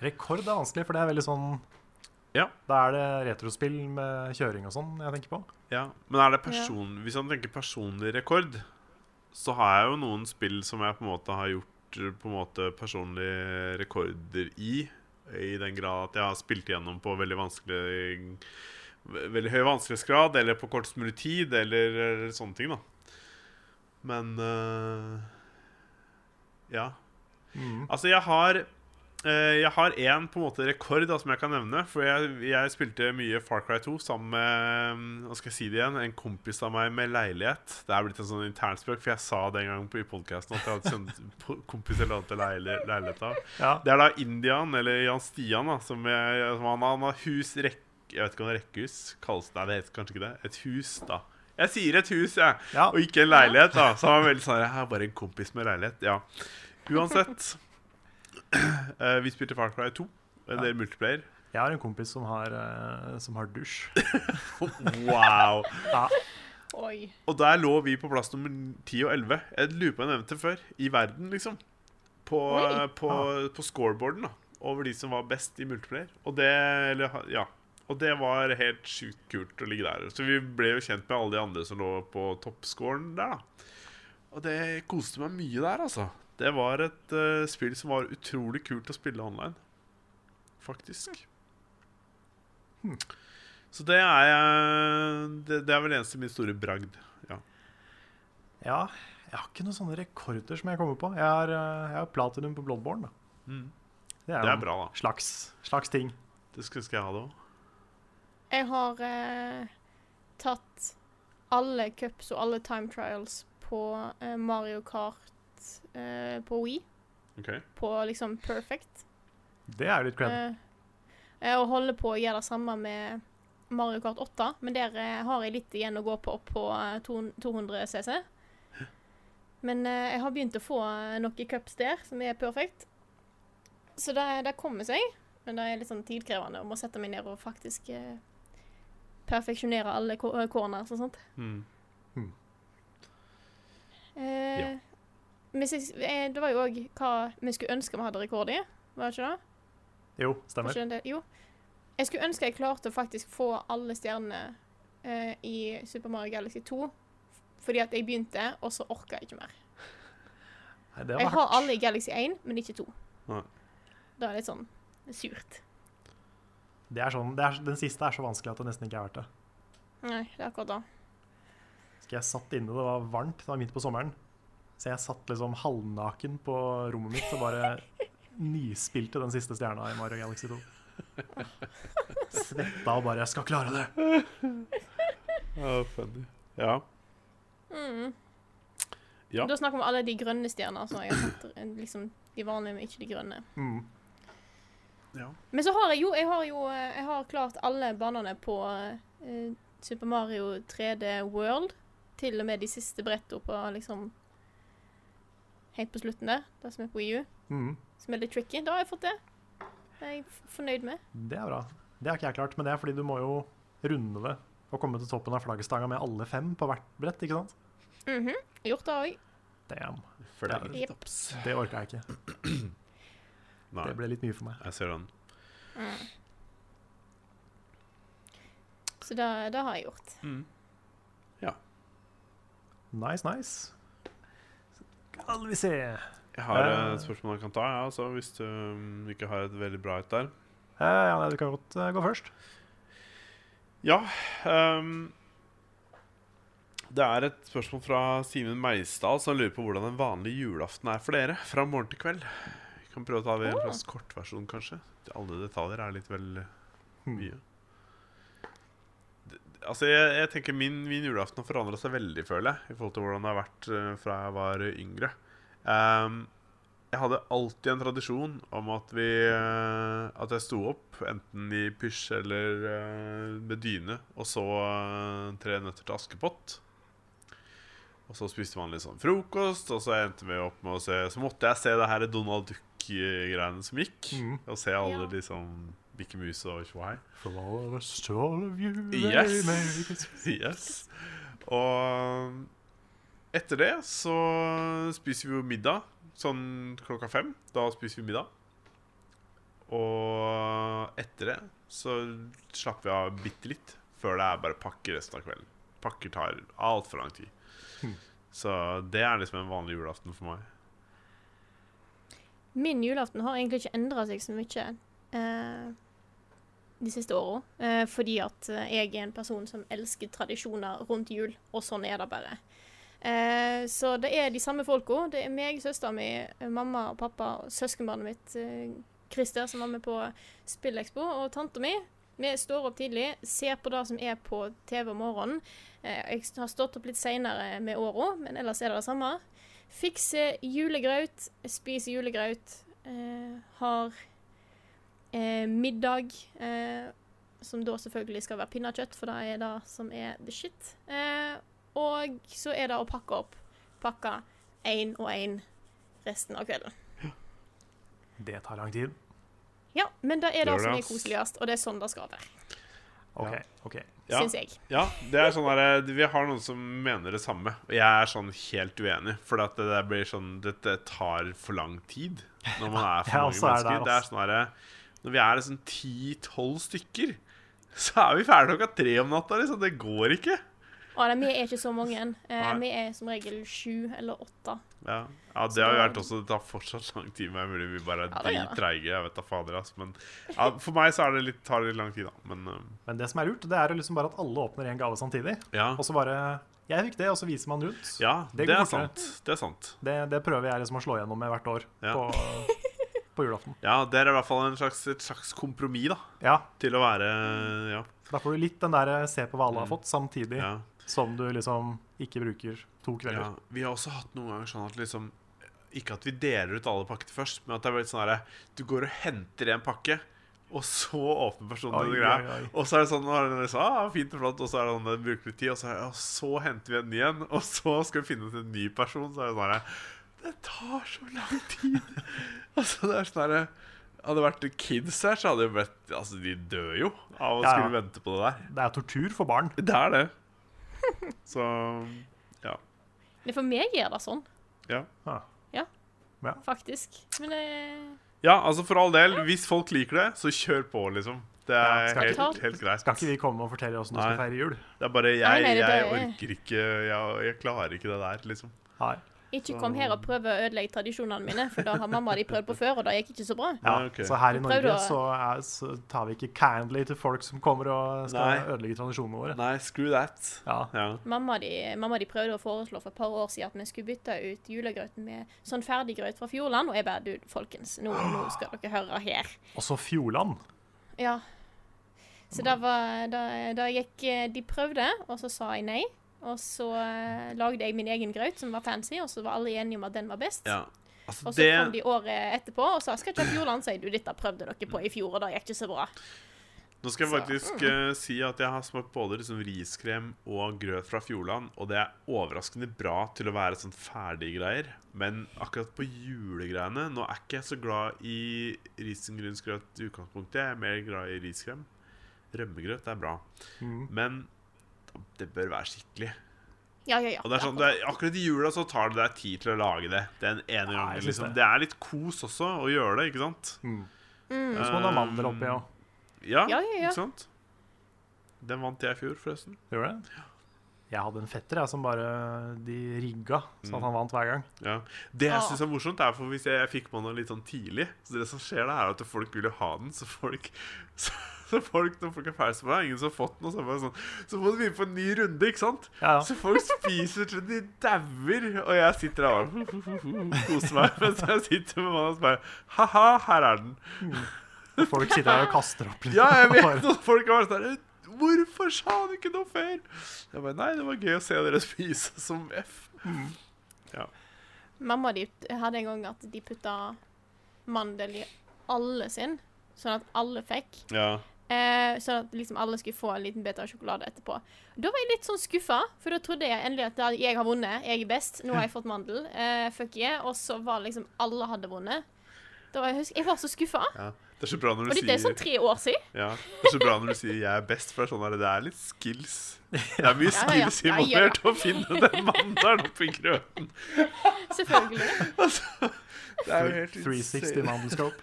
[SPEAKER 1] Rekord er vanskelig, for det er veldig sånn
[SPEAKER 2] Ja.
[SPEAKER 1] Da er det retrospill med kjøring og sånn jeg tenker på.
[SPEAKER 2] Ja, Men er det person... Hvis han tenker personlig rekord, så har jeg jo noen spill som jeg på en måte har gjort eh, på en måte personlige rekorder i. I den grad at jeg har spilt igjennom på veldig vanskelig ve- Veldig høy vanskelighetsgrad, eller på kortest mulig tid, eller, eller sånne ting, da. Men eh, Ja.
[SPEAKER 1] Mhm.
[SPEAKER 2] Altså, jeg har eh, Jeg har én på en måte rekord da, som jeg kan nevne. For jeg, jeg spilte mye Far Cry 2 sammen med mm, hva skal jeg si det igjen, en kompis av meg med leilighet. Det er blitt en sånn internspøk, for jeg sa den gangen på, i podkasten at jeg hadde sendt (laughs) po- kompis eller annet til leili- leilighet av.
[SPEAKER 1] Ja.
[SPEAKER 2] Det er da Indian, eller Jan Stian, da, som, jeg, som han, han har hus rekke, Jeg vet ikke om det er rekkehus kalles Nei, det heter kanskje ikke det. Et hus, da. Jeg sier et hus, jeg,
[SPEAKER 1] Ja.
[SPEAKER 2] og ikke en leilighet. da Så han var veldig sånn Jeg er bare en kompis med leilighet. Ja. Uansett. (clears throat) eh, vi spilte Far Cry 2. En del multiplayer.
[SPEAKER 1] Jeg har en kompis som har, eh, som har dusj.
[SPEAKER 2] Wow!
[SPEAKER 3] Oi.
[SPEAKER 2] Og der lå vi på plass nummer 10 og 11. Jeg lurer på om jeg nevnte det før. I verden, liksom. På, eh,
[SPEAKER 3] Oi.
[SPEAKER 2] på, på scoreboarden, da. Over de som var best i multiplayer. Og det, eller, ha- ja. og det var helt sjukt kult å ligge der. Så vi ble jo kjent med alle de andre som lå på toppscoren der, da. Og det koste meg mye der, altså. Det var et eh, spill som var utrolig kult å spille online. Faktisk. Så det er, jeg- det, det er vel eneste min store bragd.
[SPEAKER 1] Ja, jeg har ikke noen sånne rekorder som jeg kommer på. Jeg har, eh, jeg har platinum på Bloodborne. Da.
[SPEAKER 2] Mm.
[SPEAKER 1] jo
[SPEAKER 2] Det
[SPEAKER 1] en
[SPEAKER 2] er bra, da.
[SPEAKER 1] Slags, slags ting.
[SPEAKER 2] Det skulle ønske jeg hadde òg.
[SPEAKER 3] Jeg har eh, tatt alle cups og alle time trials på eh, Mario Kart eh, på Wii. På liksom perfect.
[SPEAKER 1] Det er jo litt cred.
[SPEAKER 3] Eh, eh, og holder på å gjøre det samme med Mario Kart 8, men der eh, har jeg litt igjen å gå på på eh, to- 200 CC. Men eh, jeg har begynt å få eh, noen cups der, som er perfekt. Så det, det kommer seg, men det er litt sånn tidkrevende om å sette meg ned og faktisk eh, perfeksjonere alle ko- eh, corners og sånt.
[SPEAKER 2] Mm.
[SPEAKER 3] Eh, men sist- eh, det var jo òg hva vi skulle ønske vi hadde rekord i, var det ikke det?
[SPEAKER 1] Jo, stemmer.
[SPEAKER 3] Kanskje en del- Jo. Jeg skulle ønske jeg klarte å faktisk få alle stjernene eh, i Super Mario Galaxy 2. f- Fordi at jeg begynte, og så orka jeg ikke mer.
[SPEAKER 1] Nei, det
[SPEAKER 3] Jeg
[SPEAKER 1] var
[SPEAKER 3] har
[SPEAKER 1] hardt.
[SPEAKER 3] alle i Galaxy 1, men ikke 2.
[SPEAKER 2] Nei.
[SPEAKER 3] Da er det litt sånn surt.
[SPEAKER 1] Det er sånn, det er, den siste er så vanskelig at det nesten ikke er verdt det.
[SPEAKER 3] Nei, det er akkurat da.
[SPEAKER 1] Husker jeg satt inne, det var varmt, det var midt på sommeren. Så jeg satt liksom halvnaken på rommet mitt og bare nyspilte den siste stjerna i Mario Galaxy 2. Svetta og bare 'Jeg skal klare det'.
[SPEAKER 2] Ja, funny. Ja.
[SPEAKER 3] Mm.
[SPEAKER 2] Ja.
[SPEAKER 3] Da snakker vi om alle de grønne stjernene. Så jeg har tatt eh, liksom de vanlige, men ikke de grønne.
[SPEAKER 1] Mm.
[SPEAKER 2] ja.
[SPEAKER 3] Men så har jeg jo Jeg har jo eh, jeg har klart alle banene på eh, Super Mario 3D World. Til og med de siste brettene på liksom Helt på slutten der, det som er på EU.
[SPEAKER 1] Mm.
[SPEAKER 3] Som er litt tricky. Da har jeg fått det. Det er jeg f- fornøyd med.
[SPEAKER 1] Det er bra. Det har ikke jeg klart, men det er fordi du må jo runde det og komme til toppen av flaggstanga med alle fem på hvert brett, ikke sant?
[SPEAKER 3] Mhm. Gjort det òg.
[SPEAKER 1] Damn.
[SPEAKER 2] Flere
[SPEAKER 3] Jep.
[SPEAKER 2] taps.
[SPEAKER 1] Det orka jeg ikke.
[SPEAKER 2] Nei,
[SPEAKER 1] Det ble litt mye for meg.
[SPEAKER 2] jeg ser den.
[SPEAKER 3] Så det, det har jeg gjort.
[SPEAKER 2] Mm.
[SPEAKER 1] Nice, nice. Skal vi se
[SPEAKER 2] Jeg har
[SPEAKER 1] Eh.
[SPEAKER 2] eh, et spørsmål jeg kan ta, ja, altså, hvis du mm, ikke har et veldig bra et
[SPEAKER 1] Eh,
[SPEAKER 2] der.
[SPEAKER 1] Ja, nei, du kan godt eh, gå først.
[SPEAKER 2] Ja ehm, Det er et spørsmål fra Simen Meisdal, som lurer på hvordan en vanlig julaften er for dere. Fra morgen til kveld. Vi kan prøve å ta det i en
[SPEAKER 3] Åh.
[SPEAKER 2] slags kortversjon, kanskje. Alle detaljer er litt vel
[SPEAKER 1] Mm.
[SPEAKER 2] mye. Det- det- Altså, jeg, jeg tenker min, min julaften har forandra seg veldig, føler jeg, i forhold til hvordan det har vært eh, fra jeg var yngre. Ehm, jeg hadde alltid en tradisjon om at vi eh, At jeg sto opp enten i pysj eller eh, med dyne, og så eh, Tre nøtter til Askepott. Og så spiste man litt sånn frokost, og så endte vi opp med å se Så måtte jeg se det her Donald Duck-greiene som gikk,
[SPEAKER 1] Mhm.
[SPEAKER 2] og se alle
[SPEAKER 3] Ja.
[SPEAKER 2] de sånn Mikke Mus og tjohei.
[SPEAKER 1] For all of us, to all of you,
[SPEAKER 2] Yes.
[SPEAKER 1] very merry Christmas.
[SPEAKER 2] (laughs) Yes. Og etter det så spiser vi jo middag sånn klokka fem. Da spiser vi middag. Og etter det så slapper vi av bitte litt før det er bare pakke resten av kvelden. Pakker tar altfor lang tid.
[SPEAKER 1] Hmm.
[SPEAKER 2] Så det er liksom en vanlig julaften for meg.
[SPEAKER 3] Min julaften har egentlig ikke endra seg så mye eh, de siste åra. Eh, fordi at eh, jeg er en person som elsker tradisjoner rundt jul, og sånn er det bare. Eh, så det er de samme folka. Det er meg, søstera mi, eh, mamma og pappa, og søskenbarnet mitt eh, Christer, som var med på Spillekspo, og tanta mi. Vi står opp tidlig, ser på det som er på TV om morgenen. Eh, jeg har stått opp litt seinere med åra, men ellers er det det samme. Fikse julegraut, spise julegraut, eh, har eh, middag, eh, som da selvfølgelig skal være pinnekjøtt, for det er det som er the shit. Eh, og så er det å pakke opp. Pakke én og én resten av kvelden.
[SPEAKER 1] Det tar lang tid.
[SPEAKER 3] Ja, men det er det,
[SPEAKER 2] Gjør det,
[SPEAKER 3] som er
[SPEAKER 2] ass.
[SPEAKER 3] koseligst, og det er sånn det skal være,
[SPEAKER 1] OK.
[SPEAKER 2] Ja.
[SPEAKER 1] ok.
[SPEAKER 2] Ja.
[SPEAKER 3] syns jeg.
[SPEAKER 2] Ja, det er sånn der, vi har noen som mener det samme, og jeg er sånn helt uenig. For at det der blir sånn Dette tar for lang tid når man er
[SPEAKER 1] Jeg
[SPEAKER 2] for mange
[SPEAKER 1] også er
[SPEAKER 2] mennesker.
[SPEAKER 1] der,
[SPEAKER 2] det er
[SPEAKER 1] ass.
[SPEAKER 2] sånn der, Når vi er sånn ti-tolv stykker, så er vi ferdige klokka tre om natta. liksom Det går ikke.
[SPEAKER 3] Og nei, vi er ikke så mange. Eh,
[SPEAKER 2] Nei.
[SPEAKER 3] vi er som regel sju eller åtte.
[SPEAKER 2] Ja, ja det har jo vært også Det tar fortsatt lang tid. Men mulig vi bare er
[SPEAKER 3] Ja, det gjør det.
[SPEAKER 2] drittreige. Jeg vet da fader, ass. Men ja, for meg så er det litt, tar det litt lang tid, da. Men øh,
[SPEAKER 1] Men det som er lurt, det er liksom bare at alle åpner en gave samtidig.
[SPEAKER 2] ja.
[SPEAKER 1] Og så bare Jeg fikk det, og så viser man rundt.
[SPEAKER 2] Ja,
[SPEAKER 1] Det
[SPEAKER 2] det
[SPEAKER 1] går
[SPEAKER 2] er
[SPEAKER 1] fortere.
[SPEAKER 2] sant. Det er sant.
[SPEAKER 1] Det, det prøver jeg liksom å slå gjennom med hvert år
[SPEAKER 2] Ja. (laughs)
[SPEAKER 1] på, på julaften.
[SPEAKER 2] Ja, det er i hvert fall en slags, et slags kompromiss, da.
[SPEAKER 1] Ja,
[SPEAKER 2] Til å være Ja.
[SPEAKER 1] for da får du litt den der eh, se på hva alle har fått, samtidig
[SPEAKER 2] Mm. ja.
[SPEAKER 1] som du liksom ikke bruker to kvelder.
[SPEAKER 2] Ja, vi har også hatt noen ganger sånn at liksom Ikke at vi deler ut alle pakkene først, men at det er veldig sånn herre Du går og henter en pakke, og så åpner personen
[SPEAKER 1] Oi,
[SPEAKER 2] den
[SPEAKER 1] oi,
[SPEAKER 2] greia.
[SPEAKER 1] oi.
[SPEAKER 2] Og så er det sånn og det er sånn, ah, Fint og flott, og så er det sånn det bruker litt tid, og så, er det, «Ja, så henter vi en ny en, og så skal vi finne ut en ny person, så er det sånn herre Det tar så lang tid. (laughs) altså, det er sånn herre hadde det vært kids her, så hadde det blitt Altså, de dør jo av
[SPEAKER 1] Ja,
[SPEAKER 2] å
[SPEAKER 1] ja.
[SPEAKER 2] skulle vente på det der.
[SPEAKER 1] Det er tortur for barn.
[SPEAKER 2] Det er det. Så
[SPEAKER 1] (laughs)
[SPEAKER 2] ja.
[SPEAKER 3] Men for meg er det sånn,
[SPEAKER 2] ja.
[SPEAKER 1] Ja.
[SPEAKER 3] faktisk. Men eh,
[SPEAKER 2] Ja, altså for all del, hvis folk liker det, så kjør på, liksom. Det er
[SPEAKER 1] Ja, skal ikke-
[SPEAKER 2] helt, helt greit.
[SPEAKER 1] Skal ikke vi komme og fortelle åssen du skal
[SPEAKER 2] Nei.
[SPEAKER 1] feire jul?
[SPEAKER 2] Det er bare
[SPEAKER 3] Nei,
[SPEAKER 2] jeg,
[SPEAKER 3] nei, det
[SPEAKER 2] jeg
[SPEAKER 3] er-
[SPEAKER 2] orker ikke jeg, jeg klarer ikke det der, liksom.
[SPEAKER 1] Nei.
[SPEAKER 3] Ikke kom her og prøv å ødelegge tradisjonene mine, for da har mamma og de prøvd på før, og det gikk ikke så bra.
[SPEAKER 1] Ja,
[SPEAKER 2] Nei, ok.
[SPEAKER 1] Så her i
[SPEAKER 3] Men
[SPEAKER 1] Norge
[SPEAKER 3] prøv da.
[SPEAKER 1] så, er, så tar vi ikke kindly til folk som kommer og skal
[SPEAKER 2] Nei.
[SPEAKER 1] ødelegge tradisjonene våre.
[SPEAKER 2] Nei, screw that.
[SPEAKER 1] Ja.
[SPEAKER 2] Ja.
[SPEAKER 3] Mamma de, mamma de prøvde å foreslå for et par år siden at vi skulle bytte ut julegrøten med sånn ferdiggrøt fra Fjordland, og jeg bare Du, folkens, nå, nå skal dere høre her.
[SPEAKER 1] Og så Fjordland.
[SPEAKER 3] Ja. Så da var da, da gikk eh, De prøvde, og så sa jeg nei. Og så eh, lagde jeg min egen grøt, som var fancy, og så var alle enige om at den var best.
[SPEAKER 2] ja. Altså,
[SPEAKER 3] Og så
[SPEAKER 2] det
[SPEAKER 3] kom de året etterpå og sa skal ikke ha Fjordland, sier du. Dette prøvde dere på i fjor, og det gikk ikke så bra.
[SPEAKER 2] Nå skal jeg
[SPEAKER 3] Så,
[SPEAKER 2] faktisk eh, si at jeg har smakt både liksom riskrem og grøt fra Fjordland, og det er overraskende bra til å være sånn ferdige greier. Men akkurat på julegreiene Nå er ikke jeg så glad i risengrynsgrøt i utgangspunktet. Jeg er mer glad i riskrem. Rømmegrøt er bra.
[SPEAKER 1] Mm.
[SPEAKER 2] Men det bør være skikkelig.
[SPEAKER 3] Ja, ja, ja.
[SPEAKER 2] Og det er sånn, det er, Akkurat i jula så tar det deg tid til å lage det. Den ene
[SPEAKER 1] Ja, jeg
[SPEAKER 2] gangen
[SPEAKER 1] synes
[SPEAKER 2] liksom.
[SPEAKER 1] det.
[SPEAKER 2] Det er litt kos også å gjøre det, ikke sant?
[SPEAKER 1] Mm.
[SPEAKER 3] Mm.
[SPEAKER 2] Um.
[SPEAKER 1] Og så må du ha mandel oppi òg.
[SPEAKER 2] Ja,
[SPEAKER 3] Ja, ja, ja.
[SPEAKER 2] ikke sant? Den vant jeg i fjor, forresten.
[SPEAKER 1] Gjorde det? Jeg hadde en fetter jeg, som bare de rigga, så
[SPEAKER 2] Mm.
[SPEAKER 1] at han vant hver gang.
[SPEAKER 2] Ja. Det jeg
[SPEAKER 3] Ah.
[SPEAKER 2] syns er morsomt, er for hvis jeg, jeg fikk med den litt sånn tidlig Så det som skjer da, er at folk vil jo ha den, så folk (laughs) Så, så folk, når folk er ferdige med det, er ingen som har fått den, og så er det bare sånn Så må du begynne på en ny runde, ikke sant?
[SPEAKER 1] Ja, ja.
[SPEAKER 2] Så folk spiser til de dauer, og jeg sitter der og (laughs) koser meg (laughs) mens jeg sitter med mannen og bare Ha-ha, her er den.
[SPEAKER 1] Folk sitter her og kaster opp.
[SPEAKER 2] (laughs)
[SPEAKER 1] liksom,
[SPEAKER 2] Ja, jeg
[SPEAKER 1] Bare- (laughs)
[SPEAKER 2] vet at folk har vært der Hvorfor sa du ikke noe før? Jeg bare, Nei, det var gøy å se dere spise som F.
[SPEAKER 3] Mamma de hadde en gang at de putta mandel i alle sin, sånn at alle fikk.
[SPEAKER 2] Ja.
[SPEAKER 3] Eh, sånn at liksom alle skulle få en liten bit av sjokolade etterpå. Da var jeg litt sånn skuffa, for da trodde jeg endelig at da- jeg har vunnet, jeg er best, nå har jeg fått mandel, eh, fuck yeah. Og så var liksom alle hadde vunnet. Da var jeg, husk, jeg var så skuffa.
[SPEAKER 2] ja. Det er så bra når
[SPEAKER 3] Og
[SPEAKER 2] du
[SPEAKER 3] dette er sånn
[SPEAKER 2] sier
[SPEAKER 3] tre år siden.
[SPEAKER 2] Ja, Det er så bra når du sier 'jeg er best', for det er sånn der, det er litt skills. Det er mye
[SPEAKER 3] Ja, ja, ja.
[SPEAKER 2] skills
[SPEAKER 3] Ja, ja, ja.
[SPEAKER 2] involvert å finne den mandelen oppi grøten.
[SPEAKER 3] Selvfølgelig.
[SPEAKER 2] Altså, det er jo helt
[SPEAKER 1] 360
[SPEAKER 2] insane.
[SPEAKER 1] Mandelscope.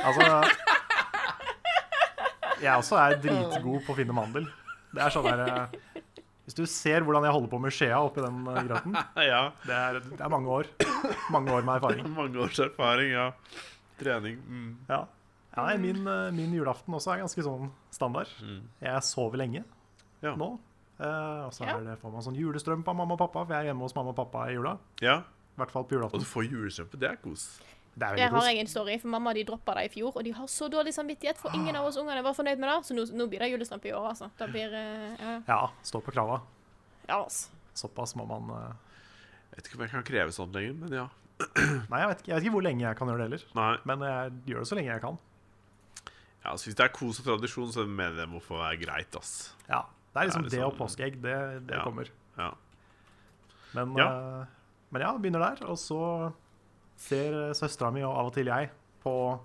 [SPEAKER 1] Altså Jeg også er dritgod på å finne mandel. Det er sånn der eh, Hvis du ser hvordan jeg holder på med skjea oppi den eh, grøten
[SPEAKER 2] Ja,
[SPEAKER 1] det er, det er mange år. Mange år med erfaring.
[SPEAKER 2] mange års erfaring, ja. Trening. Mm.
[SPEAKER 1] Ja. Ja, nei, min, eh, min julaften også er ganske sånn standard.
[SPEAKER 2] Mm.
[SPEAKER 1] Jeg sover lenge
[SPEAKER 2] Ja.
[SPEAKER 1] nå. Eh, og så
[SPEAKER 3] Ja.
[SPEAKER 1] er det, får man sånn julestrøm på mamma og pappa, for jeg er hjemme hos mamma og pappa i jula.
[SPEAKER 2] Ja,
[SPEAKER 1] I hvert fall på
[SPEAKER 2] Og
[SPEAKER 1] julaften.
[SPEAKER 2] du får julestrømpe. Det er kos.
[SPEAKER 1] Det er
[SPEAKER 3] Der
[SPEAKER 1] veldig
[SPEAKER 3] har
[SPEAKER 1] kos.
[SPEAKER 3] jeg en story, for mamma de droppa det i fjor, og de har så dårlig samvittighet, for ingen av oss ungene var fornøyd med det, så nå, nå blir det julestampe i år, altså. Det blir eh, ja,
[SPEAKER 1] Ja, stå på krava.
[SPEAKER 3] ja, altså.
[SPEAKER 1] Såpass må man eh,
[SPEAKER 2] Jeg vet ikke om jeg kan kreve sånt lenger, men ja.
[SPEAKER 1] Nei, jeg vet, ikke, jeg vet ikke hvor lenge jeg kan gjøre det heller.
[SPEAKER 2] Nei,
[SPEAKER 1] Men jeg gjør det så lenge jeg kan.
[SPEAKER 2] ja, altså, Hvis det er kos og tradisjon, så mener jeg det må få være greit, ass.
[SPEAKER 1] Ja, Det er
[SPEAKER 2] Er
[SPEAKER 1] liksom
[SPEAKER 2] det
[SPEAKER 1] det og
[SPEAKER 2] sånn-
[SPEAKER 1] påskeegg, det, det
[SPEAKER 2] Ja.
[SPEAKER 1] kommer.
[SPEAKER 2] Ja.
[SPEAKER 1] Men ja.
[SPEAKER 2] Ja.
[SPEAKER 1] men ja, begynner der. Og så ser søstera mi og av og til jeg på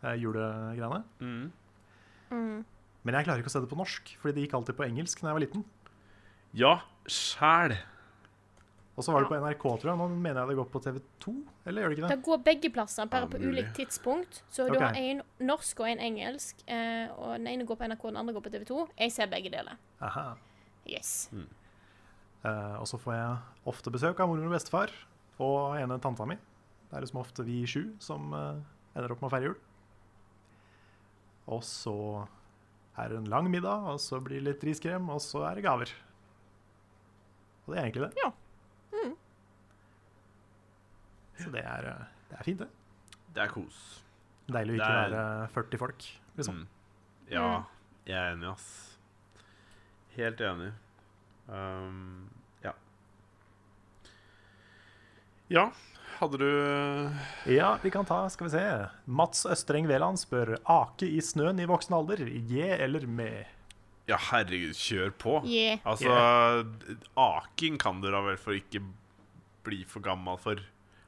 [SPEAKER 1] Disney-julegreiene.
[SPEAKER 2] Mm.
[SPEAKER 3] Mm.
[SPEAKER 1] Men jeg klarer ikke å se det på norsk, fordi det gikk alltid på engelsk da jeg var liten.
[SPEAKER 2] Ja, sjæl.
[SPEAKER 1] Og så var det på
[SPEAKER 3] Ja.
[SPEAKER 1] NRK, tror jeg. Nå mener jeg det går på TV2, eller gjør det ikke
[SPEAKER 3] Det
[SPEAKER 1] det?
[SPEAKER 3] går begge plasser, bare
[SPEAKER 2] Ja,
[SPEAKER 3] på
[SPEAKER 2] mulig.
[SPEAKER 3] ulikt tidspunkt. Så
[SPEAKER 1] Ok.
[SPEAKER 3] du har en norsk og en engelsk, eh, og den ene går på NRK, den andre går på TV 2. Jeg ser begge deler.
[SPEAKER 1] Aha.
[SPEAKER 3] Yes.
[SPEAKER 1] Eh, og så får jeg ofte besøk av mormor og bestefar og ene tanta mi. Det er liksom ofte vi sju som eh, ender opp med å feire jul. Og så er det en lang middag, og så blir det litt riskrem, og så er det gaver. Og det er egentlig det.
[SPEAKER 3] Ja.
[SPEAKER 1] Så det er, eh, det er fint, det.
[SPEAKER 2] Det er kos.
[SPEAKER 1] Deilig å ikke
[SPEAKER 2] Det er-
[SPEAKER 1] være 40 folk, liksom.
[SPEAKER 2] Mm. Ja, jeg er enig, ass. Helt enig. Um, ja. Ja, hadde du
[SPEAKER 1] Ja, vi kan ta, skal vi se. Mats Østreng Veland spør Ake i snøen i voksen alder, je eller med?
[SPEAKER 2] Ja, herregud, kjør på.
[SPEAKER 3] Yeah.
[SPEAKER 2] Altså, d- aking kan du da vel for ikke bli for gammel for.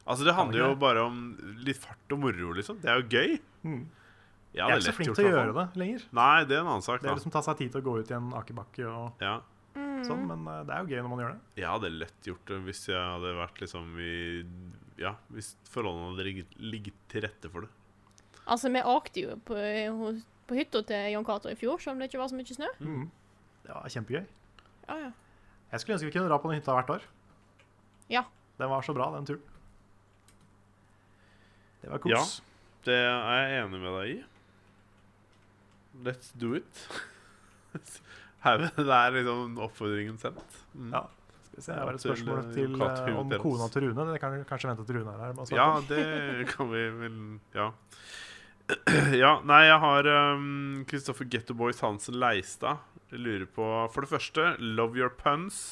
[SPEAKER 2] Altså, det handler jo
[SPEAKER 1] ikke?
[SPEAKER 2] bare om litt fart og moro, liksom. Det er jo gøy.
[SPEAKER 1] Mm.
[SPEAKER 2] Ja,
[SPEAKER 1] Jeg er ikke så
[SPEAKER 2] det lett
[SPEAKER 1] flink
[SPEAKER 2] gjort,
[SPEAKER 1] til å
[SPEAKER 2] i hvert
[SPEAKER 1] gjøre
[SPEAKER 2] fall.
[SPEAKER 1] det lenger.
[SPEAKER 2] Nei, det er en annen sak,
[SPEAKER 1] Det
[SPEAKER 2] da.
[SPEAKER 1] er liksom ta seg tid til å gå ut i en akebakke og
[SPEAKER 2] Ja.
[SPEAKER 3] Mm.
[SPEAKER 1] sånn, men eh, det er jo gøy når man gjør det.
[SPEAKER 2] Jeg hadde lett gjort det hvis jeg hadde vært liksom i Ja, hvis forholdene hadde ligget- ligget til rette for det.
[SPEAKER 3] Altså, vi åkte jo på, hos- på hytta til Jon Cato i fjor, selv om det ikke var så mye snø.
[SPEAKER 1] Mm. Det var kjempegøy.
[SPEAKER 3] Ja, ja.
[SPEAKER 1] Jeg skulle ønske vi kunne dra på den hytta hvert år.
[SPEAKER 3] Ja.
[SPEAKER 1] Den var så bra, den turen. Det var kos.
[SPEAKER 2] Ja. Det er jeg enig med deg i. Let's do it. (laughs) Her, det er liksom oppfordringen sendt. Mm.
[SPEAKER 1] Ja. Skal vi se, jeg har et
[SPEAKER 2] Til,
[SPEAKER 1] spørsmål
[SPEAKER 2] eh,
[SPEAKER 1] til
[SPEAKER 2] Kat
[SPEAKER 1] eh, om
[SPEAKER 2] Huitfeldt.
[SPEAKER 1] kona til Rune. Det kan vi kanskje vente til Rune er her. med å svare
[SPEAKER 2] Ja,
[SPEAKER 1] på.
[SPEAKER 2] det kan vi vel Ja. (clears throat) ja nei, jeg har um, Kristoffer Getto Boys Hansen Leistad. Jeg lurer på For det første, love your puns.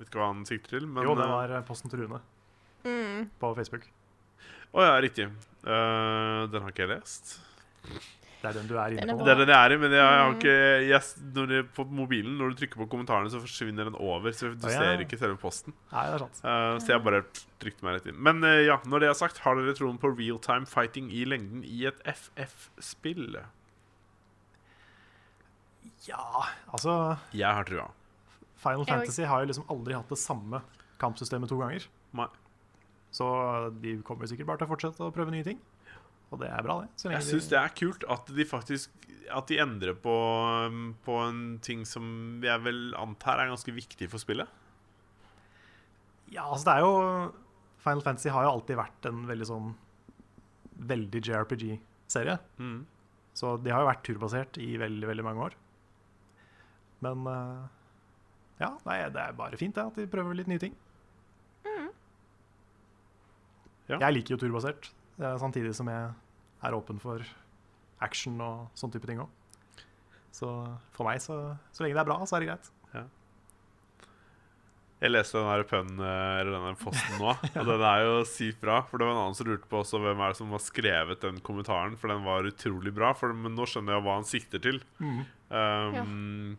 [SPEAKER 2] Vet ikke hva han sikter til, men
[SPEAKER 1] Jo, det
[SPEAKER 2] eh,
[SPEAKER 1] var eh, posten til Rune
[SPEAKER 3] Mm.
[SPEAKER 1] på Facebook.
[SPEAKER 2] Å ja, riktig. Eh, den har ikke jeg lest.
[SPEAKER 1] Det er den du er
[SPEAKER 3] Den er
[SPEAKER 1] inne på.
[SPEAKER 2] Det er den jeg er i, men jeg har
[SPEAKER 3] Mm.
[SPEAKER 2] ikke jeg, s- når det, På mobilen, når du trykker på kommentarene, så forsvinner den over. Så du
[SPEAKER 1] Å, ja.
[SPEAKER 2] ser ikke selve posten.
[SPEAKER 1] Nei, det er sant.
[SPEAKER 2] Eh, så jeg bare trykte meg rett inn. Men eh, ja, når det er sagt, har dere troen på real time fighting i lengden i et FF-spill?
[SPEAKER 1] Ja, altså
[SPEAKER 2] Jeg har trua.
[SPEAKER 1] Final
[SPEAKER 3] Jeg òg.
[SPEAKER 1] Fantasy har jo liksom aldri hatt det samme kampsystemet to ganger.
[SPEAKER 2] Nei.
[SPEAKER 1] Så de kommer sikkert bare til å fortsette å prøve nye ting. Og det er bra, det. Så lenge
[SPEAKER 2] Jeg
[SPEAKER 1] de-
[SPEAKER 2] syns det er kult at de faktisk At de endrer på, um, på en ting som jeg vel antar er ganske viktig for spillet.
[SPEAKER 1] Ja, altså det er jo Final Fantasy har jo alltid vært en veldig sånn Veldig JRPG-serie.
[SPEAKER 2] Mhm.
[SPEAKER 1] Så de har jo vært turbasert i veldig, veldig mange år. Men eh, ja, nei, det er bare fint det, at de prøver litt nye ting.
[SPEAKER 2] Ja.
[SPEAKER 1] Jeg liker jo turbasert, eh, samtidig som jeg er åpen for action og sånne type ting òg. Så for meg, så, så lenge det er bra, så er det greit.
[SPEAKER 2] Jeg leste den der pønnen, eh, eller den der posten
[SPEAKER 1] (laughs)
[SPEAKER 2] nå, og den er jo sykt bra. For det var en annen som lurte på også hvem er det som har skrevet den kommentaren, for den var utrolig bra. For, men nå skjønner jeg hva han sikter til.
[SPEAKER 1] Mm.
[SPEAKER 2] Um,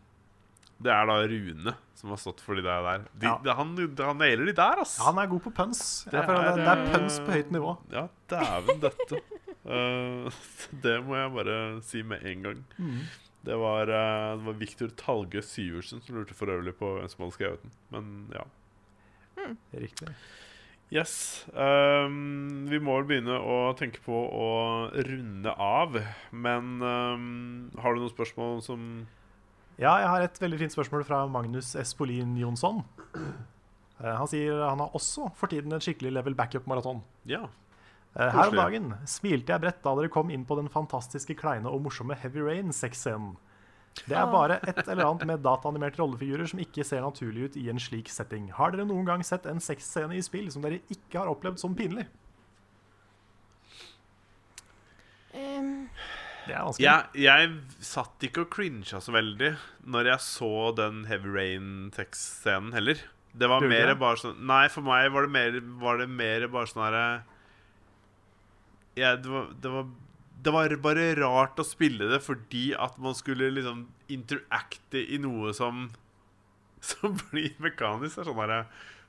[SPEAKER 2] Det er da Rune som har stått for de der. der. De,
[SPEAKER 1] Ja.
[SPEAKER 2] det- han, han nailer de der, ass!
[SPEAKER 1] Han er god på puns. Det
[SPEAKER 2] Det
[SPEAKER 1] er, det,
[SPEAKER 2] er,
[SPEAKER 1] det er
[SPEAKER 2] eh,
[SPEAKER 1] puns på høyt nivå.
[SPEAKER 2] Ja, dæven døtte. Eh, (laughs) det må jeg bare si med en gang. Det var, eh, det var Viktor Talge Syversen som lurte for øvrig på hvem som hadde skrevet den. Men ja.
[SPEAKER 1] Riktig.
[SPEAKER 2] Yes. ehm, vi må vel begynne å tenke på å runde av. Men ehm, har du noen spørsmål som
[SPEAKER 1] Ja, jeg har et veldig fint spørsmål fra Magnus Espolin Jonsson. Eh, Han sier han har også for tiden en skikkelig level backup-maraton.
[SPEAKER 2] Ja.
[SPEAKER 1] Eh, Her om
[SPEAKER 2] Koselig.
[SPEAKER 1] dagen smilte jeg bredt da dere kom inn på den fantastiske kleine og morsomme Heavy Rain-sexscenen. Det er
[SPEAKER 3] Ah.
[SPEAKER 1] bare et eller annet med dataanimerte rollefigurer som ikke ser naturlig ut i en slik setting. Har dere noen gang sett en sexscene i spill som dere ikke har opplevd som pinlig?
[SPEAKER 3] Ehm,
[SPEAKER 1] Det er vanskelig.
[SPEAKER 2] Jeg, jeg satt ikke og crincha så veldig når jeg så den Heavy Rain-tekstscenen heller. Det var
[SPEAKER 1] Gjorde du
[SPEAKER 2] mer
[SPEAKER 1] det?
[SPEAKER 2] bare sånn Nei, for meg var det mer, var det mer bare sånn herre ja, det, var- det, var- det var bare rart å spille det fordi at man skulle liksom interacte i noe som (laughs) Som blir mekanisk. Det er sånn herre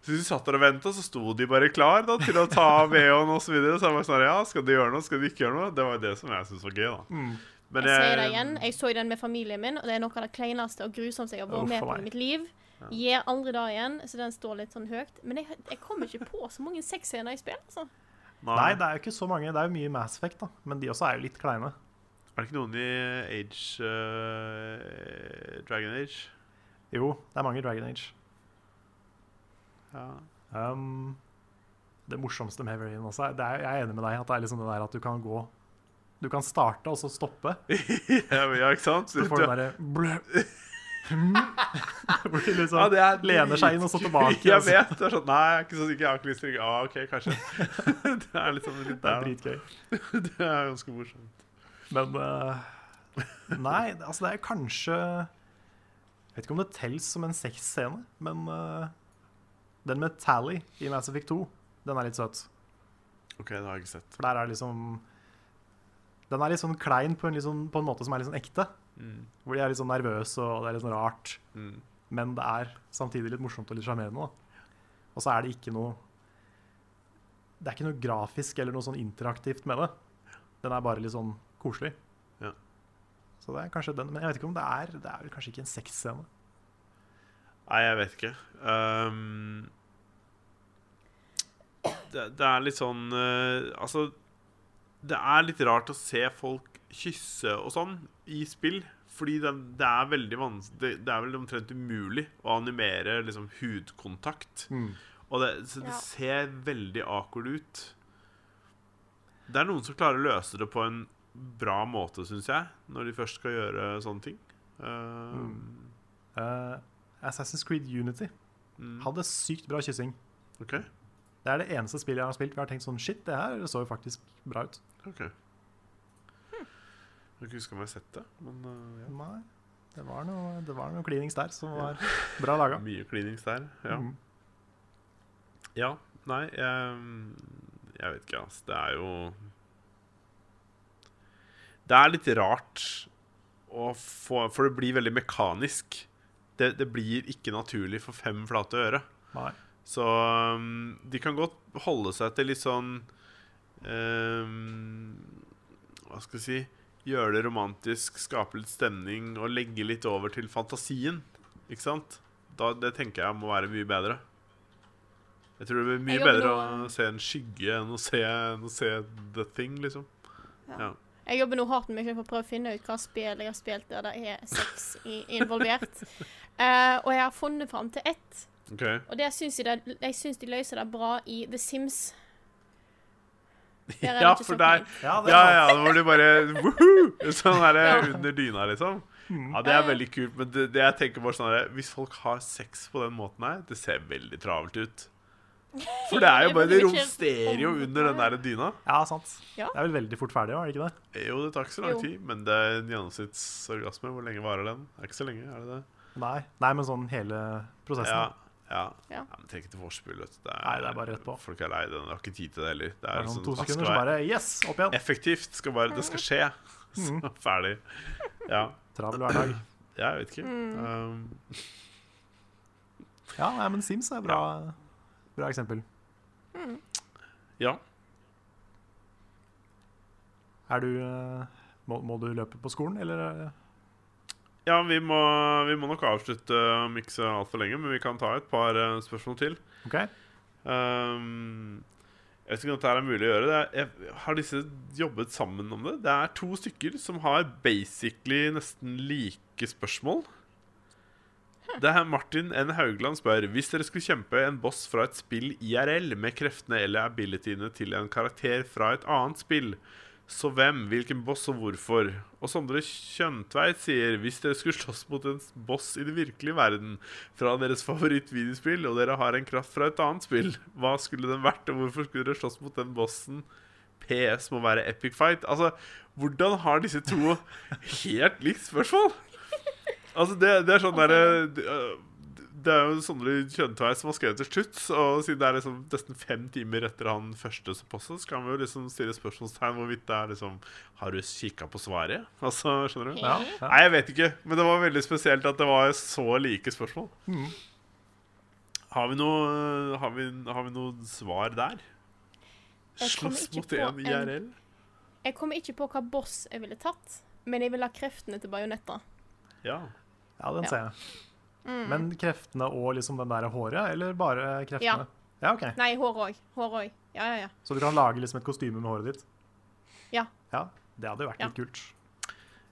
[SPEAKER 2] så du satt der og venta, så sto de bare klar da, til
[SPEAKER 1] (laughs)
[SPEAKER 2] å ta av VH-en osv. Så, videre. så jeg var sånn, herre, ja, skal de gjøre noe, skal de ikke gjøre noe? Det var jo det som jeg syntes var gøy, da.
[SPEAKER 1] Mm.
[SPEAKER 2] Men
[SPEAKER 3] jeg sier det
[SPEAKER 2] jeg-
[SPEAKER 3] igjen. Jeg så den med familien min, og det er noe av det kleineste og grusomste jeg har vært
[SPEAKER 1] Uff,
[SPEAKER 3] med
[SPEAKER 1] for
[SPEAKER 3] på
[SPEAKER 1] meg.
[SPEAKER 3] i mitt liv. Gjør aldri det igjen, så den står litt sånn høyt. Men jeg, jeg kommer ikke på så mange sexscener i spill, altså.
[SPEAKER 1] Nei, det er jo ikke så mange. Det er jo mye Mass Effect, da. Men de også er jo litt kleine.
[SPEAKER 2] Er det ikke noen i Age eh, Dragon Age?
[SPEAKER 1] Jo, det er mange i Dragon Age.
[SPEAKER 2] Ja.
[SPEAKER 1] (laughs) Um, det morsomste med Heavy Rain også er, det er Jeg er enig med deg at det er liksom det der at du kan gå Du kan starte og så stoppe.
[SPEAKER 2] ja, men ja, ikke sant?
[SPEAKER 1] Så du får den derre blø- (laughs) Hvor de liksom
[SPEAKER 2] Ja, det er
[SPEAKER 1] lener seg inn
[SPEAKER 2] (laughs)
[SPEAKER 1] og så tilbake. altså.
[SPEAKER 2] Jeg
[SPEAKER 1] og så-
[SPEAKER 2] vet. det er sånn, Nei, jeg er ikke så sikker. Jeg har ikke lyst til å Ja, OK, kanskje.
[SPEAKER 1] (laughs)
[SPEAKER 2] (laughs) det er liksom litt
[SPEAKER 1] Det er
[SPEAKER 2] der.
[SPEAKER 1] dritgøy.
[SPEAKER 2] da. (laughs) Det er ganske morsomt.
[SPEAKER 1] Men eh, Nei, det- altså det er kanskje Jeg vet ikke om det telles som en sexscene, men eh, den med Tally i Mass Effect 2, den er litt søt.
[SPEAKER 2] OK, det har jeg ikke sett.
[SPEAKER 1] For der er liksom Den er litt sånn klein på en, litt sånn- på en måte som er litt sånn ekte.
[SPEAKER 2] Mm.
[SPEAKER 1] Hvor de er litt sånn nervøse, og det er litt sånn rart.
[SPEAKER 2] Mm.
[SPEAKER 1] Men det er samtidig litt morsomt og litt sjarmerende. da. Og så er det ikke noe Det er ikke noe grafisk eller noe sånn interaktivt med det. Den er bare litt sånn koselig.
[SPEAKER 2] Ja.
[SPEAKER 1] Så det er kanskje den, Men jeg vet ikke om det er Det er vel kanskje ikke en sexscene.
[SPEAKER 2] Nei, jeg vet ikke. Ehm, det, det er litt sånn eh, Altså, det er litt rart å se folk kysse og sånn i spill. Fordi det, det er veldig vanskelig det, det er vel omtrent umulig å animere liksom, hudkontakt. Og det, så det
[SPEAKER 3] Ja.
[SPEAKER 2] ser veldig awkward ut. Det er noen som klarer å løse det på en bra måte, syns jeg, når de først skal gjøre sånne ting. Ehm,
[SPEAKER 1] Eh, Assassin's Creed Unity
[SPEAKER 2] mm,
[SPEAKER 1] hadde sykt bra kyssing.
[SPEAKER 2] OK.
[SPEAKER 1] Det er det eneste spillet jeg har spilt hvor jeg har tenkt sånn Shit, det her så jo faktisk bra ut.
[SPEAKER 2] Ok Jeg kan ikke huske om jeg har sett det, men eh,
[SPEAKER 1] Nei, det var noe, det var noe klinings der som var bra laga.
[SPEAKER 2] ja. Mye klinings der. Ja.
[SPEAKER 1] Mm.
[SPEAKER 2] ja. Nei, jeg, jeg vet ikke, altså. Det er jo Det er litt rart å få For det blir veldig mekanisk. Det, det blir ikke naturlig for fem flate øre.
[SPEAKER 1] Nei.
[SPEAKER 2] Så um, de kan godt holde seg til litt sånn um, Hva skal jeg si Gjøre det romantisk, skape litt stemning og legge litt over til fantasien. Ikke sant? Da, det tenker jeg må være mye bedre. Jeg tror det blir mye
[SPEAKER 3] Jeg jobber
[SPEAKER 2] bedre
[SPEAKER 3] nå-
[SPEAKER 2] å se en skygge enn å se, enn å se the thing, liksom. Ja.
[SPEAKER 3] Jeg jobber nå hardt med meg selv for å prøve å finne ut hva spill jeg har spilt der det er sex i, involvert. Eh, og jeg har funnet fram til ett.
[SPEAKER 2] OK.
[SPEAKER 3] Og det syns jeg, det, jeg syns de løser det bra i The Sims. Der er det
[SPEAKER 2] Ja,
[SPEAKER 3] ikke
[SPEAKER 2] for
[SPEAKER 3] så
[SPEAKER 2] der
[SPEAKER 3] mange.
[SPEAKER 1] Ja, det
[SPEAKER 2] Ja,
[SPEAKER 1] er sant.
[SPEAKER 2] ja, da var du bare woohoo! Sånn er det
[SPEAKER 3] Ja.
[SPEAKER 2] under dyna, liksom.
[SPEAKER 1] Mm.
[SPEAKER 2] Ja, det er veldig kult, men det, det jeg tenker bare sånn her Hvis folk har sex på den måten her, det ser veldig travelt ut. For det er jo bare Det romsterer jo under den der dyna.
[SPEAKER 1] Ja, sant.
[SPEAKER 3] Ja.
[SPEAKER 1] Det er vel veldig fort ferdig, er det ikke det?
[SPEAKER 2] Jo, det tar ikke så lang
[SPEAKER 3] Jo.
[SPEAKER 2] tid, men det er en gjennomsnittsorgasme. Hvor lenge varer den? Er ikke så lenge, er det det?
[SPEAKER 1] Nei, Nei men sånn hele prosessen.
[SPEAKER 2] Ja. ja.
[SPEAKER 3] Ja.
[SPEAKER 2] ja men Tenk til vorspiel, vet du. Det
[SPEAKER 1] Nei, det er bare rett på.
[SPEAKER 2] Folk er lei den, de har ikke tid til det heller. Det
[SPEAKER 1] Det
[SPEAKER 2] er
[SPEAKER 1] er sånn
[SPEAKER 2] sånn,
[SPEAKER 1] to
[SPEAKER 2] det skal
[SPEAKER 1] sekunder, så
[SPEAKER 2] være
[SPEAKER 1] bare Mm. yes, opp igjen.
[SPEAKER 2] effektivt. Skal bare, det skal skje. (laughs) Så ferdig. Ja.
[SPEAKER 1] Travel hverdag.
[SPEAKER 2] Jeg vet ikke. Um,
[SPEAKER 1] Ja, nei, men Sims er bra, bra eksempel.
[SPEAKER 2] ja.
[SPEAKER 1] Er du eh, må, må du løpe på skolen, eller? eh?
[SPEAKER 2] ja vi, må, vi må nok avslutte om ikke så altfor lenge, men vi kan ta et par eh, spørsmål til.
[SPEAKER 1] OK?
[SPEAKER 2] Um, jeg vet ikke om dette her er mulig å gjøre. Det er, jeg, har disse jobbet sammen om det? Det er to stykker som har basically nesten like spørsmål. Det er Martin N. Haugland spør Hvis dere skulle kjempe en boss fra et spill IRL med kreftene eller abilityene til en karakter fra et annet spill, så hvem, hvilken boss og hvorfor? Og Sondre Kjøntveit sier hvis dere skulle slåss mot en boss i den virkelige verden fra deres (laughs) favorittvideospill, og dere har en kraft fra et annet spill, hva skulle den vært, og hvorfor skulle dere slåss mot den bossen? PS må være epic fight. Altså, hvordan har disse to helt likt spørsmål? Altså, det, det er sånn derre det, øh, det er jo Sondre Kjøntveit som har skrevet til slutt, og siden det er liksom nesten fem timer etter han første som postet, så kan vi jo liksom stille spørsmålstegn hvorvidt det er liksom Har du kikka på svaret? Altså, skjønner du?
[SPEAKER 1] Ja. ja.
[SPEAKER 2] Nei, jeg vet ikke, men det var veldig spesielt at det var så like spørsmål.
[SPEAKER 1] Mhm.
[SPEAKER 2] Har, vi noe, har, vi, har vi noe svar der?
[SPEAKER 3] Jeg kommer
[SPEAKER 2] Slåss
[SPEAKER 3] ikke
[SPEAKER 2] mot
[SPEAKER 3] på
[SPEAKER 2] en
[SPEAKER 3] en-
[SPEAKER 2] IRL?
[SPEAKER 3] Jeg kommer ikke på hva boss jeg ville tatt, men jeg ville ha kreftene til bajonetta.
[SPEAKER 2] Ja.
[SPEAKER 1] Ja, den
[SPEAKER 3] Ja. Mm.
[SPEAKER 1] ser jeg. Men kreftene og liksom den der håret, eller bare
[SPEAKER 3] Ja.
[SPEAKER 1] kreftene? Ja, ok.
[SPEAKER 3] Nei, hår òg. Hår òg. Ja, ja, ja.
[SPEAKER 1] Så du kan lage liksom et kostyme med håret ditt?
[SPEAKER 3] Ja.
[SPEAKER 1] Ja, Det hadde jo vært
[SPEAKER 3] Ja.
[SPEAKER 1] litt kult.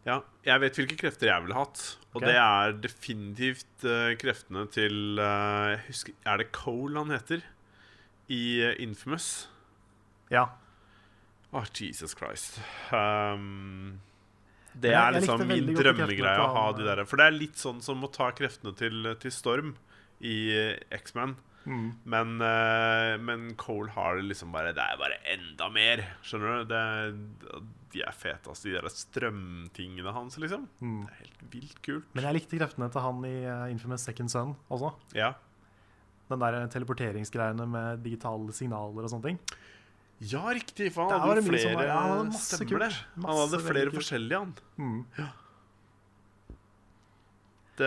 [SPEAKER 2] ja. Jeg vet hvilke krefter jeg ville hatt, og
[SPEAKER 1] Ok.
[SPEAKER 2] det er definitivt eh, kreftene til eh, jeg husker, Er det Cole han heter? I eh, Infamous.
[SPEAKER 1] Ja.
[SPEAKER 2] Åh, Jesus Christ. Um,
[SPEAKER 1] Men
[SPEAKER 2] det
[SPEAKER 1] jeg-
[SPEAKER 2] er
[SPEAKER 1] jeg likte
[SPEAKER 2] liksom min
[SPEAKER 1] veldig godt de
[SPEAKER 2] drømmegreie
[SPEAKER 1] kreftene
[SPEAKER 2] å ha
[SPEAKER 1] til
[SPEAKER 2] de
[SPEAKER 1] han, eh.
[SPEAKER 2] der. For det er litt sånn som å ta kreftene til, til Storm i eh, X-Man.
[SPEAKER 1] Mm.
[SPEAKER 2] Men, eh, men Cole har det liksom bare Det er bare enda mer. Skjønner du? Det er, de er fete, altså. De der strømtingene hans, liksom.
[SPEAKER 1] Mm.
[SPEAKER 2] Det er helt vilt kult.
[SPEAKER 1] Men jeg likte kreftene til han i eh, Infamous Second Son også.
[SPEAKER 2] Ja.
[SPEAKER 1] Den der eh, teleporteringsgreiene med digitale signaler og sånne ting.
[SPEAKER 2] ja, riktig. For
[SPEAKER 1] Der
[SPEAKER 2] han
[SPEAKER 1] var
[SPEAKER 2] hadde
[SPEAKER 1] det
[SPEAKER 2] jo
[SPEAKER 1] mye som
[SPEAKER 2] flere
[SPEAKER 1] var- ja, han hadde masse
[SPEAKER 2] Stemmer det.
[SPEAKER 1] kult.
[SPEAKER 2] Han
[SPEAKER 1] Masse
[SPEAKER 2] hadde flere
[SPEAKER 1] veldig kult.
[SPEAKER 2] forskjellige, han.
[SPEAKER 1] Mm.
[SPEAKER 2] det,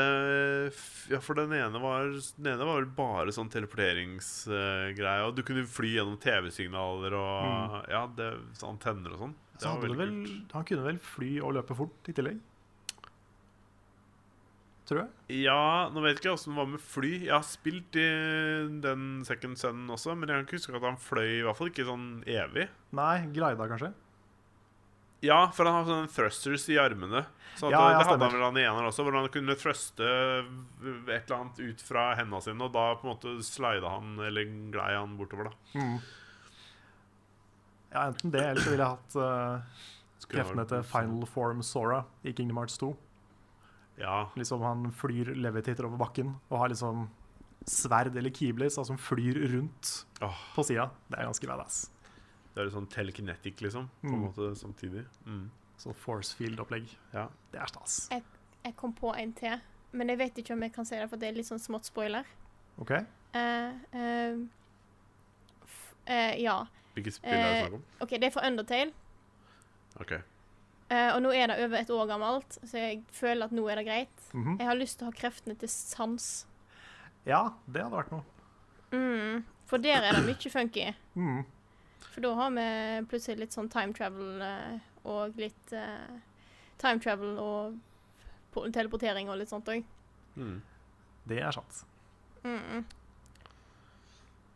[SPEAKER 2] eh, ja, for den ene var Den ene var vel bare sånn teleporteringsgreie. Og du kunne fly gjennom TV-signaler og ja, det, så antenner og sånn. Det
[SPEAKER 1] Mm. Så
[SPEAKER 2] var
[SPEAKER 1] hadde det
[SPEAKER 2] veldig
[SPEAKER 1] vel,
[SPEAKER 2] kult.
[SPEAKER 1] han kunne vel fly og løpe fort i tillegg? Tror jeg.
[SPEAKER 2] Ja, nå vet jeg ikke åssen det var med fly. Jeg har spilt i den Second Sun også, men jeg kan ikke huske at han fløy, i hvert fall ikke sånn evig.
[SPEAKER 1] Nei, glida kanskje.
[SPEAKER 2] Ja, for han har sånne thrusters i armene. Så at,
[SPEAKER 1] Ja, ja,
[SPEAKER 2] det hadde
[SPEAKER 1] stemmer.
[SPEAKER 2] han vel han i eneren også, hvor han kunne thruste et eller annet ut fra hendene sine, og da på en måte slida han, eller glei han bortover, da.
[SPEAKER 1] Ja, Enten det, eller så ville jeg hatt eh,
[SPEAKER 2] Skulle
[SPEAKER 1] kreftene
[SPEAKER 2] vært-
[SPEAKER 1] til Final Form Sora i Kingdom Hearts 2.
[SPEAKER 2] Ja,
[SPEAKER 1] Liksom Han flyr levitator over bakken og har liksom sverd eller keyblades altså, som flyr rundt
[SPEAKER 2] Åh,
[SPEAKER 1] på sida. Det er ganske badass.
[SPEAKER 2] det er litt sånn telekinetic, liksom. På en
[SPEAKER 1] Mm.
[SPEAKER 2] måte samtidig. Mm.
[SPEAKER 1] Sånn force field-opplegg.
[SPEAKER 2] Ja.
[SPEAKER 1] Det er stas.
[SPEAKER 3] Jeg kom på en til, men jeg vet ikke om jeg kan si det, for det er litt sånn smått spoiler.
[SPEAKER 1] OK?
[SPEAKER 3] Eh, eh, f eh, ja.
[SPEAKER 2] Hvilket spill er det
[SPEAKER 3] Eh,
[SPEAKER 2] snakk om?
[SPEAKER 3] OK, det er for Undertale.
[SPEAKER 2] OK.
[SPEAKER 3] Eh, og nå er det over et år gammelt, så jeg føler at nå er det greit.
[SPEAKER 1] Mhm.
[SPEAKER 3] Jeg har lyst til å ha kreftene til sans.
[SPEAKER 1] Ja, det hadde vært noe.
[SPEAKER 3] Mm, for der er det mye funky.
[SPEAKER 1] Mm.
[SPEAKER 3] For da har vi plutselig litt sånn time travel eh, og litt eh, Time travel og po- teleportering og litt sånt òg.
[SPEAKER 2] Mm.
[SPEAKER 1] Det er sant.
[SPEAKER 3] Mm.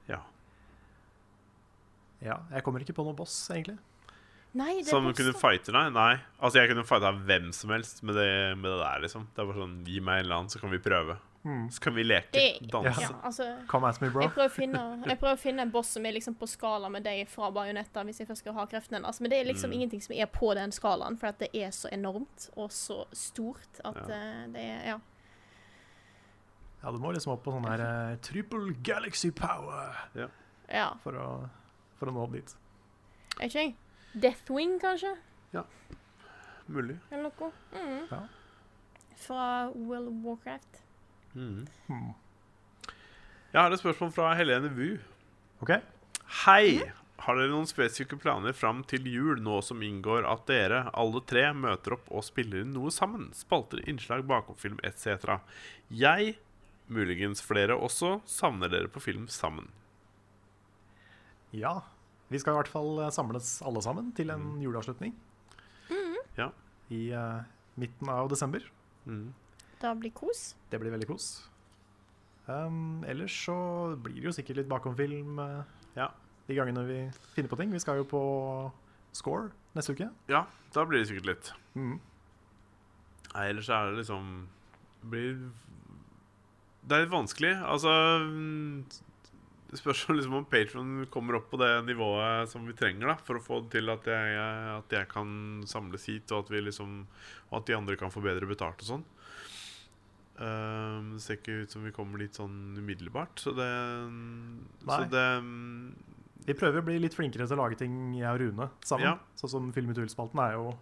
[SPEAKER 2] Ja.
[SPEAKER 1] Ja, Jeg kommer ikke på noen boss, egentlig.
[SPEAKER 3] Nei, det
[SPEAKER 2] Som
[SPEAKER 3] koster.
[SPEAKER 2] kunne fighte deg? Nei. Altså, jeg kunne fighta hvem som helst med det, med det der, liksom. Det er bare sånn Gi meg en eller annen, så kan vi prøve. Så kan vi leke,
[SPEAKER 3] Det-
[SPEAKER 2] danse.
[SPEAKER 3] Ja, altså
[SPEAKER 1] Mhm. Come at me, bro.
[SPEAKER 3] jeg prøver, å finne, jeg prøver å finne en boss som er liksom på skala med deg fra bajonetter, hvis jeg først skal ha kreften hennes. Men det er
[SPEAKER 2] Mm.
[SPEAKER 3] liksom ingenting som er på den skalaen, for at det er så enormt og så stort at
[SPEAKER 2] Ja.
[SPEAKER 3] eh, det er Ja.
[SPEAKER 1] Ja, du må liksom opp på sånn her eh, triple galaxy power
[SPEAKER 3] ja.
[SPEAKER 1] for å, for å nå opp dit.
[SPEAKER 3] Er ikke jeg? Deathwing, kanskje?
[SPEAKER 2] Mulig.
[SPEAKER 3] Eller noe? Mm.
[SPEAKER 1] Ja.
[SPEAKER 3] Fra World of Warcraft.
[SPEAKER 2] Mhm.
[SPEAKER 1] Hmm.
[SPEAKER 2] Jeg har et spørsmål fra Helene Wu.
[SPEAKER 1] OK?
[SPEAKER 2] Hei! Har dere noen spesifikke planer fram til jul, nå som inngår at dere, alle tre, møter opp og spiller inn noe sammen? Spalter, innslag, bakomfilm etc. Jeg, muligens flere også, savner dere på film sammen.
[SPEAKER 1] Ja. Vi skal i hvert fall eh, samles alle sammen til en juleavslutning.
[SPEAKER 2] Mm. Ja.
[SPEAKER 1] I eh, midten av desember.
[SPEAKER 2] Mhm.
[SPEAKER 3] Det blir kos.
[SPEAKER 1] Det blir veldig kos. Um, ellers så blir det jo sikkert litt bakomfilm eh,
[SPEAKER 2] Ja.
[SPEAKER 1] de gangene vi finner på ting. Vi skal jo på Score neste uke.
[SPEAKER 2] ja, da blir det sikkert litt.
[SPEAKER 1] Mm.
[SPEAKER 2] Nei, ellers er det liksom blir, Det er litt vanskelig. Altså mm, Det spørs jo liksom om Patron kommer opp på det nivået som vi trenger da for å få det til at jeg, at jeg kan samles hit, og at, vi liksom, og at de andre kan få bedre betalt og sånn. Ehm, det ser ikke ut som vi kommer dit sånn umiddelbart, så det, så
[SPEAKER 1] Nei.
[SPEAKER 2] det mm,
[SPEAKER 1] Vi prøver å bli litt flinkere til å lage ting jeg og Rune sammen.
[SPEAKER 2] Ja.
[SPEAKER 1] Sånn som Film i tull-spalten er jo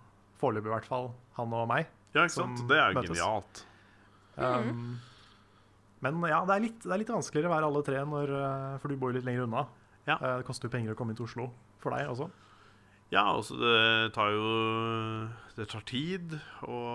[SPEAKER 1] foreløpig i hvert fall han og meg.
[SPEAKER 2] Ja, ikke
[SPEAKER 1] Som
[SPEAKER 2] sant? Det er jo
[SPEAKER 1] møtes.
[SPEAKER 2] genialt. Mm.
[SPEAKER 1] Um, men ja, det er, litt, det er litt vanskeligere å være alle tre, når, eh, for du bor jo litt lenger unna.
[SPEAKER 2] Ja.
[SPEAKER 1] Eh, Det koster jo penger å komme inn til Oslo for deg også.
[SPEAKER 2] Ja, altså det tar jo Det tar tid, og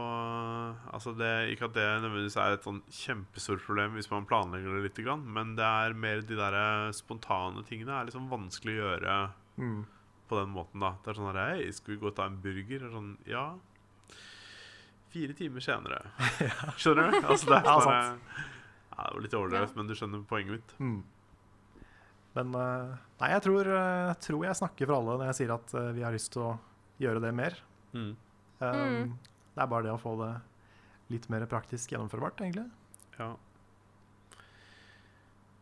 [SPEAKER 2] altså det, ikke at det nødvendigvis er et sånn kjempestort problem hvis man planlegger det litt, grann, men det er mer de der eh, spontane tingene er liksom vanskelig å gjøre
[SPEAKER 1] Mm.
[SPEAKER 2] på den måten, da. Det er sånn her Hei, skal vi gå og ta en burger? Og sånn Ja. Fire timer
[SPEAKER 1] (laughs)
[SPEAKER 2] senere. Skjønner du? Altså det er
[SPEAKER 1] Ja,
[SPEAKER 2] bare
[SPEAKER 1] sant.
[SPEAKER 2] ja, Det var litt overdrevet, men du skjønner poenget mitt.
[SPEAKER 1] Mm. Men eh, nei, jeg tror, eh, tror jeg snakker for alle når jeg sier at eh, vi har lyst til å gjøre det mer.
[SPEAKER 2] Mm.
[SPEAKER 1] Um, Det er bare det å få det litt mer praktisk gjennomførbart, egentlig.
[SPEAKER 2] Ja.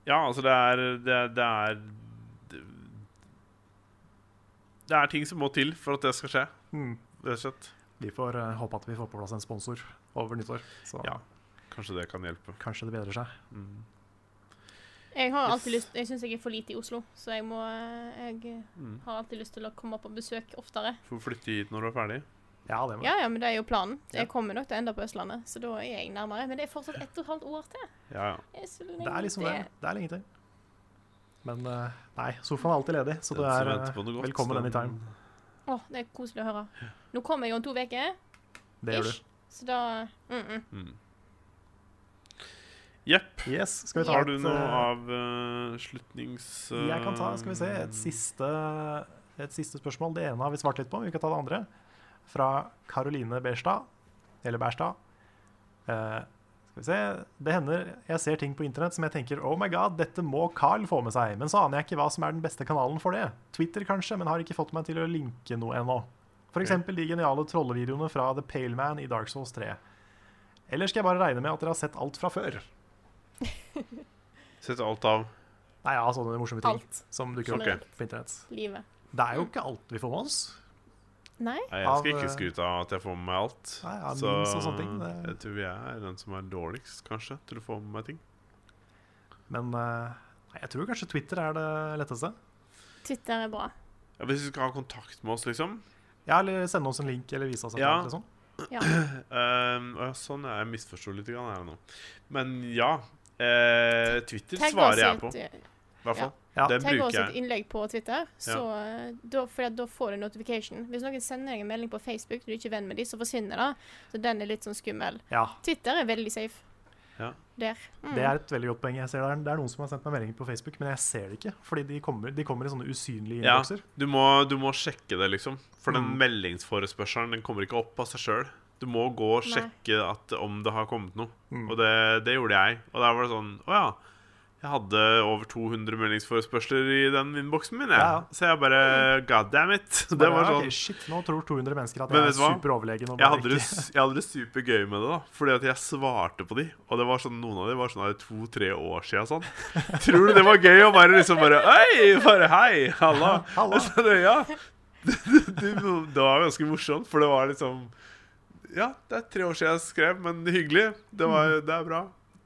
[SPEAKER 2] Ja, altså det er Det, det er det, det er ting som må til for at det skal skje,
[SPEAKER 1] Mm.
[SPEAKER 2] rett og slett.
[SPEAKER 1] Vi får eh, håpe at vi får på plass en sponsor over nyttår. Så
[SPEAKER 2] Ja. Kanskje det kan hjelpe.
[SPEAKER 1] kanskje det bedrer seg.
[SPEAKER 2] Mm.
[SPEAKER 3] Jeg har alltid
[SPEAKER 2] Yes.
[SPEAKER 3] lyst Jeg syns jeg er for lite i Oslo, så jeg må eh, Jeg
[SPEAKER 2] Mm.
[SPEAKER 3] har alltid lyst til å komme på besøk oftere.
[SPEAKER 2] Får flytte hit når du er ferdig.
[SPEAKER 1] Ja, det må
[SPEAKER 3] Ja, ja, men det er jo planen.
[SPEAKER 2] Ja.
[SPEAKER 3] Jeg kommer nok til å ende på Østlandet, så da er jeg nærmere. Men det er fortsatt ett og et halvt år til.
[SPEAKER 2] Ja, ja.
[SPEAKER 3] Det er, så
[SPEAKER 1] Det
[SPEAKER 3] lenge
[SPEAKER 1] er liksom det. Det er lenge til. Men eh, nei, sofaen er alltid ledig, så du
[SPEAKER 2] Den som
[SPEAKER 1] er
[SPEAKER 2] venter
[SPEAKER 1] eh,
[SPEAKER 2] på noe godt,
[SPEAKER 1] velkommen
[SPEAKER 2] den-
[SPEAKER 1] anytime.
[SPEAKER 3] Å, det er koselig å høre. Nå kommer jeg jo om to uker,
[SPEAKER 1] Det gjør du.
[SPEAKER 3] ish. Så da mm -mm.
[SPEAKER 2] Mm. Jepp.
[SPEAKER 1] Yes, skal vi ta
[SPEAKER 2] Har du
[SPEAKER 1] et,
[SPEAKER 2] noe
[SPEAKER 1] eh,
[SPEAKER 2] avslutnings...
[SPEAKER 1] Jeg kan ta
[SPEAKER 2] eh,
[SPEAKER 1] skal vi se, et siste, et siste spørsmål. Det ene har vi svart litt på, men vi kan ta det andre. Fra Karoline Berstad. Eller Berstad. Eh, skal vi se. Det hender jeg ser ting på internett som jeg tenker Oh my god, dette må Carl få med seg. Men så aner jeg ikke hva som er den beste kanalen for det. Twitter kanskje, men har ikke fått meg til å linke noe ennå. F.eks. de geniale trollevideoene fra The Pale Man i Dark Souls 3. Eller skal jeg bare regne med at dere har sett alt fra før?
[SPEAKER 2] Sett alt av.
[SPEAKER 1] Nei, ja, sånne morsomme ting
[SPEAKER 3] alt.
[SPEAKER 1] som dukker opp
[SPEAKER 2] Ok.
[SPEAKER 1] på internett.
[SPEAKER 3] Livet.
[SPEAKER 1] Det er jo ikke alt vi får med oss.
[SPEAKER 3] Nei?
[SPEAKER 2] Nei, jeg skal
[SPEAKER 1] Av,
[SPEAKER 2] ikke
[SPEAKER 1] eh,
[SPEAKER 2] skryte av at jeg får med meg alt.
[SPEAKER 1] Nei, ja,
[SPEAKER 2] så eh,
[SPEAKER 1] memes og sånne ting, det-
[SPEAKER 2] jeg tror jeg er den som er dårligst, kanskje, til å få med meg ting.
[SPEAKER 1] Men eh, nei, jeg tror kanskje Twitter er det letteste.
[SPEAKER 3] Twitter er bra.
[SPEAKER 2] Ja, hvis du skal ha kontakt med oss, liksom.
[SPEAKER 1] Ja, eller sende oss en link eller vise oss et
[SPEAKER 2] Ja.
[SPEAKER 1] eller annet. Liksom.
[SPEAKER 3] Ja.
[SPEAKER 2] Ehm, å ja, sånn, ja, jeg misforsto litt grann her nå. Men ja. eh, Twitter
[SPEAKER 3] Tagg oss
[SPEAKER 2] svarer jeg på,
[SPEAKER 3] i et,
[SPEAKER 2] i hvert fall.
[SPEAKER 1] Ja.
[SPEAKER 2] Den
[SPEAKER 3] Tagg oss
[SPEAKER 2] bruker
[SPEAKER 3] i et
[SPEAKER 2] jeg.
[SPEAKER 3] innlegg på Twitter, så, eh, da, for da får du notification. Hvis noen sender deg en melding på Facebook når du ikke er venn med dem, så forsvinner det. Så den er litt sånn skummel.
[SPEAKER 1] Ja,
[SPEAKER 3] Twitter er veldig safe.
[SPEAKER 2] Ja.
[SPEAKER 3] Der. Mm.
[SPEAKER 1] Det er et veldig godt poeng. Jeg ser det, er, det er noen som har sendt meg melding på Facebook, men jeg ser det ikke. Fordi de kommer, de kommer i sånne usynlige
[SPEAKER 2] Ja.
[SPEAKER 1] innbokser.
[SPEAKER 2] Du må, du må sjekke det, liksom. For den
[SPEAKER 1] Mm.
[SPEAKER 2] meldingsforespørselen den kommer ikke opp av seg sjøl. Du må gå og
[SPEAKER 3] Nei.
[SPEAKER 2] sjekke at, om det har kommet noe.
[SPEAKER 1] Mm.
[SPEAKER 2] Og det, det gjorde jeg. Og der var det sånn Å ja. Jeg hadde over 200 meldingsforespørsler i den innboksen min. Jeg.
[SPEAKER 1] Ja, ja.
[SPEAKER 2] Så jeg bare God damn it! Det var
[SPEAKER 1] ja,
[SPEAKER 2] sånn
[SPEAKER 1] «Ah, ok, shit, nå tror 200 mennesker at
[SPEAKER 2] Men
[SPEAKER 1] jeg er
[SPEAKER 2] vet du hva?
[SPEAKER 1] superoverlegen. og
[SPEAKER 2] jeg
[SPEAKER 1] bare
[SPEAKER 2] hadde, det, s- jeg hadde det supergøy med det, da. Fordi at jeg svarte på de. Og det var sånn, noen av de var sånn her to-tre år
[SPEAKER 1] (laughs)
[SPEAKER 2] siden. Sånn. Tror du det var gøy å bare liksom bare Hei! Bare hei! Halla!
[SPEAKER 1] (laughs) Halla.
[SPEAKER 2] Så det, ja. (laughs) Det, det, det var ganske morsomt, for det var liksom Ja, det er tre år siden jeg skrev, men hyggelig. Det, var, det er bra.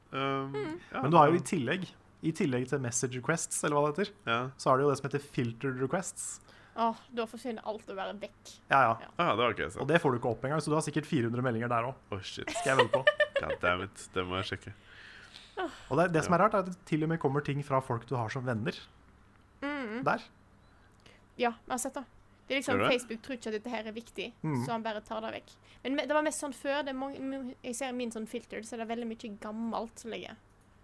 [SPEAKER 2] Um, ja.
[SPEAKER 1] Mm. Men du har jo i tillegg i tillegg til message requests, eller hva det heter,
[SPEAKER 2] ja.
[SPEAKER 1] så har du jo det som heter filtered requests.
[SPEAKER 3] Åh, da forsvinner alt å være vekk.
[SPEAKER 1] Ja, ja.
[SPEAKER 2] Ah, det var ikke jeg
[SPEAKER 1] Og
[SPEAKER 2] sett.
[SPEAKER 1] det får du ikke opp engang, så du har sikkert 400 meldinger der òg.
[SPEAKER 2] Å, shit.
[SPEAKER 1] Skal jeg vedde på.
[SPEAKER 2] God damn it. Det må jeg sjekke.
[SPEAKER 1] Og det, det som er rart, er at det til og med kommer ting fra folk du har som venner. Der.
[SPEAKER 3] Ja, vi har sett det. Det er liksom,
[SPEAKER 2] Gjør det?
[SPEAKER 3] Facebook tror ikke at dette her er viktig,
[SPEAKER 1] Mhm.
[SPEAKER 3] så han bare tar det vekk. Men me- det var mest sånn før. Det er mange, mo- jeg ser min sånn filter, så er det veldig mye gammelt som ligger.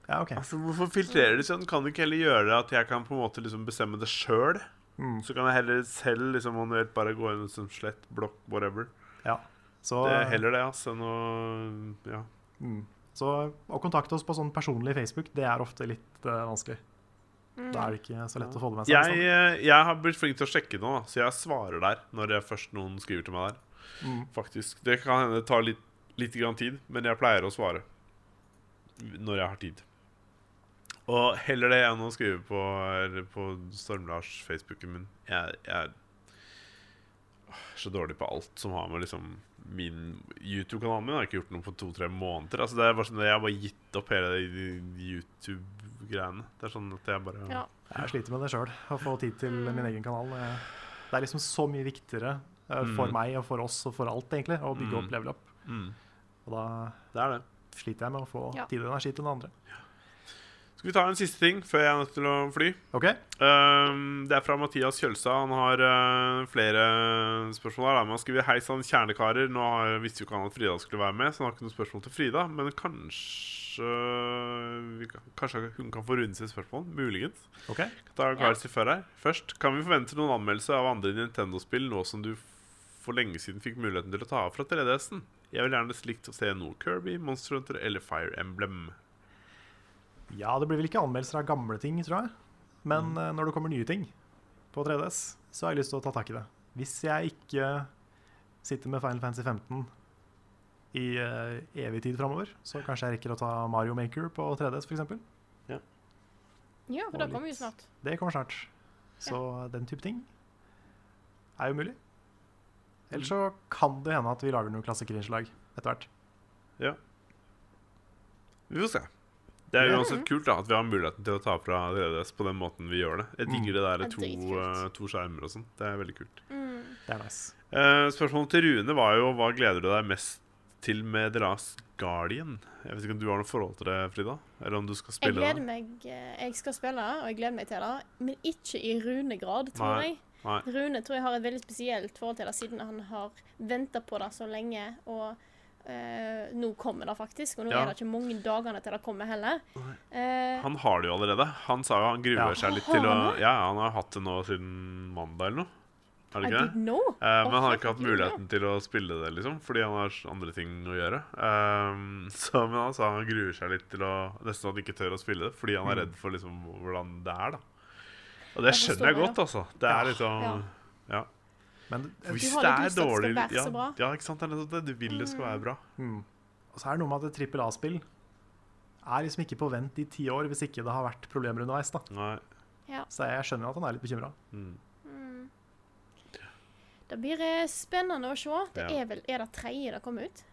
[SPEAKER 1] Ja, OK.
[SPEAKER 2] Altså, Hvorfor filtrerer de sånn? Kan du ikke heller gjøre det at jeg kan på en måte liksom bestemme det sjøl?
[SPEAKER 1] Mm.
[SPEAKER 2] Så kan jeg heller selv liksom manuelt bare gå inn og liksom slett, blokk, whatever.
[SPEAKER 1] Ja. Så,
[SPEAKER 2] Det er heller det, ass, enn å Ja.
[SPEAKER 1] mm. så å kontakte oss på sånn personlig Facebook, det er ofte litt eh, vanskelig. Da er det ikke så lett å få det med seg.
[SPEAKER 2] Jeg, eh, jeg har blitt flink til å sjekke nå, da, så jeg svarer der når jeg først noen skriver til meg der.
[SPEAKER 1] Mm.
[SPEAKER 2] Faktisk. Det kan hende det tar litt, litt grann tid, men jeg pleier å svare når jeg har tid. Og heller det enn å skrive på, eller på Storm-Lars-Facebooken min. Jeg, jeg er så dårlig på alt som har med liksom min YouTube-kanal min. Jeg har ikke gjort noe på to-tre måneder. Altså, det er bare sånn, jeg har bare gitt opp hele de de YouTube-greiene. Det er sånn at jeg bare
[SPEAKER 3] Ja.
[SPEAKER 1] sånn. Jeg sliter med det sjøl, å få tid til min egen kanal. Eh, Det er liksom så mye viktigere eh, for
[SPEAKER 2] Mm.
[SPEAKER 1] meg og for oss og for alt, egentlig, å bygge
[SPEAKER 2] Mm.
[SPEAKER 1] opp level up.
[SPEAKER 2] mm,
[SPEAKER 1] Og da
[SPEAKER 2] Det er det.
[SPEAKER 1] sliter jeg med å få
[SPEAKER 3] Ja.
[SPEAKER 1] tid og energi til den andre.
[SPEAKER 2] Skal vi ta en siste ting før jeg er nødt til å fly?
[SPEAKER 1] OK?
[SPEAKER 2] Ehm, det er fra Mathias Kjølstad. Han har eh, flere spørsmål her. da. Men han skriver Hei sann, kjernekarer. Nå har- visste jo ikke han at Frida skulle være med, så han har ikke noe spørsmål til Frida. Men kanskje vi kan, Kanskje hun kan få runde sitt spørsmål? Muligens.
[SPEAKER 1] ok.
[SPEAKER 2] Da er Kari før her. Først, kan vi forvente noen anmeldelse av andre Nintendo-spill nå som du for lenge siden fikk muligheten til å ta av fra 3DS-en? Jeg vil gjerne slikt å se noe Kirby, Monster Hunter eller Fire Emblem.
[SPEAKER 1] Ja, det blir vel ikke anmeldelser av gamle ting, tror jeg. Men eh, når det kommer nye ting på 3DS, så har jeg lyst til å ta tak i det. Hvis jeg ikke sitter med Final Fantasy 15 i eh, evig tid framover, så kanskje jeg rekker å ta Mario Maker på 3DS, f.eks.
[SPEAKER 3] Ja, for
[SPEAKER 1] Og
[SPEAKER 3] det kommer jo
[SPEAKER 1] litt.
[SPEAKER 3] snart.
[SPEAKER 1] Det kommer snart. Så den type ting er jo mulig. Ellers så kan det hende at vi lager noen klassikerinnslag etter hvert.
[SPEAKER 2] Vi får se. Det er
[SPEAKER 1] Ja.
[SPEAKER 2] uansett kult da at vi har muligheten til å ta fra 3DS på den måten vi gjør det. Jeg digger det der
[SPEAKER 3] Det er
[SPEAKER 2] to,
[SPEAKER 3] dritkult.
[SPEAKER 2] eh, to skjermer og sånn. Det er veldig kult.
[SPEAKER 3] Mm.
[SPEAKER 1] Det er nice.
[SPEAKER 2] Eh, spørsmålet til Rune var jo hva gleder du deg mest til med The Last Guardian? Jeg vet ikke om du har noe forhold til det, Frida? Eller om du skal
[SPEAKER 3] Jeg
[SPEAKER 2] spille
[SPEAKER 3] gleder
[SPEAKER 2] det?
[SPEAKER 3] meg eh, Jeg skal spille, og jeg gleder meg til det, men ikke i runegrad, tror
[SPEAKER 2] Nei.
[SPEAKER 3] jeg.
[SPEAKER 2] Nei.
[SPEAKER 3] Rune tror jeg har et veldig spesielt forhold til det, siden han har venta på det så lenge. Og eh, nå kommer det faktisk, og nå
[SPEAKER 2] Ja.
[SPEAKER 3] er det ikke mange dagene til det kommer heller. Eh,
[SPEAKER 2] Han har det jo allerede. Han sa jo han gruer
[SPEAKER 1] Ja.
[SPEAKER 2] seg litt
[SPEAKER 3] Har
[SPEAKER 2] til å
[SPEAKER 3] han
[SPEAKER 2] Ja, han har hatt det nå siden mandag eller noe. Har
[SPEAKER 3] I
[SPEAKER 2] det ikke det?
[SPEAKER 3] didn't know.
[SPEAKER 2] Eh, men
[SPEAKER 3] Å,
[SPEAKER 2] han har ikke hatt
[SPEAKER 3] herregud, ja.
[SPEAKER 2] muligheten til å spille det, liksom, fordi han har s- andre ting å gjøre. Ehm, (laughs) så, men han sa han gruer seg litt til å Nesten at han ikke tør å spille det, fordi han er redd for liksom, hvordan det er. da Og det
[SPEAKER 3] Jeg forstår
[SPEAKER 2] skjønner jeg godt,
[SPEAKER 3] det,
[SPEAKER 2] altså. Det er
[SPEAKER 1] Ja.
[SPEAKER 2] liksom ja.
[SPEAKER 1] Men
[SPEAKER 2] Hvis
[SPEAKER 3] har
[SPEAKER 2] det er
[SPEAKER 3] litt lyst til at det skal
[SPEAKER 2] dårlig
[SPEAKER 3] være
[SPEAKER 2] ja,
[SPEAKER 3] så bra.
[SPEAKER 2] ja, ikke sant? Det er nettopp det. Du vil det skal være bra.
[SPEAKER 1] Mm. Og så er det noe med at et trippel A-spill er liksom ikke på vent i ti år hvis ikke det har vært problemer underveis. da.
[SPEAKER 2] Nei.
[SPEAKER 1] Så jeg skjønner at han er litt bekymra.
[SPEAKER 2] Mm.
[SPEAKER 3] Det blir eh, spennende å se. Det
[SPEAKER 2] Ja.
[SPEAKER 3] er vel Er det tredje det kommer ut?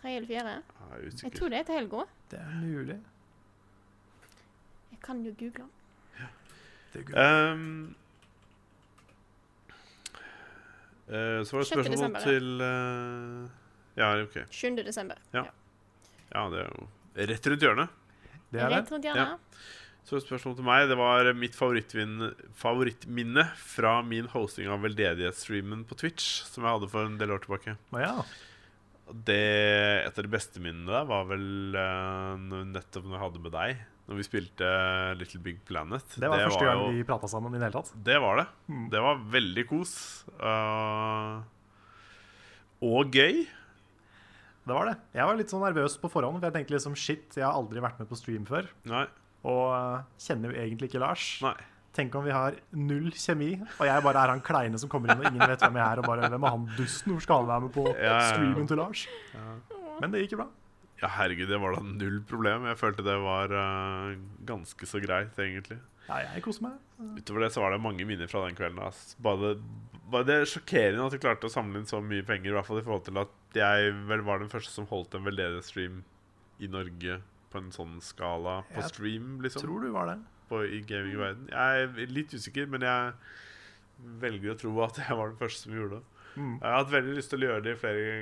[SPEAKER 3] Tredje eller fjerde?
[SPEAKER 2] Jeg er
[SPEAKER 3] Jeg
[SPEAKER 2] usikker.
[SPEAKER 3] tror det er til helga.
[SPEAKER 1] Det er mulig.
[SPEAKER 3] Jeg kan jo google.
[SPEAKER 1] Det er gøy.
[SPEAKER 2] Ehm, eh, så var det
[SPEAKER 3] 6.
[SPEAKER 2] spørsmål
[SPEAKER 3] desember, ja.
[SPEAKER 2] til eh, Ja, OK.
[SPEAKER 3] 7. desember.
[SPEAKER 2] Ja. Ja, det er jo rett rundt hjørnet.
[SPEAKER 1] det er
[SPEAKER 3] Rett
[SPEAKER 1] det.
[SPEAKER 3] rundt hjørnet.
[SPEAKER 2] Så et spørsmål til meg. Det var mitt favorittvin- favorittminne fra min hosting av veldedighetsstreamen på Twitch, som jeg hadde for en del år tilbake.
[SPEAKER 1] Å ja.
[SPEAKER 2] Og Det, et av de beste minnene der var vel eh, når- nettopp når jeg hadde med deg, når vi spilte eh, Little Big Planet.
[SPEAKER 1] Det var første gang
[SPEAKER 2] jo-
[SPEAKER 1] vi prata sammen i det hele tatt.
[SPEAKER 2] Det var det.
[SPEAKER 1] Mm.
[SPEAKER 2] Det var veldig kos. eh, og gøy.
[SPEAKER 1] Det var det. Jeg var litt sånn nervøs på forhånd, for jeg tenkte liksom shit, jeg har aldri vært med på stream før.
[SPEAKER 2] Nei.
[SPEAKER 1] Og eh, kjenner jo egentlig ikke Lars.
[SPEAKER 2] Nei.
[SPEAKER 1] Tenk om vi har null kjemi, og jeg bare er han kleine som kommer inn, og ingen vet hvem jeg er, og bare Hvem er han dusten? Hvor skal han være med på
[SPEAKER 2] ja, ja.
[SPEAKER 1] streamen til Lars? Men det gikk jo bra.
[SPEAKER 2] Ja, herregud, det var da null problem. Jeg følte det var eh, ganske så greit, egentlig.
[SPEAKER 1] Ja, jeg koser meg.
[SPEAKER 2] Utover det så var det mange minner fra den kvelden. Ass. Bare, bare det er sjokkerende at jeg klarte å samle inn så mye penger, i hvert fall i forhold til at jeg vel var den første som holdt en veldedighetsstream i Norge på en sånn skala. På
[SPEAKER 1] Jeg
[SPEAKER 2] stream, liksom.
[SPEAKER 1] Tror du var det.
[SPEAKER 2] På, I gamingverden. Jeg er litt usikker, men jeg velger å tro at jeg var den første som gjorde det.
[SPEAKER 1] Mm.
[SPEAKER 2] Jeg har hatt veldig lyst til å gjøre det flere,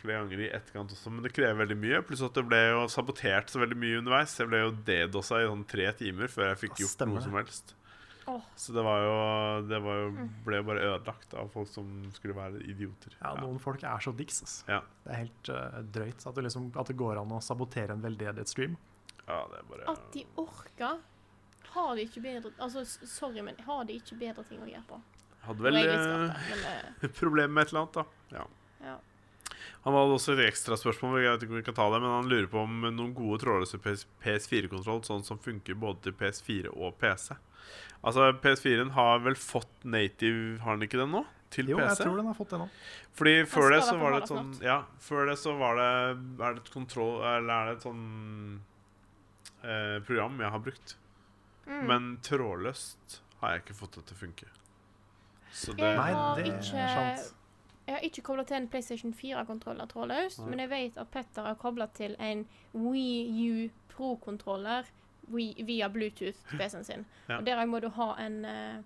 [SPEAKER 2] flere ganger i etterkant også, men det krever veldig mye. Pluss at det ble jo sabotert så veldig mye underveis. Jeg ble jo dedosa i sånn tre timer før jeg fikk
[SPEAKER 1] Ja,
[SPEAKER 2] gjort
[SPEAKER 1] stemmer
[SPEAKER 2] noe
[SPEAKER 1] det.
[SPEAKER 2] som helst.
[SPEAKER 3] Åh.
[SPEAKER 2] Så det var jo Det var
[SPEAKER 3] Mm.
[SPEAKER 2] jo, ble jo bare ødelagt av folk som skulle være idioter.
[SPEAKER 1] Ja, noen folk er så dicks, ass.
[SPEAKER 2] Ja.
[SPEAKER 1] Det er helt eh, drøyt at det, liksom, at det går an å sabotere en veldedighetsstream.
[SPEAKER 2] ja, det er bare
[SPEAKER 3] At de orker. Har de ikke bedre Altså, s- sorry, men har de ikke bedre ting å gjøre på?
[SPEAKER 2] Hadde
[SPEAKER 3] Nå er
[SPEAKER 2] vel
[SPEAKER 3] jeg litt
[SPEAKER 2] eh, (laughs)
[SPEAKER 3] skarp, men,
[SPEAKER 2] problemer med et eller annet, da. Ja.
[SPEAKER 3] eh, ja.
[SPEAKER 2] Han hadde også et ekstraspørsmål, jeg vet ikke om vi kan ta det, men han lurer på om noen gode trådløse PS PS4-kontroll, sånn som funker både til PS4 og PC. Altså, PS4-en har vel fått native, har den ikke den nå? Til
[SPEAKER 1] Jo, jeg
[SPEAKER 2] PC?
[SPEAKER 1] tror den har fått det nå.
[SPEAKER 2] Fordi før
[SPEAKER 3] skal
[SPEAKER 2] det
[SPEAKER 3] i
[SPEAKER 2] så
[SPEAKER 3] hvert fall
[SPEAKER 2] var
[SPEAKER 3] ha
[SPEAKER 2] det et
[SPEAKER 3] det
[SPEAKER 2] sånn Ja, før det så var det Er det et kontroll Eller er det et sånn eh, program jeg har brukt?
[SPEAKER 3] Mm.
[SPEAKER 2] Men trådløst har jeg ikke fått det til å funke. Så det
[SPEAKER 3] Jeg
[SPEAKER 1] Nei,
[SPEAKER 3] har
[SPEAKER 1] det
[SPEAKER 3] ikke-
[SPEAKER 1] er sant.
[SPEAKER 3] Jeg har ikke kobla til en PlayStation 4-kontroller trådløst,
[SPEAKER 2] Nei.
[SPEAKER 3] men jeg vet at Petter har kobla til en Wii U Pro-kontroller Wii-
[SPEAKER 2] (laughs)
[SPEAKER 3] via Bluetooth til PC-en sin.
[SPEAKER 2] Ja.
[SPEAKER 3] Og der må du ha en eh,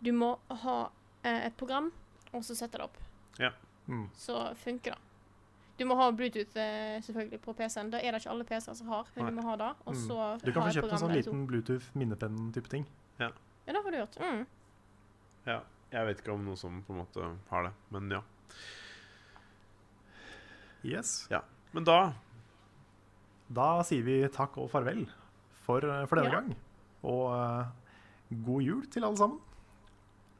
[SPEAKER 3] Du må ha eh, et program, og så sette det opp.
[SPEAKER 1] Mm.
[SPEAKER 3] Så funker det. Du må ha Bluetooth eh, selvfølgelig på PC-en. Det er det ikke alle PC-er som har, men
[SPEAKER 2] Nei.
[SPEAKER 3] du må ha det. Og
[SPEAKER 1] Mm.
[SPEAKER 3] så
[SPEAKER 1] Du kan få
[SPEAKER 3] ha
[SPEAKER 1] kjøpt
[SPEAKER 3] et
[SPEAKER 1] en
[SPEAKER 3] program
[SPEAKER 1] sånn
[SPEAKER 3] eller to.
[SPEAKER 1] liten Bluetooth-minnepenn-type ting.
[SPEAKER 3] Ja, det har du gjort. Mm.
[SPEAKER 2] Ja, jeg vet ikke om noen som på en måte har det, men ja.
[SPEAKER 1] Yes.
[SPEAKER 2] Men da
[SPEAKER 1] Da sier vi takk og farvel for, eh, for denne
[SPEAKER 3] Ja.
[SPEAKER 1] gang. Og eh, god jul til alle sammen.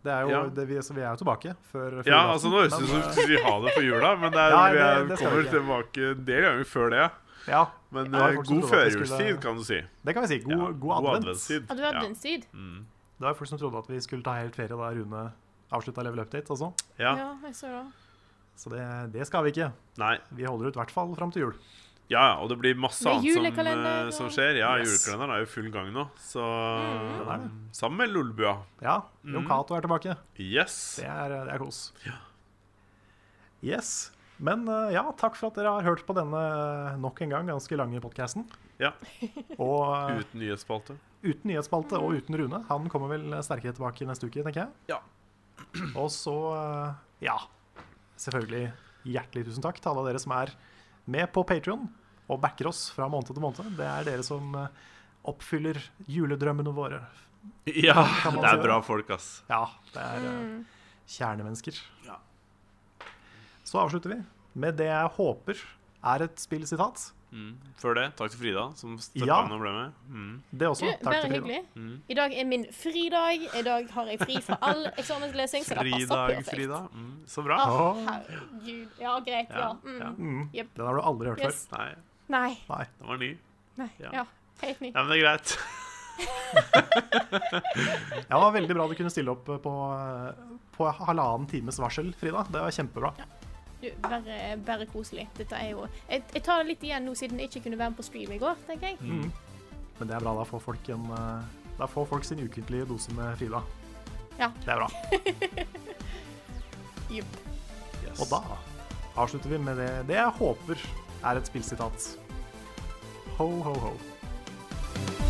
[SPEAKER 1] Det er jo,
[SPEAKER 2] Ja.
[SPEAKER 1] det, vi, så vi er jo tilbake før før
[SPEAKER 2] Ja,
[SPEAKER 1] julaften,
[SPEAKER 2] altså nå høres det ut
[SPEAKER 1] men,
[SPEAKER 2] som vi skulle si ha det for jula, men det er,
[SPEAKER 1] Nei,
[SPEAKER 2] vi er,
[SPEAKER 1] det- det skal vi
[SPEAKER 2] kommer
[SPEAKER 1] ikke.
[SPEAKER 2] tilbake en del ganger før det. ja.
[SPEAKER 1] eh, Ja,
[SPEAKER 2] Men
[SPEAKER 1] Ja,
[SPEAKER 2] eh,
[SPEAKER 1] folk som
[SPEAKER 2] god
[SPEAKER 1] trodde at vi
[SPEAKER 2] førjulstid,
[SPEAKER 1] skulle-
[SPEAKER 2] kan du si.
[SPEAKER 1] det kan vi si. God,
[SPEAKER 2] Ja,
[SPEAKER 1] god advent.
[SPEAKER 2] adventstid.
[SPEAKER 3] Har du
[SPEAKER 2] Ja.
[SPEAKER 3] adventstid?
[SPEAKER 2] Mm.
[SPEAKER 1] Det var jo folk som trodde at vi skulle ta helt ferie da Rune avslutta Level Update altså. også.
[SPEAKER 2] Ja.
[SPEAKER 3] ja, jeg så det.
[SPEAKER 1] Så det, det skal vi ikke.
[SPEAKER 2] Nei.
[SPEAKER 1] Vi holder ut i hvert fall fram til jul.
[SPEAKER 2] Ja, ja, og det blir masse
[SPEAKER 3] Med
[SPEAKER 2] annet som,
[SPEAKER 3] julekalender
[SPEAKER 2] eh,
[SPEAKER 3] og- Mm.
[SPEAKER 2] som skjer. Ja,
[SPEAKER 1] Yes.
[SPEAKER 2] julekalenderen er jo i full gang nå, så um,
[SPEAKER 1] Den er det.
[SPEAKER 2] Sammen med Lolbua.
[SPEAKER 1] Ja, Jon
[SPEAKER 2] Mm.
[SPEAKER 1] Cato er tilbake.
[SPEAKER 2] Yes.
[SPEAKER 1] Det er, det er kos. Yes. Men eh, ja, takk for at dere har hørt på denne eh, nok en gang ganske lange podkasten.
[SPEAKER 2] Ja.
[SPEAKER 1] Og eh,
[SPEAKER 2] Uten nyhetsspalte.
[SPEAKER 1] uten nyhetsspalte og uten Rune. Han kommer vel sterkere tilbake neste uke, tenker jeg.
[SPEAKER 2] Ja.
[SPEAKER 1] (clears throat) Og så, eh, ja Selvfølgelig hjertelig tusen takk til alle dere som er med på Patrion og backer oss fra måned til måned. Det er dere som eh, oppfyller juledrømmene våre.
[SPEAKER 2] Ja,
[SPEAKER 1] Kan man
[SPEAKER 2] det
[SPEAKER 1] si
[SPEAKER 2] er
[SPEAKER 1] det?
[SPEAKER 2] bra folk, ass.
[SPEAKER 1] Ja, det er eh,
[SPEAKER 3] Mm.
[SPEAKER 1] kjernemennesker.
[SPEAKER 2] Ja.
[SPEAKER 1] Så avslutter vi med det jeg håper er et spillsitat.
[SPEAKER 2] Mm. Før det, takk til Frida, som steppa
[SPEAKER 1] Ja.
[SPEAKER 2] inn og ble med. Mm.
[SPEAKER 1] Det
[SPEAKER 3] Du,
[SPEAKER 1] også. Takk
[SPEAKER 3] bare
[SPEAKER 1] til Frida.
[SPEAKER 3] hyggelig.
[SPEAKER 2] Mm.
[SPEAKER 3] I dag er min fridag. I dag har jeg fri fra
[SPEAKER 2] (laughs)
[SPEAKER 3] all eksamenslesing, så det passer
[SPEAKER 2] Fridag,
[SPEAKER 3] perfekt.
[SPEAKER 2] Frida. Mm. Så bra.
[SPEAKER 3] Å,
[SPEAKER 1] Ah.
[SPEAKER 3] herregud. Ja, greit. Ja.
[SPEAKER 2] Ja, ja.
[SPEAKER 3] Mm.
[SPEAKER 1] Mm.
[SPEAKER 3] Jep.
[SPEAKER 1] Den har du aldri hørt
[SPEAKER 3] Yes.
[SPEAKER 2] Nei,
[SPEAKER 3] Nei.
[SPEAKER 1] før. Nei.
[SPEAKER 2] den var ny.
[SPEAKER 3] Nei.
[SPEAKER 2] Ja.
[SPEAKER 3] Ja. Helt ny.
[SPEAKER 2] Ja, men det er greit.
[SPEAKER 1] Ja, det var veldig bra du kunne stille opp eh, på, på halvannen times varsel, Frida. Det var kjempebra.
[SPEAKER 3] Du, bare, bare koselig. Dette er jo jeg, jeg tar det litt igjen nå, siden jeg ikke kunne være med på stream i går, tenker jeg.
[SPEAKER 1] Mm. Men det er bra. Da får folk, en, eh, da får folk sin ukentlige dose med Frida.
[SPEAKER 3] Ja.
[SPEAKER 1] Det er bra.
[SPEAKER 3] Jep.
[SPEAKER 2] Yes.
[SPEAKER 1] Og da avslutter vi med det, det jeg håper er et spillsitat. Ho, ho, ho.